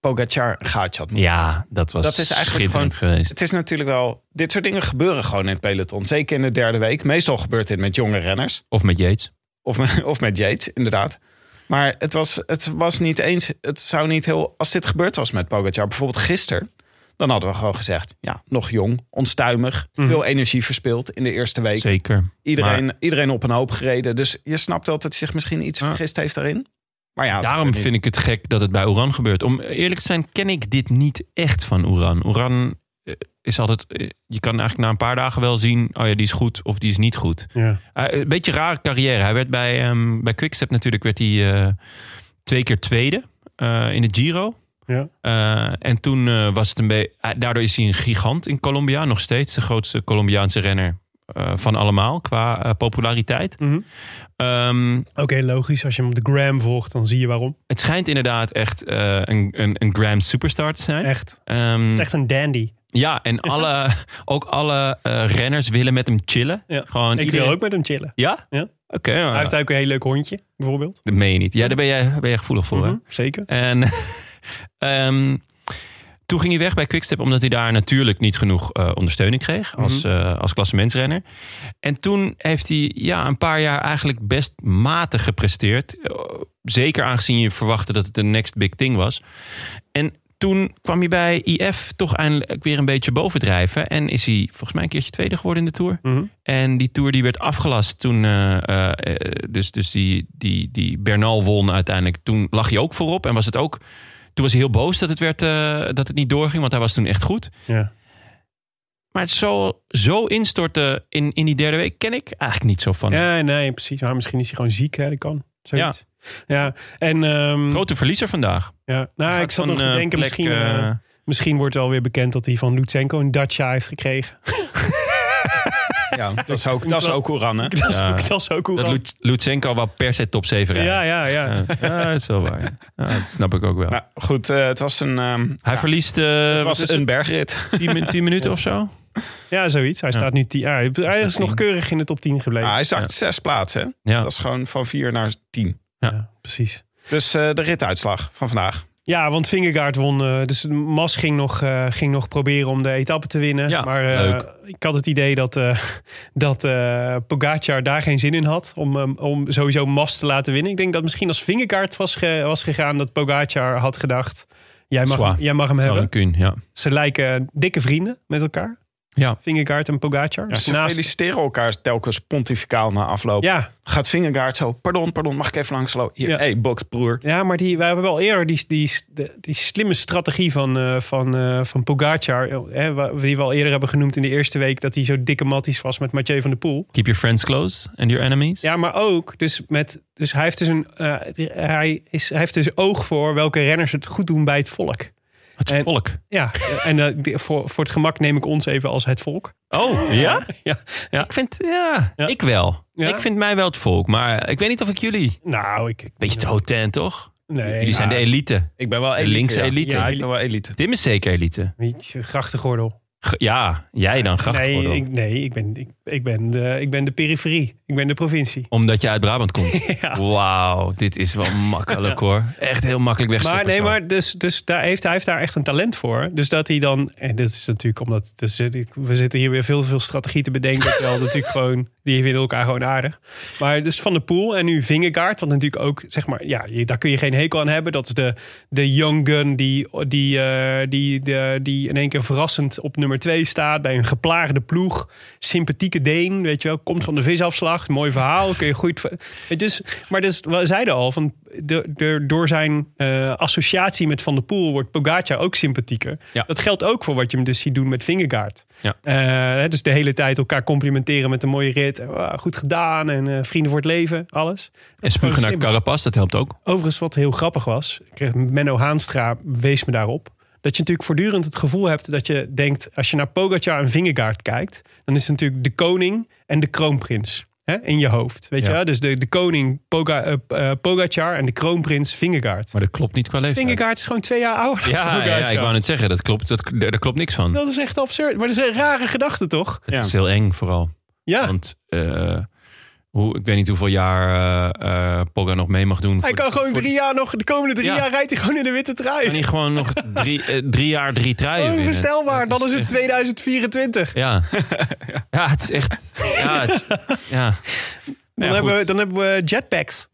F: Pogacar een gaatje had moeten
A: Ja, dat was
F: Dat is eigenlijk
A: schitterend geweest.
F: Het is natuurlijk wel... Dit soort dingen gebeuren gewoon in het peloton. Zeker in de derde week. Meestal gebeurt dit met jonge renners.
A: Of met Yates.
F: Of, met- of met Yates, inderdaad. Maar het was, het was niet eens... Het zou niet heel... Als dit gebeurd was met Pogacar, bijvoorbeeld gisteren... dan hadden we gewoon gezegd... Ja, nog jong, onstuimig. Veel energie verspild in de eerste week.
A: Mhm. Zeker.
F: Iedereen, iedereen op een hoop gereden. Dus je snapt wel dat hij zich misschien iets vergist heeft daarin. Maar ja, het
A: Daarom
F: gebeurt niet.
A: vind ik het gek dat het bij Oran gebeurt. Om eerlijk te zijn, ken ik dit niet echt van Oran. Oran eh, is altijd. eh, Je kan eigenlijk na een paar dagen wel zien. Oh ja, die is goed of die is niet goed.
B: Ja.
A: Eh, een beetje rare carrière. Hij werd bij, ehm bij Quickstep natuurlijk werd hij, eh, twee keer tweede eh, in de Giro.
B: Ja.
A: Eh, en toen eh, was het een beetje. eh, daardoor is hij een gigant in Colombia. Nog steeds de grootste Colombiaanse renner eh, van allemaal qua eh, populariteit.
B: Mhm.
A: Ehm,
B: Oké, logisch. Als je hem op de gram volgt, dan zie je waarom.
A: het schijnt inderdaad echt eh, een, een, een Graham superstar te zijn.
B: Echt. Het
A: Ehm,
B: is echt een dandy.
A: Ja, en alle, ook alle eh, renners willen met hem chillen.
B: Ja.
A: Gewoon
B: Ik wil
A: iedereen-
B: ook met hem chillen.
A: Ja?
B: Ja.
A: Oké. nou,
B: Hij heeft ook een heel leuk hondje, bijvoorbeeld.
A: Dat meen je niet. Ja, daar ben jij, ben jij gevoelig voor.
B: Mhm, Zeker.
A: Hè? En ehm, toen ging hij weg bij Quickstep... omdat hij daar natuurlijk niet genoeg eh, ondersteuning kreeg...
B: Mhm.
A: als, eh als klassementsrenner. En toen heeft hij ja, een paar jaar eigenlijk best matig gepresteerd. Eh, Zeker aangezien je verwachtte dat het de next big thing was. En toen kwam hij bij IF toch eindelijk weer een beetje bovendrijven. En is hij volgens mij een keertje tweede geworden in de Tour.
B: Mhm.
A: En die Tour die werd afgelast toen... eh, eh, eh, dus dus die, die, die Bernal won uiteindelijk. Toen lag hij ook voorop en was het ook... Toen was hij heel boos dat het, werd, eh, dat het niet doorging, want hij was toen echt goed.
B: Ja.
A: Maar het zo, zo instorten in, in die derde week ken ik eigenlijk niet zo van. hem.
B: ja, nee, precies. Maar misschien is hij gewoon ziek, hè? Dat kan. Zoiets. Ja. En, ehm,
A: Grote verliezer vandaag.
B: Ja, nou,
A: Gaat
B: ik zat
A: van,
B: nog te
A: eh,
B: denken,
A: plek,
B: misschien,
A: eh,
B: eh, misschien wordt wel weer bekend dat hij van Lutsenko een Dacia heeft gekregen.
F: Ja, dat is ook, dat is ook Oeran, hè?
B: Dat is,
A: Ja.
B: ook, dat is ook hoe
A: Dat
B: dan.
A: Lut- Lutsenko wou per se top 7 rijden.
B: Ja, ja, ja.
A: Ja, ja, dat is wel waar. ja. Ja, dat snap ik ook wel.
F: Nou, goed, eh, het was een, ehm,
A: Hij verliest eh
F: het was
A: wat is het,
F: een bergrit.
A: 10, min- 10 minuten of zo.
B: Ja, zoiets. Hij staat nu 10. Ah, hij- hij is nog keurig in de top 10 gebleven.
F: Ah, hij zakt zes plaatsen. hè?
A: Ja.
F: Dat is gewoon van vier naar tien.
B: Ja, precies.
F: Dus eh, de rituitslag van vandaag.
B: Ja, want Vingegaard won. eh, dus Mas ging nog, eh, ging nog proberen om de etappe te winnen.
A: Ja,
B: maar eh,
A: leuk.
B: ik had het idee dat, eh, dat eh, Pogacar daar geen zin in had. Om, eh, om sowieso Mas te laten winnen. Ik denk dat misschien als Vingegaard was, ge- was gegaan, dat Pogacar had gedacht... Jij
A: Zwaar.
B: mag, jij mag hem hebben.
A: Zo'n kuhn, ja.
B: Ze lijken dikke vrienden met elkaar.
A: Ja.
B: Vingegaard en Pogacar. Dus
F: Ze
B: naast-
F: feliciteren elkaar telkens pontificaal na afloop.
B: ja,
F: Gaat Vingegaard zo, pardon, pardon, mag ik even langs lopen? Hier,
B: Ja.
F: hey, boksbroer.
B: Ja, maar die, wij hebben wel eerder die, die, die, slimme strategie van, eh, van, eh, van Pogacar. eh, Hè, wa- die we al eerder hebben genoemd in de eerste week. Dat hij zo dikke matties was met Mathieu van der Poel.
A: Keep your friends close and your enemies.
B: Ja, maar ook. Dus, met, dus hij, heeft dus een, eh, hij, is, hij heeft dus oog voor welke renners het goed doen bij het volk.
A: Het
B: en-
A: volk.
B: Ja, eh, en eh, die- voor, voor het gemak neem ik ons even als het volk.
A: Oh, ja?
B: Ja, ja.
A: Ik vind, ja,
B: Ja.
A: ik wel.
B: Ja?
A: Ik vind mij wel het volk. Maar ik weet niet of ik jullie...
B: Nou, ik... ik-
A: Beetje te hotent, toch?
B: nee,
A: Jullie zijn de elite.
F: Ik ben wel elite.
A: links
F: ja.
A: elite.
F: Ja, ik ben wel elite.
A: Tim is zeker elite.
B: elite. Grachtengordel.
A: G- ja, jij dan, grachtgordel.
B: Nee, ik, nee ik, ben, ik, ik, ben de, ik ben de periferie. Ik ben de provincie.
A: Omdat je uit Brabant komt.
B: Ja.
A: Wauw, dit is wel makkelijk hoor. Echt heel makkelijk wegstoppen.
B: Maar nee,
A: zo.
B: maar dus, dus daar heeft, hij heeft daar echt een talent voor. Dus dat hij dan. En dit is natuurlijk omdat. dus ik- we zitten hier weer veel, veel strategie te bedenken. Terwijl natuurlijk gewoon. Die vinden elkaar gewoon aardig. Maar dus Van de Poel en nu Vingegaard. Wat natuurlijk ook. Zeg maar. Ja, je- daar kun je geen hekel aan hebben. Dat is de, de young gun die, die, eh, die, de, die in één keer verrassend op nummer twee staat. Bij een geplaagde ploeg. Sympathieke Deen. Weet je wel. Komt van de visafslag. Mooi verhaal. Kun je goed. ver- Het is, maar dus, we zeiden al, van de, de- door zijn eh, associatie met Van der Poel wordt Pogacar ook sympathieker.
A: Ja.
B: Dat geldt ook voor wat je hem dus ziet doen met Vingegaard.
A: Ja.
B: Eh, hè, dus de hele tijd elkaar complimenteren met een mooie rit. Eh, wauw, goed gedaan en eh, vrienden voor het leven, alles.
A: En spugen naar Carapaz, dat helpt ook.
B: Overigens, wat heel grappig was, ik kreeg- Menno Haanstra wees me daarop. Dat je natuurlijk voortdurend het gevoel hebt dat je denkt, als je naar Pogacar en Vingegaard kijkt, dan is het natuurlijk de koning en de kroonprins hè, in je hoofd. Weet
A: Ja.
B: je wel? Dus de, de koning Poga, eh, eh, Pogacar en de kroonprins Vingegaard.
A: Maar dat klopt niet qua leeftijd.
B: Vingegaard is gewoon twee jaar ouder dan
A: ja, ja,
B: Pogacar.
A: ik wou net zeggen, dat klopt, dat, daar, daar klopt niks van.
B: Dat is echt absurd. Maar dat is een rare gedachte, toch?
A: Het is heel eng vooral.
B: Ja,
A: Want eh, hoe, ik weet niet hoeveel jaar eh eh, Pogga nog mee mag doen.
B: hij
A: voor-
B: kan gewoon
A: voor-
B: drie jaar nog, de komende drie
A: Ja.
B: jaar rijdt hij gewoon in de witte trui.
A: Kan hij gewoon nog drie, eh, drie jaar drie truien winnen.
B: Onvoorstelbaar,
A: Dat
B: dan is het 2024.
A: Ja. ja, het is echt... Ja, het, ja.
B: Dan,
A: Ja,
B: hebben,
A: goed.
B: we, dan hebben we jetpacks.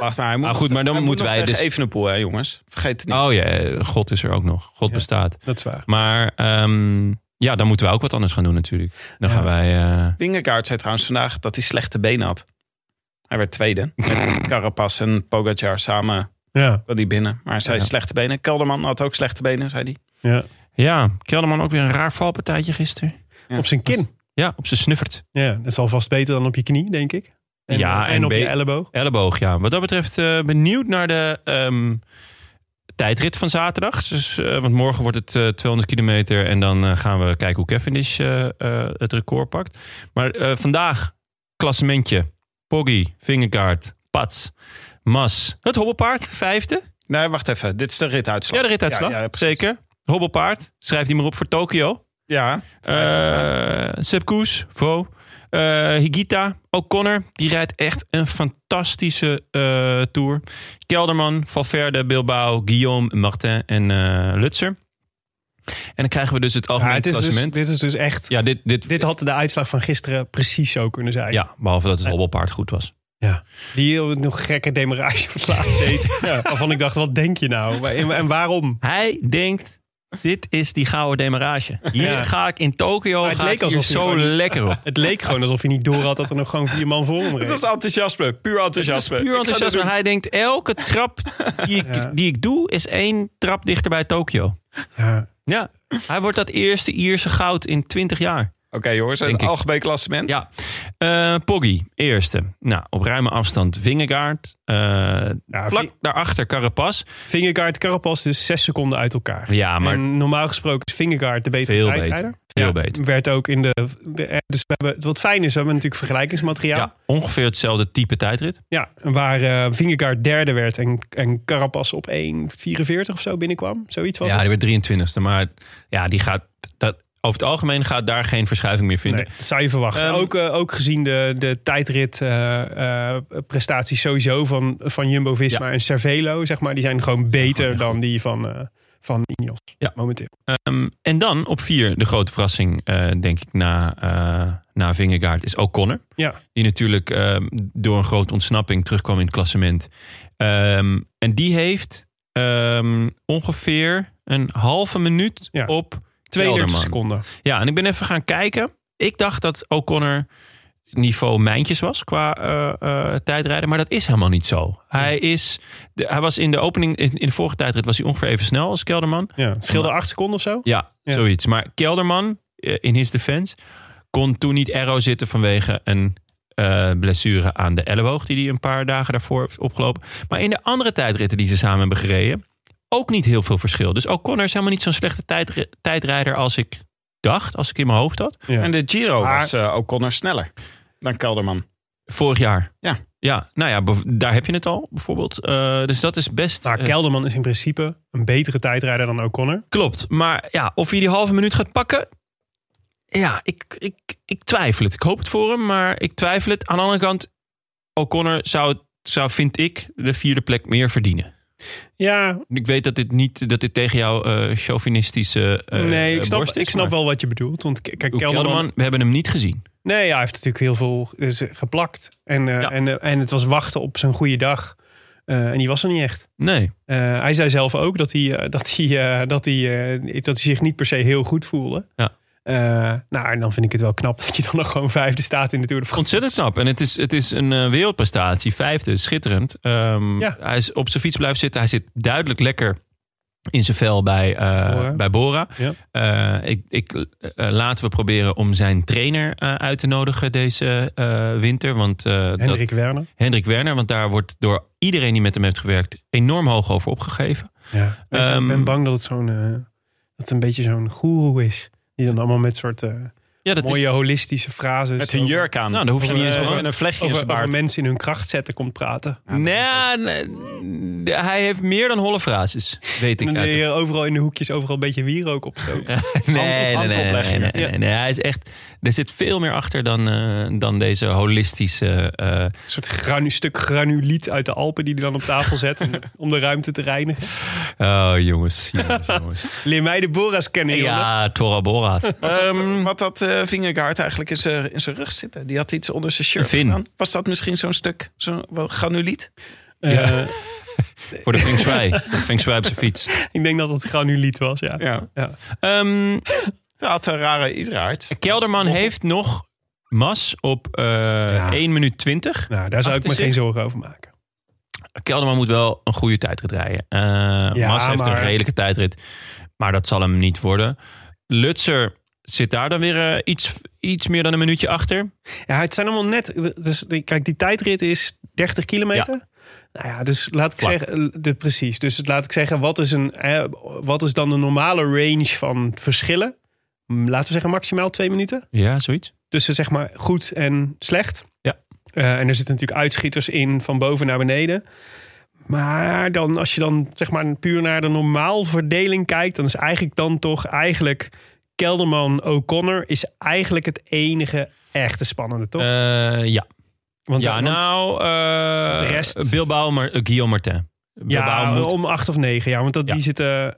F: Wacht maar, hij moet
A: Ah, goed, maar dan
F: hij
A: moeten
F: nog
A: wij
F: tegen
A: dus-
F: Evenepoel, hè, jongens. Vergeet het niet.
A: Oh ja, God is er ook nog. God
B: Ja.
A: bestaat.
B: Dat is waar.
A: Maar ehm, ja, dan moeten we ook wat anders gaan doen natuurlijk. Dan gaan wij... eh,
F: Vingegaard zei trouwens vandaag dat hij slechte benen had. Hij werd tweede. Met Carapaz en Pogacar samen
B: Ja,
F: kwam hij binnen. Maar hij zei
A: Ja.
F: slechte benen. Kelderman had ook slechte benen, zei hij.
B: ja.
A: ja, Kelderman ook weer een raar valpartijtje gisteren.
F: Ja.
B: op zijn kin.
A: Ja, op zijn snuffert.
B: Ja, dat is alvast beter dan op je knie, denk ik. En,
A: Ja,
B: en,
A: en
B: op
A: be-
B: je elleboog.
A: Elleboog, ja. Wat dat betreft eh, benieuwd naar de ehm, tijdrit van zaterdag. Dus, eh, want morgen wordt het eh, 200 kilometer en dan eh, gaan we kijken hoe Cavendish eh, eh, het record pakt. Maar eh, vandaag klassementje. Poggi, Vingegaard, Pats, Mas. Het hobbelpaard, vijfde.
F: Nee, wacht even. Dit is de rituitslag.
A: Ja, de rituitslag.
F: Ja, ja, precies.
A: Zeker. Hobbelpaard, schrijf die maar op voor Tokio.
F: Ja,
A: Eh Sepp Koes, Vo. Eh, Higita, O'Connor, die rijdt echt een fantastische eh, tour. Kelderman, Valverde, Bilbao, Guillaume, Martin en eh, Lutzer. En dan krijgen we dus het
B: Ja,
A: algemeen
B: het is dus,
A: klassement.
B: dit is dus echt...
A: ja, dit, dit,
B: Dit had de uitslag van gisteren precies zo kunnen zijn.
A: ja, behalve dat het hobbelpaard goed was.
B: Die nog gekke demarage op het laatst deed. Ja, waarvan ik dacht, wat denk je nou? En, en waarom?
A: Hij denkt, dit is die gouden demarage. Hier
B: Ja.
A: ga ik in Tokio,
B: Maar het
A: ga
B: leek
A: ik hier
B: alsof hij
A: zo
B: gewoon-
A: lekker op.
B: Het leek gewoon alsof hij niet door had dat er nog gewoon vier man voor hem reed.
F: het was enthousiasme. Puur enthousiasme.
A: Het is puur
F: Ik ga dit
A: enthousiasme. Hij denkt, elke trap die ik,
B: Ja.
A: die ik doe, is één trap dichter bij Tokio.
B: Ja.
A: Ja. Hij wordt dat eerste Ierse goud in 20 jaar.
F: jongens,
A: Denk
F: het
A: ik.
F: algemeen klassement.
A: Ja, Eh, Poggi, eerste. Nou, op ruime afstand Wingegaard. Eh, vlak
B: Vi-
A: daarachter Carapaz.
B: Vingegaard, Carapaz dus zes seconden uit elkaar.
A: Ja, maar
B: en normaal gesproken is Vingegaard de betere
A: Veel
B: tijdrijder.
A: veel
B: Ja,
A: beter.
B: Werd ook in de... de- dus we hebben, wat fijn is, we hebben natuurlijk vergelijkingsmateriaal.
A: Ja, ongeveer hetzelfde type tijdrit.
B: Ja, waar eh Vingegaard derde werd en, en Carapaz op 1,44 of zo binnenkwam. Zoiets was
A: Ja,
B: het.
A: die werd 23e. Maar ja, die gaat, dat, over het algemeen gaat daar geen verschuiving meer vinden.
B: Nee, dat zou je verwachten.
A: Ehm,
B: ook, eh, ook gezien de, de tijdrit eh, eh, prestaties sowieso van, van Jumbo-Visma en Cervelo, zeg maar. Die zijn gewoon beter
A: gewoon echt
B: dan die van, eh van Ineos
A: Ja.
B: momenteel.
A: Ehm, en dan op vier de grote verrassing, eh, denk ik, na, eh na Vingegaard is O'Connor.
B: Ja.
A: Die natuurlijk ehm, door een grote ontsnapping terugkwam in het klassement. Ehm, en die heeft ehm, ongeveer een halve minuut
B: Ja.
A: op
B: 32
A: Kelderman.
B: seconden.
A: Ja, en ik ben even gaan kijken. Ik dacht dat O'Connor niveau mijntjes was qua eh, eh, tijdrijden. Maar dat is helemaal niet zo. Hij, is, de- hij was in de opening, in, in de vorige tijdrit was hij ongeveer even snel als Kelderman.
B: Ja, het scheelde 8 seconden of zo.
A: Ja,
B: Ja.
A: zoiets. Maar Kelderman, eh, in his defense, kon toen niet arrow zitten vanwege een eh, blessure aan de elleboog. Die hij een paar dagen daarvoor heeft opgelopen. Maar in de andere tijdritten die ze samen hebben gereden, ook niet heel veel verschil. Dus O'Connor is helemaal niet zo'n slechte tijdri- tijdrijder als ik dacht, als ik in mijn hoofd had.
B: Ja.
F: En de Giro
B: Maar- Dus
F: was eh, O'Connor sneller dan Kelderman.
A: Vorig jaar.
F: Ja.
A: Ja, nou ja, bev- daar heb je het al, bijvoorbeeld. Eh, dus dat is best...
B: Maar
A: eh,
B: Nou, Kelderman is in principe een betere tijdrijder dan O'Connor.
A: Klopt, maar ja, of hij die halve minuut gaat pakken... Ja, ik, ik, ik twijfel het. Ik hoop het voor hem, maar ik twijfel het. Aan de andere kant, O'Connor zou, het- zou vind ik, de vierde plek meer verdienen.
B: Ja,
A: Ik weet dat dit, niet, dat dit tegen jouw eh, chauvinistische eh
B: nee, ik
A: eh,
B: snap,
A: borst is,
B: ik snap
A: maar
B: wel wat je bedoelt. Want k- kijk,
A: Uwe
B: Kelderman,
A: Kelderman, we hebben hem niet gezien.
B: Nee, ja, hij heeft natuurlijk heel veel is, eh, geplakt. En, eh,
A: Ja.
B: en, eh, en het was wachten op zijn goede dag. Eh, en die was er niet echt.
A: Nee.
B: Eh, hij zei zelf ook dat hij, eh, dat, hij, eh, dat, hij, eh, dat hij zich niet per se heel goed voelde.
A: Ja.
B: Eh, nou, en dan vind ik het wel knap dat je dan nog gewoon vijfde staat in de Tour de France.
A: Ontzettend knap. En het is, het is een eh, wereldprestatie. Vijfde, schitterend. Ehm,
B: Ja.
A: Hij is op zijn fiets blijven zitten. Hij zit duidelijk lekker in zijn vel bij, eh,
B: Bora.
A: bij Bora.
B: Ja.
A: Eh, ik, ik, eh, laten we proberen om zijn trainer eh, uit te nodigen deze eh, winter. Want, eh,
B: Hendrik Werner.
A: Dat, Hendrik Werner. Want daar wordt door iedereen die met hem heeft gewerkt enorm hoog over opgegeven.
B: Ja. Dus
A: Ehm,
B: ik ben bang dat het zo'n eh, dat het een beetje zo'n goeroe is. Die dan allemaal met soort eh,
A: Ja, dat
B: mooie
A: is...
B: holistische frases.
F: Met een
B: over-
F: jurk aan.
A: Nou, dan hoef je niet eens...
B: Over- eh,
F: over,
A: over-
F: en een vlechtje in
B: Over,
F: zijn
B: over
F: baard.
B: mensen in hun kracht zetten komt praten.
A: Nee, nee, hij heeft meer dan holle frases, weet ik
B: En
A: uit
B: dan
A: de
B: je overal in de hoekjes overal een beetje wierook opstoken.
A: Nee, nee,
F: hand
A: nee, nee,
F: opleggen.
A: nee, nee,
B: Ja.
A: nee, nee. Hij is echt. Er zit veel meer achter dan, eh, dan deze holistische. eh,
B: Een soort granu, stuk granuliet uit de Alpen die hij dan op tafel zet om, om de ruimte te reinigen.
A: oh, jongens, jongens, jongens.
B: Leer mij de Boras kennen, jongen.
A: ja, Tora Bora's.
F: Ehm, wat had eh Vingegaard eigenlijk in zijn, in zijn rug zitten? Die had iets onder zijn shirt
A: Een vin.
F: gedaan. Was dat misschien zo'n stuk, zo'n wat granuliet?
B: Eh,
A: voor de Feng Shui. De Feng Shui op zijn fiets.
B: ik denk dat het granuliet was, ja.
F: Ja.
B: Ja.
A: Ehm,
F: Hij had een rare idraard.
A: Kelderman heeft nog mas op eh 1 minuut 20.
B: Nou, daar zou ik me
A: Achter
B: geen
A: zich.
B: zorgen over maken.
A: Kelderman moet wel een goede tijdrit rijden. Eh, Mas heeft
B: maar-
A: een redelijke tijdrit. Maar dat zal hem niet worden. Lutzer zit daar dan weer eh, iets, iets meer dan een minuutje achter.
B: Ja, het zijn allemaal net... Dus, die- kijk, die tijdrit is 30 kilometer. Nou ja, dus laat ik
A: Vlak.
B: zeggen... eh, De, precies, dus het- laat ik zeggen, wat is, een, eh, wat is dan de normale range van verschillen? Hm, Laten we zeggen maximaal twee minuten.
A: Ja, zoiets.
B: tussen zeg maar goed en slecht.
A: Ja.
B: Eh, en er zitten natuurlijk uitschieters in van boven naar beneden. Maar dan, als je dan zeg maar puur naar de normaal verdeling kijkt, dan is eigenlijk dan toch eigenlijk Kelderman O'Connor is eigenlijk het enige echte spannende, toch?
A: Eh, ja,
B: want
A: ja
B: want-
A: nou, eh,
B: de rest-
A: Bilbao, maar, eh, Guillaume Martin. Bilbao
B: ja,
A: moet...
B: om acht of negen, ja, want dat,
A: Ja.
B: die zitten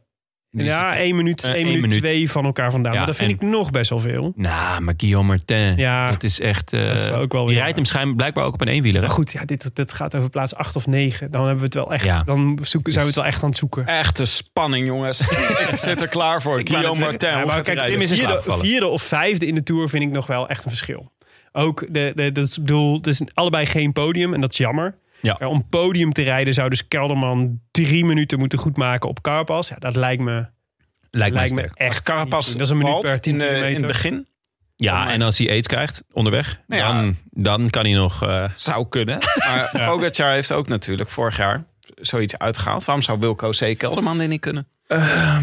A: die
B: ja,
A: zit-
B: één minuut,
A: eh,
B: één
A: één
B: minuut,
A: minuut.
B: twee van elkaar vandaan.
A: Ja,
B: maar dat vind
A: en-
B: ik nog best wel veel.
A: Nou, maar Guillaume Martin,
B: Ja,
A: dat is echt... eh,
B: dat is wel ook wel
A: die
B: weer-
A: rijdt hem schijn, blijkbaar ook op een eenwieler. hè?
B: Maar goed, ja, dit, dit gaat over plaats acht of negen. Dan hebben we het wel echt.
A: Ja. Dus-
B: Dan zoeken, zijn we het wel echt aan het zoeken.
F: Echte spanning, jongens. ik zit er klaar voor. Guillaume Martin.
B: Ja,
F: hoe
B: maar
F: gaat hij
B: kijk,
F: rijden?
A: Tim is in slaap
B: vierde,
A: gevallen.
B: vierde of vijfde in de Tour vind ik nog wel echt een verschil. Ook, de, de, dat is, ik bedoel, het is allebei geen podium en dat is jammer.
A: Ja.
B: Maar Om podium te rijden zou dus Kelderman drie minuten moeten goedmaken op Carpas. Ja, dat lijkt me,
A: Lijkt mij
B: lijkt me
A: sterk.
B: echt
F: Carapaz
B: niet te doen. Dat is een minuut
F: valt
B: per tien
F: in, de- in
B: kilometer.
F: het begin.
B: Oh
A: Ja,
F: Maar-
A: en als hij aids krijgt onderweg,
F: Nou ja.
A: dan, dan kan hij nog... eh,
F: Zou kunnen. Maar Pogacar heeft ook natuurlijk vorig jaar zoiets uitgehaald. Waarom zou Wilco C. Kelderman dit niet kunnen?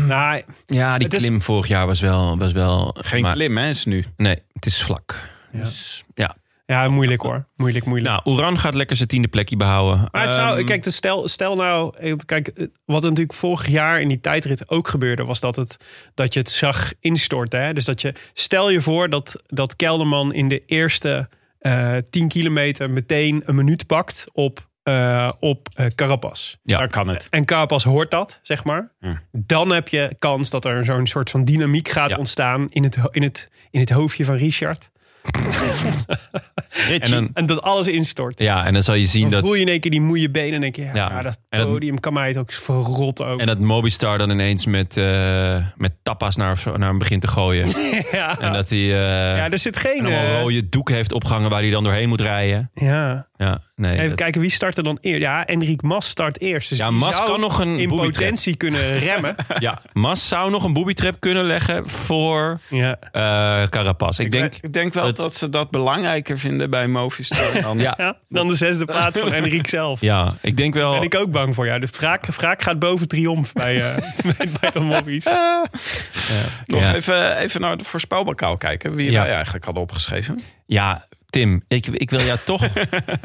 B: Nou,
A: ja, die
B: Het is-
A: klim vorig jaar was wel... Was wel
F: Geen
A: maar-
F: klim, hè, is nu.
A: Nee, het is vlak.
B: Ja.
A: Dus, ja.
B: ja, moeilijk hoor. Moeilijk, moeilijk.
A: Nou, Oeran gaat lekker zijn tiende plekje behouden.
B: Maar het zou,
A: Ehm,
B: kijk, dus stel, stel nou, kijk, eh, wat er natuurlijk vorig jaar in die tijdrit ook gebeurde, was dat, het, dat je het zag instorten. Hè? Dus dat je, stel je voor dat, dat Kelderman in de eerste eh 10 kilometer meteen een minuut pakt op, eh op eh, Carapaz.
A: Ja.
F: Daar kan het.
B: En Carapaz hoort dat, zeg maar.
F: Ja.
B: Dan heb je kans dat er zo'n soort van dynamiek gaat
A: Ja.
B: ontstaan in het, ho- in, het, in het hoofdje van Richard.
A: en dan,
B: En dat alles instort.
A: ja, en dan zal je zien
B: Dan
A: dat...
B: voel je in één keer die moeie benen en denk je, ja,
A: Ja.
B: maar dat
A: En dat-
B: podium kan mij het ook verrotten ook.
A: En dat Mobistar dan ineens met, eh, met tapas naar, of zo- naar hem begint te gooien.
B: ja.
A: En dat hij eh,
B: ja, er zit
A: en
B: geen...
A: allemaal
B: eh,
A: rode doeken heeft opgehangen waar hij dan doorheen moet rijden.
B: ja.
A: Ja, nee.
B: Even
A: dat-
B: kijken, wie start er dan eerst? Ja, Enrique Mas start eerst. Dus
A: Ja,
B: die
A: Mas
B: zou
A: kan nog een
B: in
A: booby trap.
B: potentie kunnen remmen.
A: Ja, Mas zou nog een boobytrap kunnen leggen voor
B: ja.
A: eh Carapaz. Ik denk,
F: ik denk wel
A: het-
F: dat ze dat belangrijker vinden bij Movistar dan
A: ja,
B: Ja, dan de zesde plaats van Enrique zelf.
A: ja, ik denk
B: Ben
A: wel.
B: ik ook bang voor jou. De wraak, wraak gaat boven triomf bij, eh bij, bij de mobbies.
F: Nog
A: Ja.
F: even, even naar de voorspelbokaal kijken. Wie
A: Ja.
F: wij eigenlijk hadden opgeschreven.
A: Ja, Tim, ik, ik wil jou toch.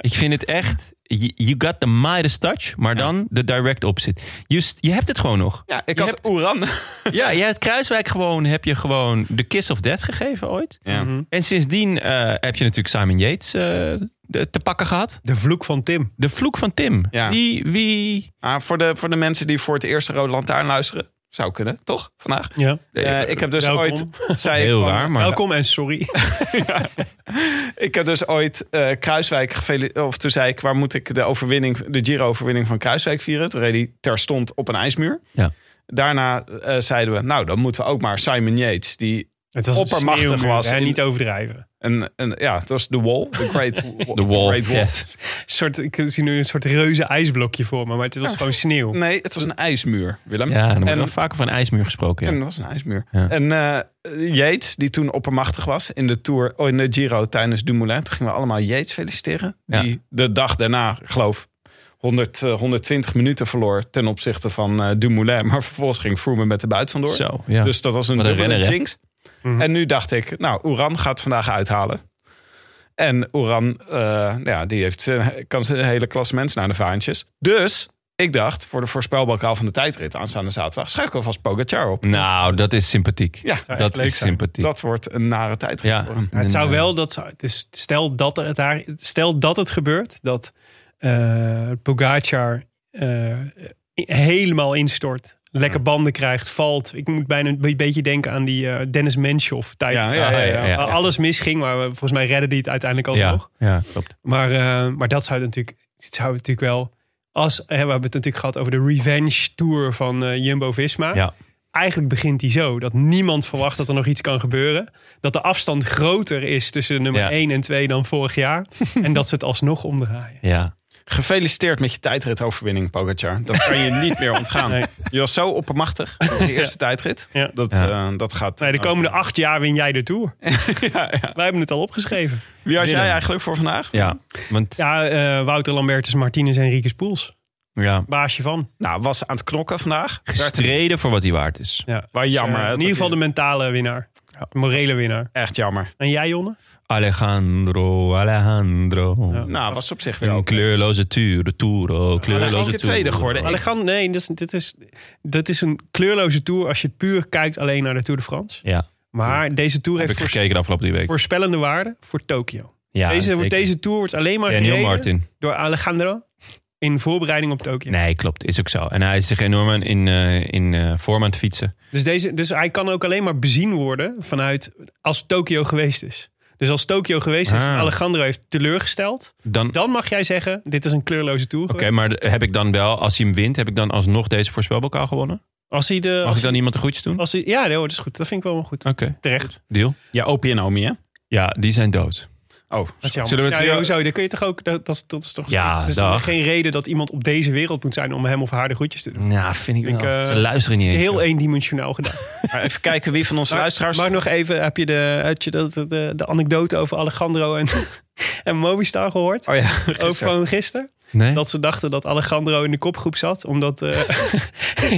A: ik vind het echt. You you got the Midas touch, maar dan de direct opposite. Just, je hebt het gewoon nog.
F: Ja, ik
A: Je
F: had
A: hebt-
F: Oeran.
A: Ja, jij hebt Kruiswijk gewoon. Heb je gewoon de kiss of death gegeven ooit?
F: Ja.
A: En sindsdien eh, heb je natuurlijk Simon Yates eh, de- te pakken gehad.
B: De vloek van Tim.
A: De vloek van Tim.
F: Ja.
A: Wie, wie...
F: Ah, voor, de, voor de mensen die voor het eerste Rode Lantaarn luisteren. Zou kunnen, toch? Vandaag.
B: Ja.
F: Eh, ik heb dus
B: Welkom.
F: ooit... Zei ik
A: Heel
F: van,
A: raar, maar
B: Welkom en sorry.
F: Ik heb dus ooit eh, Kruiswijk gefeliciteerd. Of toen zei ik, waar moet ik de overwinning, de Giro-overwinning van Kruiswijk vieren? Toen reed hij terstond op een ijsmuur.
A: Ja.
F: Daarna eh, zeiden we, nou dan moeten we ook maar Simon Yates, die
B: Het was een
F: Oppermachtig
B: sneeuwmuur,
F: was
B: hè,
F: in-
B: niet overdrijven.
F: een, een ja, het was de wall, the great, the
A: de Wall
F: great
A: of Death.
B: soort, ik zie nu een soort reuze ijsblokje voor me, maar het was gewoon sneeuw.
F: Nee, het was een ijsmuur, Willem.
A: Ja, dan wordt
F: en,
A: wel vaker van ijsmuur gesproken. ja.
F: en dat was een ijsmuur.
A: Ja.
F: En eh Yates, die toen oppermachtig was in de Tour, oh, in de Giro tijdens Dumoulin, toen gingen we allemaal Yates feliciteren.
A: Ja.
F: Die de dag daarna, ik geloof 100, eh, 120 minuten verloor ten opzichte van eh, Dumoulin. Maar vervolgens ging Froome met de buit vandoor.
A: Zo, ja.
F: Dus dat was een,
A: Wat een
F: dubbele
A: renner, hè?
F: jinx.
B: Mhm.
F: En nu dacht ik, nou, Oeran gaat vandaag uithalen. En Oeran, eh, ja, die heeft zijn, kan zijn hele klasse mensen naar de vaantjes. Dus ik dacht, voor de voorspelbokaal van de tijdrit aanstaande zaterdag... schuif ik alvast Pogacar op.
A: nou, dat is sympathiek.
F: Ja,
B: zou echt
A: dat
B: leuk
A: is
B: zijn.
A: sympathiek.
F: dat wordt een nare tijdrit
A: ja.
F: voor hem.
B: Maar het zou
A: En, eh,
B: wel dat zou, dus stel dat het daar, stel dat het gebeurt dat eh Pogacar eh, helemaal instort, lekker banden krijgt, valt. Ik moet bijna een be- beetje denken aan die eh, Dennis Menshoff tijd. Eh,
F: Ja, ja, ja, ja.
A: ja, ja.
B: Waar Alles misging, maar we- volgens mij redden die het uiteindelijk alsnog.
A: Ja, ja, klopt.
B: Maar, eh, maar dat zou natuurlijk, het zou natuurlijk wel. Als, hè, we hebben het natuurlijk gehad over de revenge tour van eh, Jumbo Visma.
A: Ja.
B: Eigenlijk begint die zo. Dat niemand verwacht dat er nog iets kan gebeuren. Dat de afstand groter is tussen nummer
A: Ja.
B: 1 en 2 dan vorig jaar. en dat ze het alsnog omdraaien.
A: Ja.
F: Gefeliciteerd met je tijdritoverwinning, Pogacar. Dat kan je niet meer ontgaan.
B: Nee.
F: Je was zo oppermachtig in de eerste tijdrit.
B: Ja.
F: Dat,
A: Ja.
F: eh, dat gaat...
B: Nee, de komende acht jaar win jij de tour. Wij hebben het al opgeschreven.
F: Wie had jij
A: Willem.
F: eigenlijk voor vandaag?
A: ja, want ja.
B: Ja, eh, Wouter Lambertus, Martinez en Riekes Poels. Baasje van.
F: Nou, was aan het knokken vandaag.
A: gestreden voor wat hij waard is.
B: Ja.
F: Waar jammer,
B: eh,
F: hè,
B: in
F: dat
B: ieder geval de
F: die-
B: mentale winnaar. De morele winnaar.
F: Echt jammer.
B: En jij, Jonne?
A: Alejandro, Alejandro.
B: Ja.
F: Nou, was op zich weer
A: Een
F: ook.
A: kleurloze tuur, de tour,
F: Hij is
A: kleurloze
F: ook
A: tour.
F: een tweede geworden. Ik-
B: Alejandro, nee, dit is, dit, is, dit is een kleurloze tour als je puur kijkt alleen naar de Tour de France.
A: Ja,
B: Maar deze tour
A: heb
B: heeft
A: ik
B: voors-
A: gekeken de afgelopen drie weken.
B: voorspellende waarde voor Tokio.
A: Ja,
B: deze,
A: zeker.
B: wordt- deze tour wordt alleen maar
A: Daniel
B: gereden
A: Martin.
B: door Alejandro in voorbereiding op Tokio.
A: Nee, klopt. Is ook zo. En hij is zich enorm aan- in, eh, in eh, vorm aan het fietsen.
B: Dus, deze, dus hij kan ook alleen maar bezien worden vanuit als Tokio geweest is. Dus als Tokio geweest is,
A: Ah.
B: Alejandro heeft teleurgesteld.
A: Dan, Oké,
B: Dan mag jij zeggen, dit is een kleurloze tour. geweest.
A: maar heb ik dan wel, als hij hem wint, heb ik dan alsnog deze voorspelbokaal gewonnen?
B: Als hij de...
A: Mag
B: als,
A: ik dan iemand een goedje doen? Oké,
B: als hij, ja, nee, hoor, dat is goed. Dat vind ik wel goed. Terecht.
A: deal.
F: Ja, Opie en Omi, hè?
A: Ja, die zijn dood.
F: Oh,
B: Dat is jammer.
A: Zullen we het
B: Ja,
A: weer-
B: hoezo? Dan kun je toch ook, dat, dat, is, dat is toch
A: Ja,
B: het is
A: dag.
B: geen reden dat iemand op deze wereld moet zijn om hem of haar de groetjes te doen.
A: Ja, vind ik,
B: Ik,
A: wel.
B: eh,
A: Ze luisteren niet eens.
B: Heel
A: joh.
B: eendimensionaal gedaan.
F: maar even kijken wie van onze luisteraars...
B: Maar nog even, heb je de, heb je de, de, de, de anekdote over Alejandro en, en Movistar gehoord?
F: Oh ja,
B: Ook
F: gisteren.
B: van gisteren.
A: nee?
B: Dat ze dachten dat Alejandro in de kopgroep zat. Omdat eh,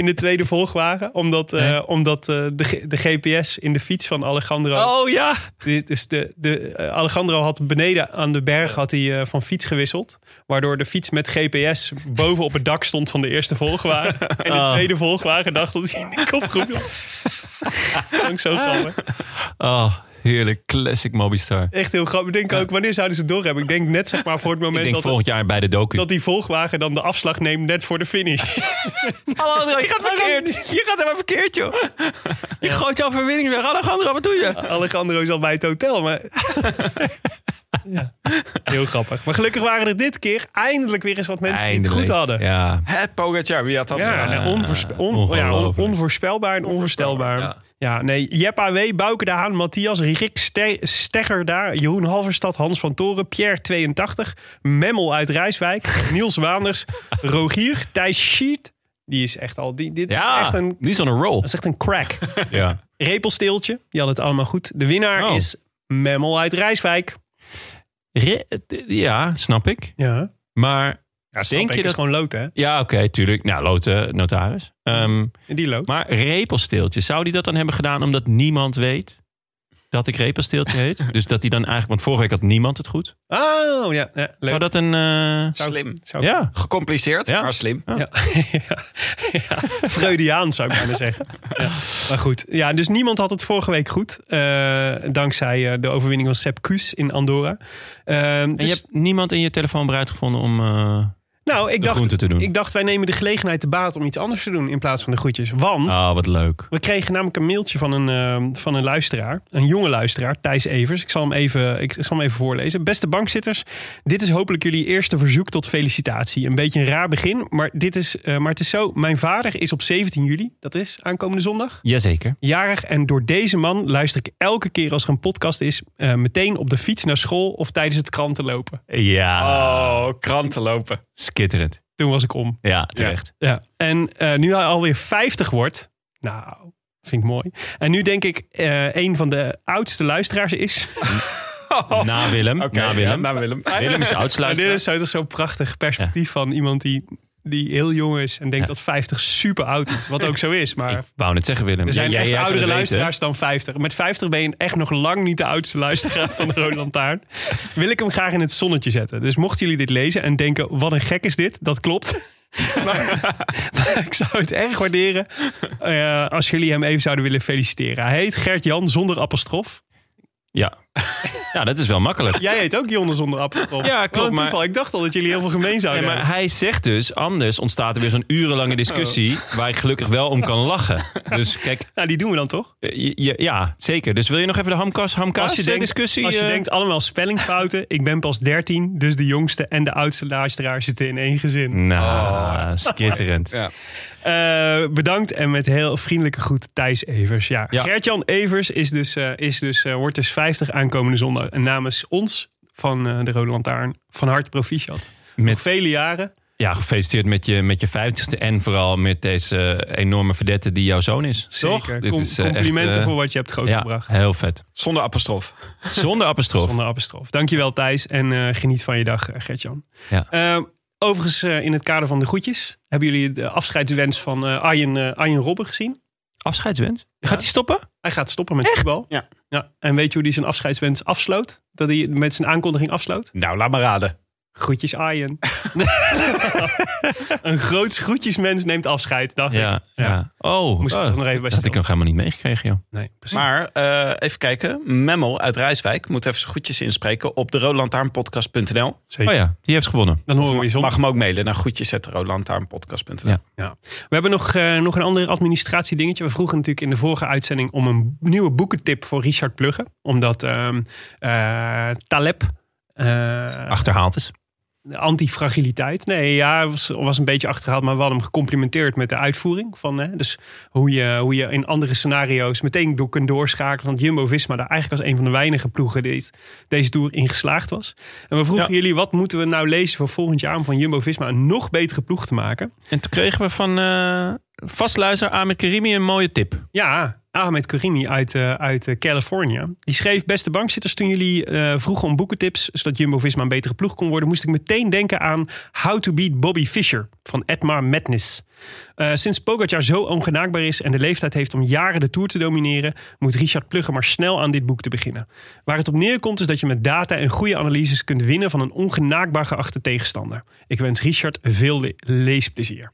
B: in de tweede volgwagen. Omdat, eh,
A: Nee.
B: omdat eh, de, G- de GPS in de fiets van Alejandro.
A: Oh ja!
B: Dus, dus de, de, eh, Alejandro had beneden aan de berg had hij, eh, van fiets gewisseld. Waardoor de fiets met GPS boven op het dak stond van de eerste volgwagen. En de
A: Oh.
B: tweede volgwagen dacht dat hij in de kopgroep lag. Vond ik zo grappig.
A: Oh, heerlijk. Classic Mobistar.
B: Echt heel grappig. Ik denk ook, wanneer zouden ze het doorhebben? Ik denk net zeg maar voor het
A: Ik
B: moment
A: denk
B: dat,
A: volgend jaar bij de docu.
B: dat die volgwagen dan de afslag neemt net voor de finish.
A: Alejandro, je gaat verkeerd. Je gaat helemaal verkeerd, joh. Je gooit jouw verwinning weg. Alejandro, wat doe je?
B: Alejandro is al bij het hotel, maar... ja, heel grappig. Maar gelukkig waren er dit keer eindelijk weer eens wat mensen die het goed hadden.
A: Ja.
F: Het Pogacar, wie had dat
B: Ja,
F: verwacht?
B: nou, onvoorspe- on-
A: ongelooflijk.
B: ja, on- onvoorspelbaar en onvoorstelbaar.
A: Ja.
B: Ja. nee, Jep AW, Bouke de Haan, Matthias, Rick Ste- Stegger daar, Jeroen Halverstad, Hans van Toren, Pierre 82, Memmel uit Rijswijk, Niels Waanders, Rogier, Thijs Sheet. Die is echt al, die, dit
A: Ja,
B: is echt een,
A: die is on a roll.
B: dat is echt een crack.
A: Ja.
B: Repelsteeltje, die had het allemaal goed. De winnaar
A: Oh.
B: is Memmel uit Rijswijk.
A: Re- eh, ja, snap ik.
B: Ja,
A: Maar
B: ja
A: Denk
B: denk
A: je
B: je dat
A: dat-
B: is gewoon lood, hè?
A: ja, oké, tuurlijk. Nou, Lotte, notaris. Ehm,
B: Die lood.
A: maar repelsteeltje, zou die dat dan hebben gedaan omdat niemand weet dat ik repelsteeltje heet? dus dat hij dan eigenlijk, want vorige week had niemand het goed.
B: Oh, ja, ja leuk.
A: Zou dat een... eh,
F: Slim.
B: Zou-
A: ja,
F: Gecompliceerd,
A: Ja.
F: maar slim.
B: Ja. ja. Freudiaans zou ik bijna zeggen. Ja. Maar goed, ja, dus niemand had het vorige week goed. eh, dankzij eh, de overwinning van Sepp Kuss in Andorra. Ehm,
A: en
B: dus-
A: je hebt niemand in je telefoon bereid gevonden om... eh,
B: nou, ik
A: de groente
B: dacht,
A: te doen.
B: ik dacht, wij nemen de gelegenheid te baat om iets anders te doen in plaats van de groetjes. Want
A: Ah, wat leuk.
B: we kregen namelijk een mailtje van een, ehm, van een luisteraar. Een jonge luisteraar, Thijs Evers. Ik zal, hem even, ik zal hem even voorlezen. Beste bankzitters, dit is hopelijk jullie eerste verzoek tot felicitatie. Een beetje een raar begin, maar, dit is, eh, maar het is zo. Mijn vader is op 17 juli, dat is aankomende zondag,
A: Jazeker.
B: jarig. En door deze man luister ik elke keer als er een podcast is... eh, meteen op de fiets naar school of tijdens het krantenlopen.
A: Ja,
F: Oh, kranten lopen.
A: skitterend.
B: Toen was ik om.
A: Ja, terecht.
B: Ja. En eh, nu hij alweer 50 wordt. Nou, vind ik mooi. En nu denk ik eh, een van de oudste luisteraars is. Oh.
A: Na Willem.
F: Oké,
A: na
F: ja,
A: Willem.
F: na Willem.
A: Willem is
B: En dit
A: oudsluiter.
B: is zo- toch zo'n prachtig perspectief van iemand die, die heel jong is en denkt
A: Ja.
B: dat 50 super oud is. Wat ook zo is, maar...
A: Ik wou net zeggen, Willem.
B: er zijn
A: Jij-
B: echt
A: jij hebt
B: oudere
A: het
B: luisteraars dan 50. Met 50 ben je echt nog lang niet de oudste luisteraar van de Rode Lantaarn. Wil ik hem graag in het zonnetje zetten. Dus mochten jullie dit lezen en denken, wat een gek is dit. Dat klopt. maar, maar ik zou het erg waarderen eh, als jullie hem even zouden willen feliciteren. Hij heet Gert-Jan zonder apostrof.
A: Ja. ja, dat is wel makkelijk.
B: Jij heet ook Jonne zonder apostrof.
A: Ja,
B: Wat
A: klopt,
B: een
A: maar-
B: toeval. Ik dacht al dat jullie heel veel gemeen
A: Nee,
B: zouden
A: maar hij zegt dus, anders ontstaat er weer zo'n urenlange discussie...
B: Oh.
A: waar ik gelukkig wel om kan lachen. Dus kijk,
B: hebben. Nou, die doen we dan toch?
A: eh, je- je- ja, zeker. Dus wil je nog even de hamkas, hamkas discussie?
B: als je
A: eh,
B: denkt allemaal spellingfouten. Ik ben pas 13, dus de jongste en de oudste luisteraar zitten in één gezin. Oh.
A: Nou, skitterend.
F: Ja.
B: Eh, bedankt en met heel vriendelijke groet Thijs Evers. Ja.
A: Ja.
B: Gert-Jan Evers is dus, eh, is dus, eh, wordt dus 50 aankomende zondag. En namens ons van eh, de Rode Lantaarn van harte proficiat. Nog
A: Met,
B: vele jaren.
A: ja, gefeliciteerd met je, met je vijftigste en vooral met deze enorme verdette die jouw zoon is. Toch?
B: Zeker.
A: Dit
B: Com-
A: is, eh, echt,
B: complimenten
A: eh,
B: voor wat je hebt
A: Ja,
B: grootgebracht.
A: heel vet.
F: Zonder apostrof.
A: Zonder apostrof.
B: Zonder apostrof. Dankjewel Thijs en eh, geniet van je dag eh, Gert-Jan.
A: Ja.
B: Eh, overigens eh, in het kader van de groetjes. Hebben jullie de afscheidswens van eh, Arjen, eh, Arjen Robben gezien?
A: Afscheidswens? Gaat hij stoppen?
B: Hij gaat stoppen met voetbal.
F: Ja.
B: Ja. En weet je hoe die zijn afscheidswens afsloot? Dat hij met zijn aankondiging afsloot?
F: Nou, laat maar raden.
B: Groetjes Arjen. een groots groetjesmens neemt afscheid, dacht ik.
A: Ja, ja.
B: Ja.
A: Oh,
B: Moest ik
A: oh,
B: nog even bij
A: dat had ik
B: stilstaan.
A: nog helemaal niet meegekregen, joh.
B: Nee, precies.
F: Maar eh, even kijken. Memmel uit Rijswijk moet even zijn groetjes inspreken op de roodlantaarnpodcast.nl.
B: Zeker.
A: Oh ja, die heeft gewonnen.
B: Dan horen we je zondag.
F: Mag hem ook mailen naar groetjes.roodlantaarnpodcast.nl.
A: Ja.
B: We hebben nog, eh, nog een ander administratiedingetje. We vroegen natuurlijk in de vorige uitzending om een nieuwe boekentip voor Richard Plugge. Omdat ehm, eh, Taleb... eh,
A: Achterhaald is.
B: antifragiliteit. Nee, ja, was, was een beetje achterhaald, maar we hadden hem gecomplimenteerd met de uitvoering. Van, hè, dus hoe je, hoe je in andere scenario's meteen door kunt doorschakelen. Want Jumbo-Visma daar eigenlijk als een van de weinige ploegen deze, deze tour in geslaagd was. En we vroegen
F: Ja.
B: jullie, wat moeten we nou lezen voor volgend jaar om van Jumbo-Visma een nog betere ploeg te maken?
A: En toen kregen we van eh vastluizer Ahmed Karimi een mooie tip.
B: Ja, Ahmed Karimi uit, eh, uit eh, California. Die schreef, beste bankzitters, toen jullie eh, vroegen om boekentips... zodat Jumbo-Visma een betere ploeg kon worden... moest ik meteen denken aan How to Beat Bobby Fischer van Edmar Madness. Eh, sinds Pogacar zo ongenaakbaar is en de leeftijd heeft om jaren de Tour te domineren... moet Richard Plugger maar snel aan dit boek te beginnen. Waar het op neerkomt is dat je met data en goede analyses kunt winnen... van een ongenaakbaar geachte tegenstander. Ik wens Richard veel le- leesplezier.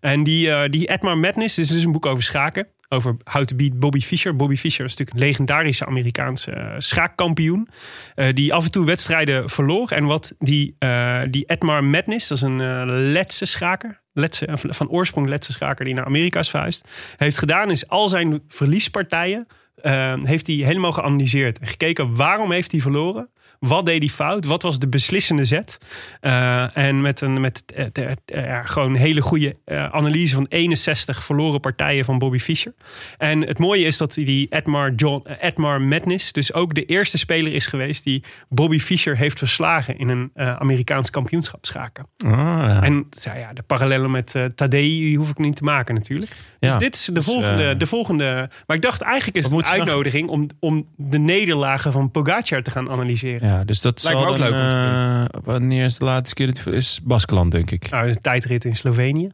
B: En die, eh die Edmar Madness is dus een boek over schaken. Over how to beat Bobby Fischer. Bobby Fischer is natuurlijk een legendarische Amerikaanse eh, schaakkampioen. eh, die af en toe wedstrijden verloor. En wat die, eh, die Edmar Madness, dat is een eh, Letse schaker. Letse, eh, van oorsprong Letse schaker die naar Amerika is verhuisd. Heeft gedaan is al zijn verliespartijen eh, heeft hij helemaal geanalyseerd. En gekeken waarom heeft hij verloren. Wat deed hij fout? Wat was de beslissende zet? Eh, en met een met, eh, eh, eh, ja, gewoon een hele goede eh, analyse van 61 verloren partijen van Bobby Fischer. En het mooie is dat die Edmar, John, eh, Edmar Madness dus ook de eerste speler is geweest die Bobby Fischer heeft verslagen in een eh, Amerikaans kampioenschap schaken.
A: Ah,
B: En ja, ja, de parallellen met eh Tadei die hoef ik niet te maken natuurlijk. Dus dit is de volgende,
A: eh,
B: de volgende. Maar ik dacht eigenlijk is
A: Wat
B: het een
A: moeten ze dan-
B: uitnodiging om, om de nederlagen van Pogacar te gaan analyseren.
A: ja, dus dat
F: Lijkt me
A: zal
F: ook
A: dan,
F: leuk om te
A: eh, wanneer is de laatste keer? dat- is Baskeland, denk ik.
B: Nou, de tijdrit in Slovenië.
A: Oh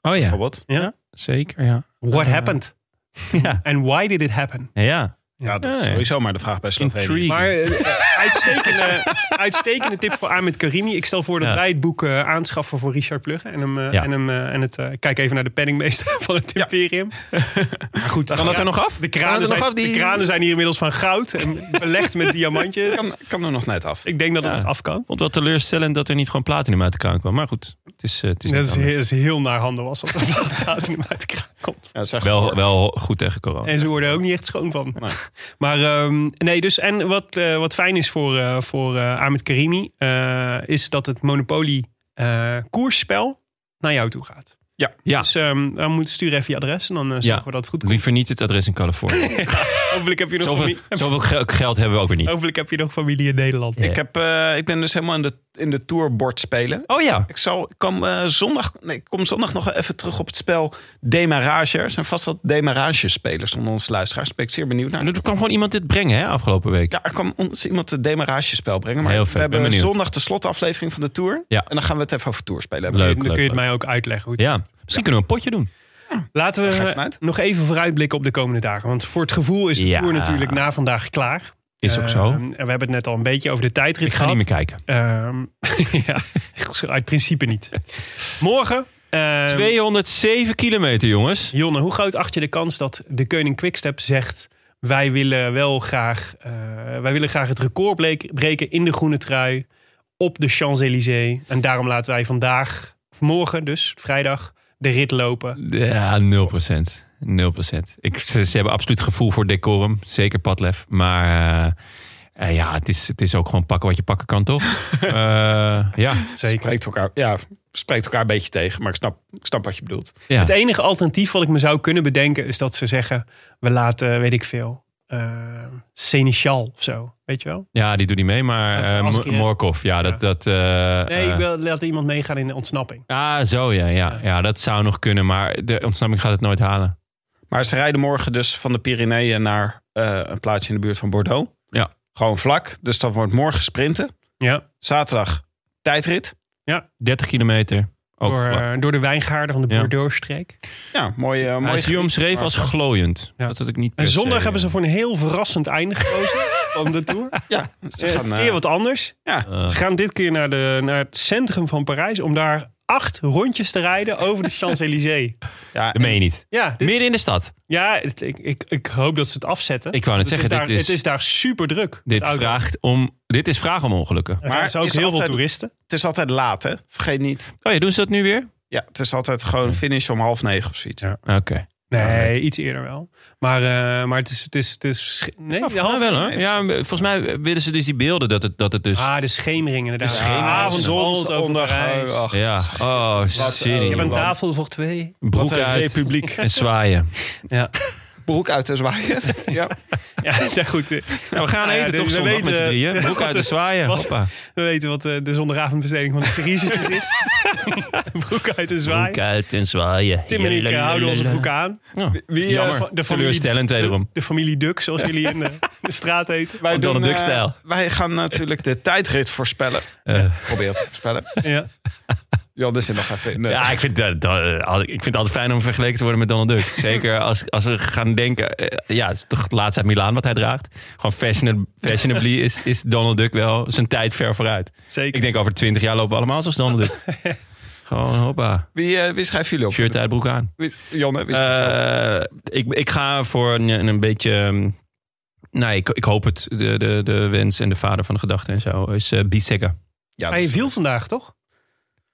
A: ja,
F: bijvoorbeeld.
A: zeker, ja.
B: What
A: Eh,
B: happened?
A: Ja,
B: And why did it happen?
A: ja.
F: Ja, dat is
A: Ja, ja.
F: sowieso maar de vraag bij Slovenië.
A: Intrigue.
B: Maar eh, uitstekende, uitstekende tip voor Ahmed Karimi. Ik stel voor dat
A: Ja.
B: wij het boek eh, aanschaffen voor Richard Plugge. En, hem, eh,
A: Ja.
B: en, hem, eh, en het, eh, kijk even naar de penningmeester van het imperium. Maar goed,
A: Kan dat
B: ja,
A: er nog af?
B: de
A: Kan dat
B: kranen,
A: er
B: zijn,
A: nog af? Die...
B: de kranen zijn hier inmiddels van goud en belegd met diamantjes.
F: Kan, kan er nog net af.
B: Ik denk dat het
A: Ja.
B: nog af kan.
A: Ik vond het wel teleurstellend dat er niet gewoon platinum uit de kraan kwam. Maar goed, het is, eh, het is
B: Dat
A: niet
B: is,
A: anders.
B: heel- is heel naar handen was dat er platinum uit de kraan komt.
F: Ja, zeg
A: wel, wel goed tegen corona.
B: En ze worden er ook niet echt schoon van.
F: Nee.
B: Maar ehm, nee, dus en wat, eh, wat fijn is voor, eh, voor eh, Ahmed Karimi, eh, is dat het Monopoly eh, koersspel naar jou toe gaat.
A: Ja,
B: Dus ehm dan moet stuur even je adres en dan eh, zorgen
A: Ja.
B: we dat het goed komt.
A: liever niet het adres in Californië.
B: Hopelijk heb je nog
A: Zoveel,
B: familie.
A: zoveel gel- geld hebben we ook weer niet.
B: Hopelijk heb je nog familie in Nederland.
A: Ja.
B: Ja.
F: Ik, heb, eh, ik ben dus helemaal in de, in de tourbord spelen.
A: Oh ja,
F: Ik, zal, ik, kom, eh, zondag, nee, ik kom zondag nog even terug op het spel Demarage. Er zijn vast wat Demarage-spelers onder onze luisteraars. Daar ben ik zeer benieuwd naar.
A: Nou, er kwam gewoon iemand dit brengen hè, afgelopen week.
F: Ja, er kwam ons iemand het demarage-spel brengen. Maar
A: Heel vet,
F: we
A: ben
F: hebben
A: benieuwd.
F: zondag de slotaflevering van de Tour.
A: Ja.
F: En dan gaan we het even over Tour spelen.
A: Leuk.
B: dan kun je het mij ook uitleggen. Hoe het-
A: Ja, misschien kunnen we een potje doen.
B: Laten we
F: Daar ga ik
B: eh,
F: vanuit.
B: nog even vooruitblikken op de komende dagen. Want voor het gevoel is de
A: Ja.
B: tour natuurlijk na vandaag klaar.
A: Is ook zo.
B: Ehm, en we hebben het net al een beetje over de tijdrit
A: Ik ga niet
B: gehad.
A: meer kijken.
B: Ehm, ja, zo uit principe niet. Morgen. ehm,
A: 207 kilometer, jongens.
B: Jonne, hoe groot acht je de kans dat de koning Quickstep zegt... wij willen wel graag, eh, wij willen graag het record bleek- breken in de groene trui... op de Champs-Élysées. En daarom laten wij vandaag, of morgen dus, vrijdag, de rit lopen.
A: Ja, 0 procent. 0 Ik, ze, ze hebben absoluut gevoel voor decorum. Zeker padlef. Maar eh, eh, ja, het is, het is ook gewoon pakken wat je pakken kan, toch? Eh, ja,
F: Spreekt elkaar, ja, spreekt elkaar een beetje tegen. Maar ik snap, ik snap wat je bedoelt.
A: ja.
B: Het e- enige alternatief wat ik me zou kunnen bedenken... is dat ze zeggen, we laten, weet ik veel... eh Seneschal of zo, weet je wel?
A: ja, die doet niet mee. Maar
B: Even
A: eh, Mo-
B: Askeren.
A: Morkov, ja, dat... dat eh,
B: Nee, ik
A: eh,
B: wil laten iemand meegaan in de ontsnapping.
A: Ah, zo ja, ja. Ja, dat zou nog kunnen. Maar de ontsnapping gaat het nooit halen.
F: Maar ze rijden morgen dus van de Pyreneeën naar eh, een plaatsje in de buurt van Bordeaux.
A: Ja.
F: Gewoon vlak. Dus dat wordt morgen sprinten.
B: Ja,
F: Zaterdag tijdrit.
A: 30 kilometer. Ook
B: door,
A: vlak.
B: eh, door de wijngaarden van de
A: Ja.
B: Bordeaux-streek.
F: Ja, mooi. eh, mooi
A: Hij is hier omschreven als glooiend.
B: Ja.
A: Dat had ik niet per
B: En zondag
A: se,
B: hebben ze
A: eh,
B: voor een heel verrassend einde gekozen van de Tour.
F: Ja, ze
B: Eh,
F: gaan, eh,
B: keer wat anders.
F: ja.
A: eh,
B: Ze gaan dit keer naar, de, naar het centrum van Parijs om daar acht rondjes te rijden over de Champs-Élysées.
F: ja,
A: dat meen je niet.
B: Ja, dit-
A: Midden in de stad.
B: ja het- ik, ik, ik hoop dat ze het afzetten.
A: Ik wou net
B: het, is
A: zeggen,
B: daar,
A: dit is,
B: het is daar super druk.
A: dit vraagt om, dit is vraag om ongelukken.
B: Maar er zijn ook
F: is
B: heel
F: altijd-
B: veel toeristen.
F: Het is altijd laat, hè? Vergeet niet.
A: Oh ja, doen ze dat nu weer?
F: Ja, het is altijd gewoon finish om half negen of zoiets.
B: Ja.
A: Oké.
B: Nee, iets eerder wel. Maar, eh, maar het is... Het is, het is sch- nee,
A: Ja, volgens mij Ah, wel hoor. Ja, volgens mij willen ze dus die beelden dat het, dat het dus...
B: Ah, de schemering inderdaad.
A: De schemering.
F: Ah,
B: Avondzon over Parijs.
F: Ach,
A: ja, oh,
B: Je hebt
A: serie.
B: eh, een tafel voor twee.
A: Broek
F: wat een
A: uit
F: republiek.
A: en zwaaien.
B: Ja,
F: broek uit te zwaaien. ja.
B: ja, ja goed. eh,
A: Nou, we gaan
B: Nou ja,
A: eten
B: dus
A: toch
B: we
A: zondag
B: weten-
A: met z'n drieën. Broek
B: Wat
A: uit de
B: een-
A: zwaaien.
B: wat-
A: Hoppa.
B: We weten wat eh, de zondagavondbesteding van de seriezetjes is. broek uit de
A: Broek
B: zwaai.
A: uit en zwaaien.
B: Tim en ik eh, houden onze broek aan.
A: Ja,
F: Wie, eh,
A: jammer.
B: de familie-
A: Teleurstellend wederom.
B: De familie Duk, zoals jullie in de, de straat heten.
F: Wij,
A: Donald
F: doen,
A: Duck
F: eh,
A: stijl.
F: wij gaan natuurlijk de tijdrit voorspellen.
A: Eh.
F: Probeer te voorspellen.
B: Ja.
F: Jan, dit zit nog even in. Nee.
A: Ja, ik vind, dat, dat- al- ik vind het altijd fijn om vergeleken te worden met Donald Duck. Zeker als, als we gaan denken... eh, ja, het is toch het laatste uit Milaan wat hij draagt. Gewoon fashion- fashionably is, is Donald Duck wel zijn tijd ver vooruit.
B: Zeker.
A: Ik denk over twintig jaar lopen we allemaal zoals Donald Duck. Gewoon hoppa,
F: Wie, eh, wie schrijven jullie op?
A: shirt uit, broek aan.
F: Wie, Jonne, wie schrijf je op?
A: Eh, ik, ik ga voor een, een beetje... ehm, Nee, ik, ik hoop het. De, de, de wens en de vader van de gedachte en zo is eh Bissegger.
F: Ja,
B: Hij
F: dus-
B: viel vandaag, toch?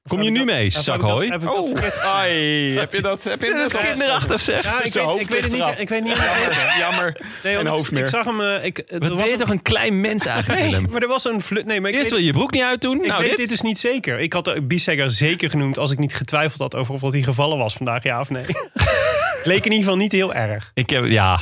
A: Kom je nu mee, zakhooi?
B: Oh.
F: Oh, ai, heb je dat? Heb je
A: Dit is
F: dat
A: kinderachtig zeg.
B: Ja, ik,
F: Zijn
B: weet,
F: hoofd
B: ik weet het
F: ligt
B: niet.
F: eraf.
B: Ik weet niet. Jammer.
F: Jammer.
B: Nee,
F: Geen
B: want
F: hoofd
B: ik,
F: meer.
B: ik zag hem. eh, Ik, er
A: Wat ben
B: was
A: je
B: een-
A: toch een klein mens eigenlijk,
B: Nee,
A: Willem?
B: maar er was een flut. Nee, maar ik
A: Eerst wil
B: weet,
A: je je broek niet uitdoen.
B: ik
A: nou,
B: weet
A: dit.
B: dit dus niet zeker. Ik had de Bissegger zeker genoemd als ik niet getwijfeld had over of wat hij gevallen was vandaag, ja of nee. Leek in ieder geval niet heel erg.
A: Ik heb, ja.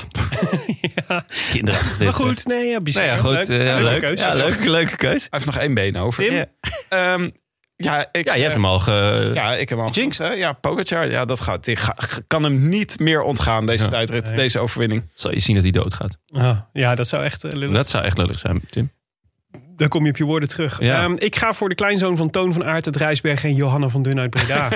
A: Kinderachtig dit.
B: Maar goed, nee, ja,
A: Nou ja,
B: Bissegger.
A: goed. eh,
B: leuk. Ja,
A: leuk.
B: leuke keuze.
A: Ja, leuk, leuke keus.
F: Hij heeft nog één been over.
B: Tim?
A: Ja.
F: Ehm, ja, ik, eh,
A: Ja, je hebt hem al ge...
F: Ja, ik heb hem al
A: Jinxed.
F: genoemd, hè? Ja, Pogacar, ja, dat gaat. Ik ga- kan hem niet meer ontgaan, deze
A: Ja.
F: tijdrit,
B: Nee.
F: deze overwinning.
A: Zal je zien dat hij doodgaat.
B: Ah, ja, dat zou echt. eh, lullig
A: Dat zou echt lullig zijn, Tim.
B: Dan kom je op je woorden terug.
A: Ja.
B: Ehm, ik ga voor de kleinzoon van Toon van Aert uit Rijsberg en Johanna van Dun uit Breda.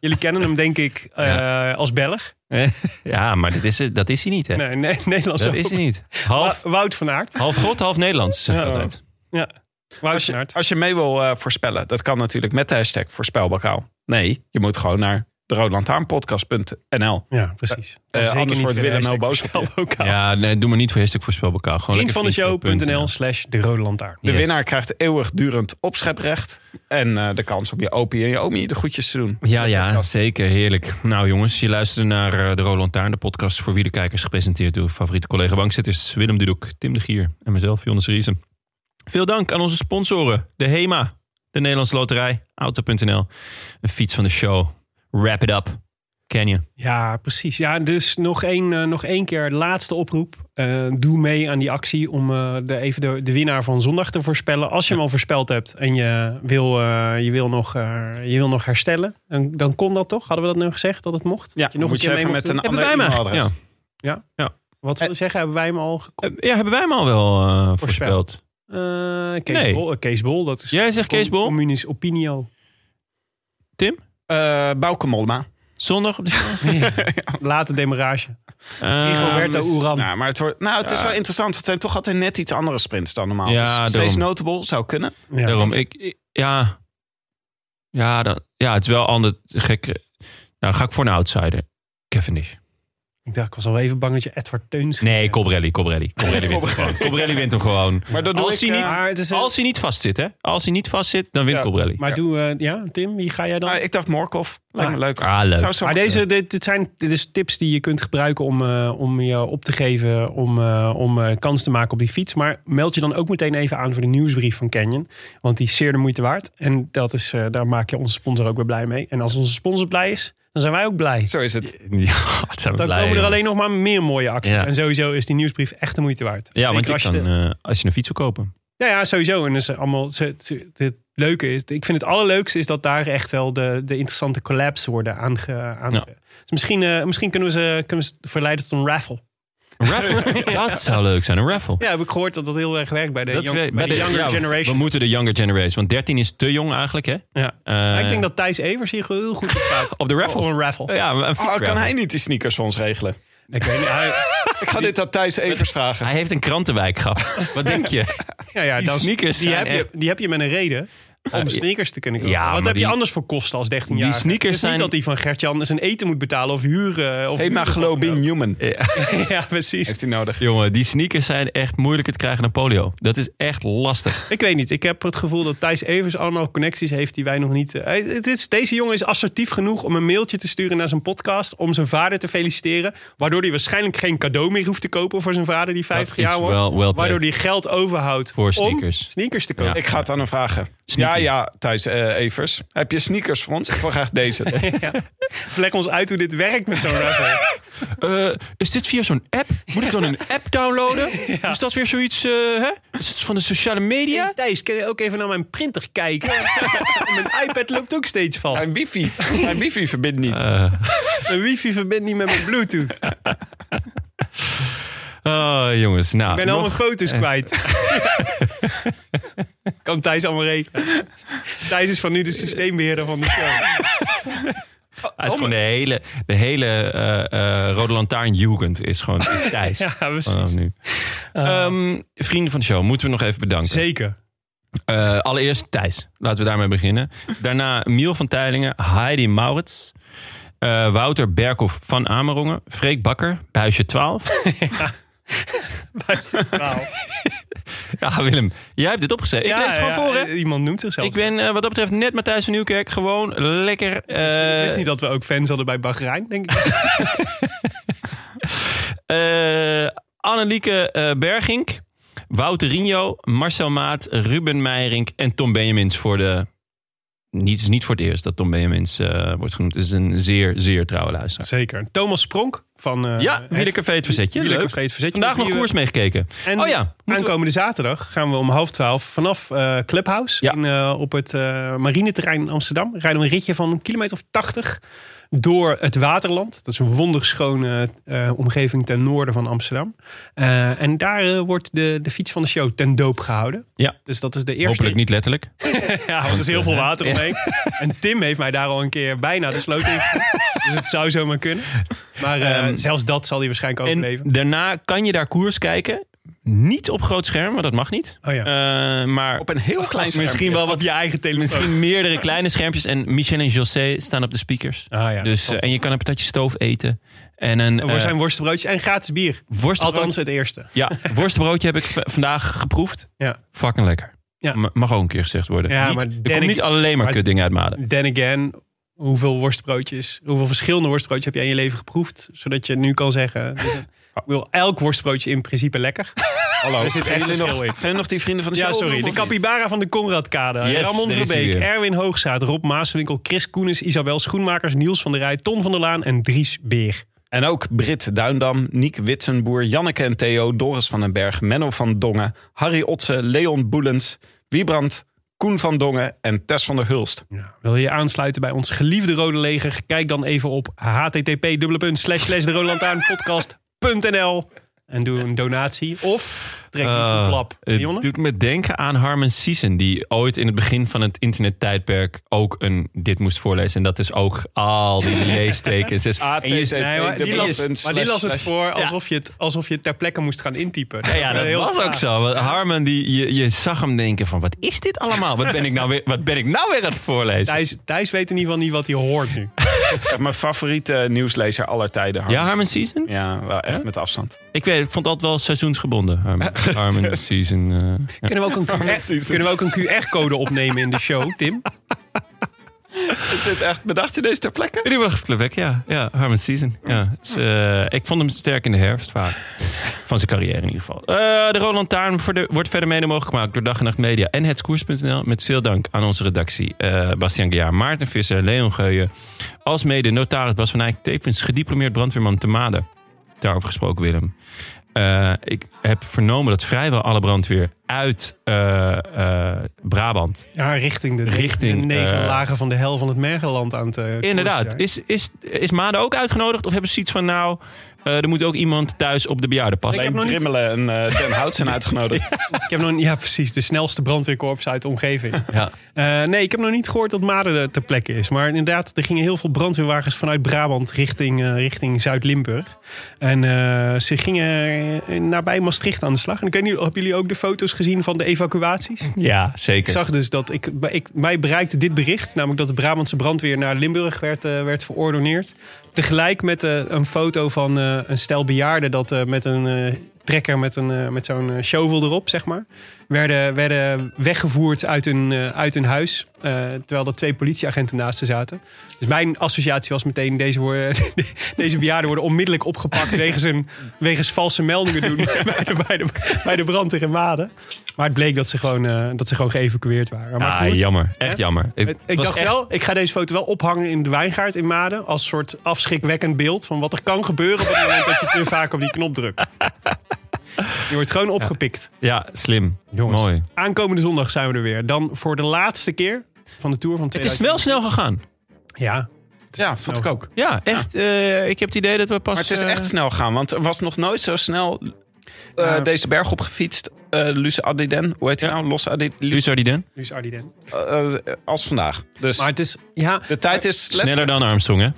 B: Jullie kennen hem denk ik eh, als Belg.
A: Eh, Ja, maar dit is, het- dat is hij niet, hè?
B: Nee, nee Nederlands
A: dat
B: ook.
A: is hij niet. Half,
B: Wa- Wout van Aert.
A: half God, half Nederlands, zeg ik
B: Ja.
A: altijd.
B: Ja. Wout
F: Als
B: van
F: je,
B: Aert.
F: als je mee wil eh, voorspellen, dat kan natuurlijk met de hashtag voorspelbokaal. Nee, je moet gewoon naar de roodlantaarnpodcast.nl.
B: Ja, precies.
F: eh, anders wordt Willem heel boos op je.
B: Ook
A: Ja, nee, doe maar niet voor hashtag voorspelbokaal. Gewoon
B: Vriend
A: lekker
B: van de show.nl
A: vriendvandeshow.nl.
B: slash de rode lantaarn.
F: De
A: Yes.
F: winnaar krijgt eeuwigdurend opscheprecht en eh, de kans om je opie en je omi de goedjes te doen.
A: Ja, ja, zeker. Heerlijk. Nou jongens, je luisterde naar eh, De Roland Taarn, de podcast voor wie de kijkers gepresenteerd door favoriete collega bankzitters Willem Dudok, Tim de Gier en mezelf, Jonas Riesen. Veel dank aan onze sponsoren, de HEMA, de Nederlandse Loterij, Auto.nl, een fiets van de show, Wrap It Up, Canyon.
B: Ja, precies. Ja, dus nog één, eh, nog één keer de laatste oproep. Eh, doe mee aan die actie om eh, de, even de, de winnaar van zondag te voorspellen. Als je hem al voorspeld hebt en je wil, eh, je wil, nog, eh, je wil nog herstellen, dan, dan kon dat toch? Hadden we dat nu gezegd dat het mocht?
F: Ja,
B: dat je nog een keer mee
F: even
B: mocht
F: met een Eh,
B: doen?
A: Hebben
F: ander
A: wij hem
F: e-mailadres.
A: eigenlijk?
B: Wat wil je zeggen? Hebben wij hem al gekocht?
A: Eh, Ja, hebben wij hem al wel eh, voorspeld?
B: Eh Kees,
A: Nee.
B: Bol, eh, Kees Bol, dat is...
A: Jij zegt Kees Bol?
B: Communis Opinio.
F: Eh, Bauke Mollema.
A: Zondag op de show?
B: Late demarage.
A: Eh,
B: Rigoberto
F: dus-
B: Uran.
F: Nou, maar het, wordt, nou, het is wel interessant. Het zijn toch altijd net iets andere sprints dan normaal.
A: Ja,
F: dus
A: daarom.
F: steeds notable zou kunnen.
B: Ja.
A: Daarom, ik, ik- ja. Ja, dat, ja, het is wel ander gek. Nou, dan ga ik voor een outsider. Kevin Nish.
B: Ik dacht, ik was al even bang dat je Edward Teuns... ging
A: Nee,
B: zeggen.
A: Cobrelli, Cobrelli. Cobrelli wint hem gewoon. Cobrelli wint hem gewoon.
F: Maar dat doe
A: Als hij
F: ik, eh,
A: niet-
B: Maar het is een-
A: Als hij niet vastzit, hè? Als hij niet vastzit, dan wint
F: Ja.
A: Cobrelli.
B: Maar
F: Ja.
B: doe, eh, ja, Tim, wie ga jij dan?
F: Nou, ik dacht Morkov. Lijkt me
B: Ah.
F: leuk.
A: Ah, leuk.
F: Zou zo
B: maar deze, dit, dit zijn dit is tips die je kunt gebruiken om, eh, om je op te geven, om, eh, om eh, kans te maken op die fiets. Maar meld je dan ook meteen even aan voor de nieuwsbrief van Canyon. Want die is zeer de moeite waard. En dat is, eh, daar maak je onze sponsor ook weer blij mee. En als onze sponsor blij is, dan zijn wij ook blij.
F: Zo is het.
A: Ja, het zijn we blij,
B: Dan komen er
A: jongens.
B: alleen nog maar meer mooie acties.
A: Ja.
B: En sowieso is die nieuwsbrief echt de moeite waard.
A: Ja,
B: Zeker
A: want je
B: als je
A: kan,
B: de-
A: eh, als je een fiets wil kopen.
B: Ja, ja, sowieso. En dus allemaal, ze- ze- het leuke is, ik vind het allerleukste is dat daar echt wel de, de interessante collabs worden aange... aange
A: Ja.
B: Dus misschien, eh, misschien kunnen we ze kunnen we ze verleiden tot een raffle.
A: Een raffle. Dat zou leuk zijn, een raffle.
B: Ja, heb ik gehoord dat dat heel erg werkt bij de,
A: Dat
B: young-
A: we-
B: bij
A: bij
B: de younger
A: ja,
B: generation.
A: We moeten de younger generation. Want 13 is te jong eigenlijk, hè?
B: ja.
A: Eh,
B: Maar ik denk dat Thijs Evers hier heel goed op gaat.
A: Op de raffle.
B: Op een raffle.
A: Ja, een
F: Oh,
A: fietsraffle.
F: kan hij niet die sneakers voor ons regelen?
B: Ik weet niet, hij-
F: Ik ga dit aan Thijs Evers vragen.
A: Hij heeft een krantenwijkgrap. Wat denk je?
B: Nou ja, ja,
A: Die
B: dan-
A: sneakers
B: die
A: zijn
B: heb,
A: echt- Eh,
B: je, die heb je met een reden. om sneakers te kunnen kopen.
A: Ja,
B: Wat
A: maar
B: heb je
A: die-
B: anders voor kosten als 13 jaar?
A: die sneakers
B: het is
A: zijn-
B: niet dat die van Gertjan zijn eten moet betalen of huren. eh, Of
F: Hemaglobin
B: Of
F: Newman
B: wat dan ook. Ja, precies.
F: heeft hij nodig.
A: Jongen, die sneakers zijn echt moeilijk te krijgen naar polio. Dat is echt lastig.
B: Ik weet niet. Ik heb het gevoel dat Thijs Evers allemaal connecties heeft die wij nog niet. eh, hij- het is, deze jongen is assertief genoeg om een mailtje te sturen naar zijn podcast. om zijn vader te feliciteren. Waardoor hij waarschijnlijk geen cadeau meer hoeft te kopen voor zijn vader die 50
A: is
B: jaar wordt.
A: wel- wel played.
B: waardoor hij geld overhoudt
A: Voor
B: om
A: sneakers.
B: sneakers te kopen.
F: Ik ga het aan hem vragen.
A: Sneaky.
F: Ja, ja, Thijs eh, Evers. Heb je sneakers voor ons? Ik wil graag deze.
B: Vlek ons uit hoe dit werkt met zo'n raffel.
A: Eh, is dit via zo'n app? Moet ik dan een app downloaden? Is dat weer zoiets eh, hè? Is het van de sociale media?
B: Hey, Thijs, kun je ook even naar mijn printer kijken? mijn iPad loopt ook steeds vast.
F: Mijn wifi. Mijn wifi verbindt niet.
B: Mijn wifi verbindt niet met mijn Bluetooth. Ik
A: Oh, jongens. Nou,
B: ben al mijn
A: nog,
B: foto's kwijt. kan Thijs allemaal rekenen. Thijs is van nu de systeembeheerder van de show.
A: hij is gewoon de hele, de hele eh, eh, Rode Lantaarn Jugend is gewoon is Thijs.
B: Ja, precies. Eh.
A: Vanaf nu. Ehm, vrienden van de show, moeten we nog even bedanken.
B: Zeker.
A: Eh, allereerst Thijs. Laten we daarmee beginnen. Daarna Miel van Teylingen, Heidi Maurits, eh, Wouter Berkhoff van Amerongen, Freek Bakker, Buisje 12.
B: Wauw.
A: ja, Willem, jij hebt dit opgezet. Ik lees het gewoon voor, hè?
B: eh, Iemand noemt zichzelf.
A: Ik ben eh, wat dat betreft net Matthijs van Nieuwkerk. Gewoon lekker. eh,
B: ik wist niet dat we ook fans hadden bij Bahrein, denk ik.
A: Eh, Annelieke eh, Bergink, Wouter Rinjo, Marcel Maat, Ruben Meijering en Tom Benjamins voor de... Niet, het is niet voor het eerst dat Tom Benjamins eh, wordt genoemd. Het is een zeer, zeer trouwe luisteraar.
B: Zeker. Thomas Spronk van... eh,
A: Ja, Wielercafé Het Verzetje.
B: Wielercafé
A: Leuk.
B: Het Verzetje.
A: Vandaag
B: Met
A: nog
B: wie we-
A: koers meegekeken.
B: En
A: oh ja, moeten we-
B: aankomende zaterdag gaan we om half twaalf vanaf eh, Clubhouse
A: Ja.
B: in, eh, op het eh, marineterrein in Amsterdam. Rijden we een ritje van een kilometer of tachtig door het Waterland. Dat is een wonderschone eh, omgeving ten noorden van Amsterdam. Eh, en daar eh, wordt de, de fiets van de show ten doop gehouden.
A: Ja.
B: Dus dat is de eerste.
A: hopelijk niet letterlijk.
B: Ja, want er is heel veel water omheen. En Tim heeft mij daar al een keer bijna de sloot in. gegooid. dus het zou zomaar kunnen. Maar eh,
A: Ehm,
B: zelfs dat zal hij
A: En
B: waarschijnlijk overleven.
A: daarna kan je daar koers kijken. Niet op groot scherm, want dat mag niet.
B: Oh ja.
A: Eh, maar
F: Op een heel klein scherm.
A: misschien wel wat
B: je eigen telefoon.
A: Misschien meerdere kleine schermpjes. En Michel en José staan op de speakers.
B: Ah ja,
A: dus,
B: dat
A: eh, en je kan een patatje stoof eten. En een
B: Er
A: eh,
B: zijn worstenbroodjes en gratis bier.
A: worstenbrood-
B: Althans, het eerste.
A: Ja, worstenbroodje heb ik v- vandaag geproefd.
B: Ja.
A: Fucking lekker.
B: Ja.
A: M- Mag ook een keer gezegd worden.
B: Ja,
A: niet,
B: maar
A: er
B: dan
A: komt
B: ik-
A: niet alleen maar
B: maar-
A: kutdingen uit Maden.
B: Then again, hoeveel worstbroodjes, hoeveel verschillende worstbroodjes heb jij in je leven geproefd? Zodat je nu kan zeggen, dus, eh, ik wil elk worstbroodje in principe lekker.
F: Hallo.
B: Er zit echt
F: jullie nog,
B: verschil in.
F: jullie nog die vrienden van de
B: Ja,
F: show?
B: sorry. De capybara van de Conradkade.
A: Yes,
B: Ramon
A: daar is hij
B: Verbeek,
A: weer.
B: Erwin Hoogzaad, Rob Maaswinkel, Chris Koenis, Isabel Schoenmakers, Niels van der Rij, Ton van der Laan en Dries Beer.
F: En ook Brit Duindam, Niek Witsenboer, Janneke en Theo, Doris van den Berg, Menno van Dongen, Harry Otse, Leon Boelens, Wiebrand, Koen van Dongen en Tess van der Hulst.
B: Ja, wil je je aansluiten bij ons geliefde Rode Leger? Kijk dan even op http://derodelantaarnpodcast.nl en doe een donatie of trek een
A: Eh,
B: klap.
A: het
B: Jonne?
A: doet me denken aan Harmon Siessen, die ooit in het begin van het internettijdperk ook een dit moest voorlezen. En dat is ook al die leestekens. Dus,
B: Ah,
A: en je-
F: ATT.
B: Nee, maar die,
F: dubbel
B: las,
F: punt,
B: maar die
F: slash,
B: las het
F: slash.
B: voor alsof je het, alsof je het ter plekke moest gaan intypen.
A: Ja, ja, dat
B: Heel
A: was
B: raar.
A: ook zo. Want Harmon, die, je, je zag hem denken van, wat is dit allemaal? Wat ben ik nou weer, wat ben ik nou weer aan het voorlezen?
B: Thijs, Thijs weet in ieder geval niet wat hij hoort nu.
F: Mijn favoriete nieuwslezer aller tijden. Harm.
A: Ja, Harmon Season?
F: Ja, wel echt met afstand.
A: Ik weet, ik vond altijd wel seizoensgebonden. Harmon, Harmon Season. eh, ja.
B: Kunnen we ook een, QR kunnen we ook een QR-code opnemen in de show, Tim?
F: Is dit echt, bedacht je deze ter plekke? Ah.
A: Die was Plebek, ja. Ja, Harmon Season. Ja, het is, eh, ik vond hem sterk in de herfst vaak. Van zijn carrière in ieder geval. Eh, de Roland Taarn voor de, wordt verder mede mogelijk gemaakt door Dag en Nacht Media en Hetskoers.nl. Met veel dank aan onze redactie. eh Bastiaan Gejaar, Maarten Visser, Leon Geuyen. Als mede notaris Bas van Eyck, tevens gediplomeerd brandweerman te Maden. Daarover gesproken, Willem. Eh, ik heb vernomen dat vrijwel alle brandweer uit eh, eh, Brabant
B: Ja, richting de,
A: Richting,
B: de negen
A: eh,
B: lagen van de hel van het Mergeland aan het... eh,
A: Inderdaad.
B: koersen zijn.
A: Is, is, is Maden ook uitgenodigd? Of hebben ze iets van, nou, eh, er moet ook iemand thuis op de bejaardenpas?
B: Ik heb
F: Alleen
B: nog niet-
F: Drimmelen en eh Den Hout zijn uitgenodigd.
B: Ik heb nog, niet- ja, precies. De snelste brandweerkorps uit de omgeving.
A: Ja.
B: Eh, nee, ik heb nog niet gehoord dat Maden er ter plekke is. Maar inderdaad, er gingen heel veel brandweerwagens vanuit Brabant richting, eh, richting Zuid-Limburg. En eh, ze gingen eh, nabij Maastricht aan de slag. En ik weet niet, hebben jullie ook de foto's gezien van de evacuaties?
A: Ja, zeker.
B: Ik zag dus dat ik, ik, mij bereikte dit bericht, namelijk dat de Brabantse brandweer naar Limburg werd, eh, werd verordoneerd. Tegelijk met eh, een foto van eh, een stel bejaarden dat eh, met een eh, trekker met, een, eh, met zo'n eh, shovel erop, zeg maar, werden, werden weggevoerd uit hun, eh, uit hun huis. eh, terwijl er twee politieagenten naast ze zaten. Dus mijn associatie was meteen, deze, worden, deze bejaarden worden onmiddellijk opgepakt wegens, een, wegens valse meldingen doen bij, de, bij, de, bij de brand tegen Maden. Maar het bleek dat ze gewoon, eh, dat ze gewoon geëvacueerd waren. Maar
A: ah,
B: goed,
A: jammer. Echt
B: Hè?
A: jammer.
B: het-
A: was
B: ik dacht
A: echt-
B: wel, ik ga deze foto wel ophangen in de wijngaard in Maden. Als soort afschrikwekkend beeld van wat er kan gebeuren op het moment dat je te vaak op die knop drukt. Je wordt gewoon opgepikt.
A: Ja, slim.
B: Jongens,
A: Mooi.
B: aankomende zondag zijn we er weer. Dan voor de laatste keer van de Tour van
A: Het is wel
B: 2000.
A: snel gegaan.
B: Ja,
F: Ja, vond ik ook.
A: Ja, echt. eh, ik heb het idee dat we pas...
F: Maar het is
A: eh,
F: echt snel gaan, want er was nog nooit zo snel eh,
B: Ja.
F: deze berg op gefietst. Eh Luce Adiden, hoe heet hij nou? Los Adiden, eh,
A: Luus Ardiden.
B: Luus Ardiden.
F: als vandaag. Dus
B: Maar het is, ja,
F: de tijd is letterlijk-
A: Sneller dan Armstrong, hè?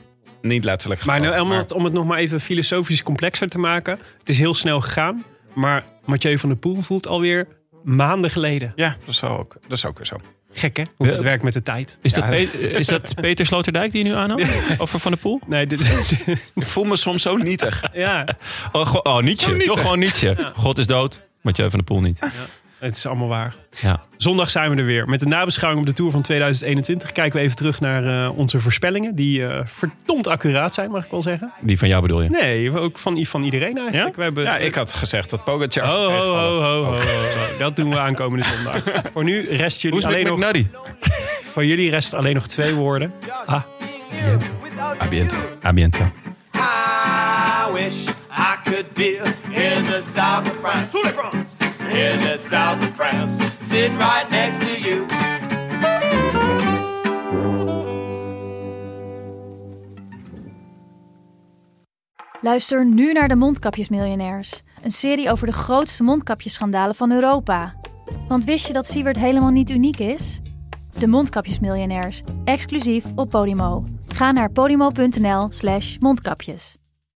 F: niet letterlijk.
B: Maar nou,
F: gevallen,
B: om, het, om het nog maar even filosofisch complexer te maken. Het is heel snel gegaan. Maar Mathieu van der Poel voelt alweer maanden geleden.
F: Ja, dat is, wel ook, dat is ook weer zo.
B: Gek hè? Hoe dat
A: Ja.
B: werkt met de tijd.
A: Is, dat, Pe- eh, is dat Peter Sloterdijk die je nu aanhoudt? Of Van de Poel?
B: Nee, dit,
F: Ik voel me soms zo nietig.
B: ja,
A: Oh, go- oh, Nietzsche. Toch gewoon Nietzsche. God is dood, Mathieu van de Poel niet.
B: het is allemaal waar.
A: Ja.
B: Zondag zijn we er weer. Met de nabeschouwing op de Tour van 2021 kijken we even terug naar eh, onze voorspellingen. Die eh, verdomd accuraat zijn, mag ik wel zeggen.
A: Die van jou bedoel je?
B: Nee, ook van, van iedereen eigenlijk.
A: Ja?
B: We hebben, Oh,
F: Ja, ik had gezegd dat Pogacar...
B: Ho,
F: zou
B: ho,
F: tegenvallen.
B: ho, ho, ho, ho. Dat doen we aankomende zondag. Voor nu rest
A: Hoe
B: jullie
A: is het
B: alleen
A: met
B: nog...
A: McNuddy?
B: Voor jullie rest alleen nog twee woorden.
A: Abiento. Abiento.
E: I wish I could be in the south of France. In the south of France, sitting right next to you.
D: Luister nu naar de Mondkapjesmiljonairs. Een serie over de grootste mondkapjesschandalen van Europa. Want wist je dat Siewert helemaal niet uniek is? De Mondkapjesmiljonairs, exclusief op Podimo. Ga naar podimo.nl slash mondkapjes.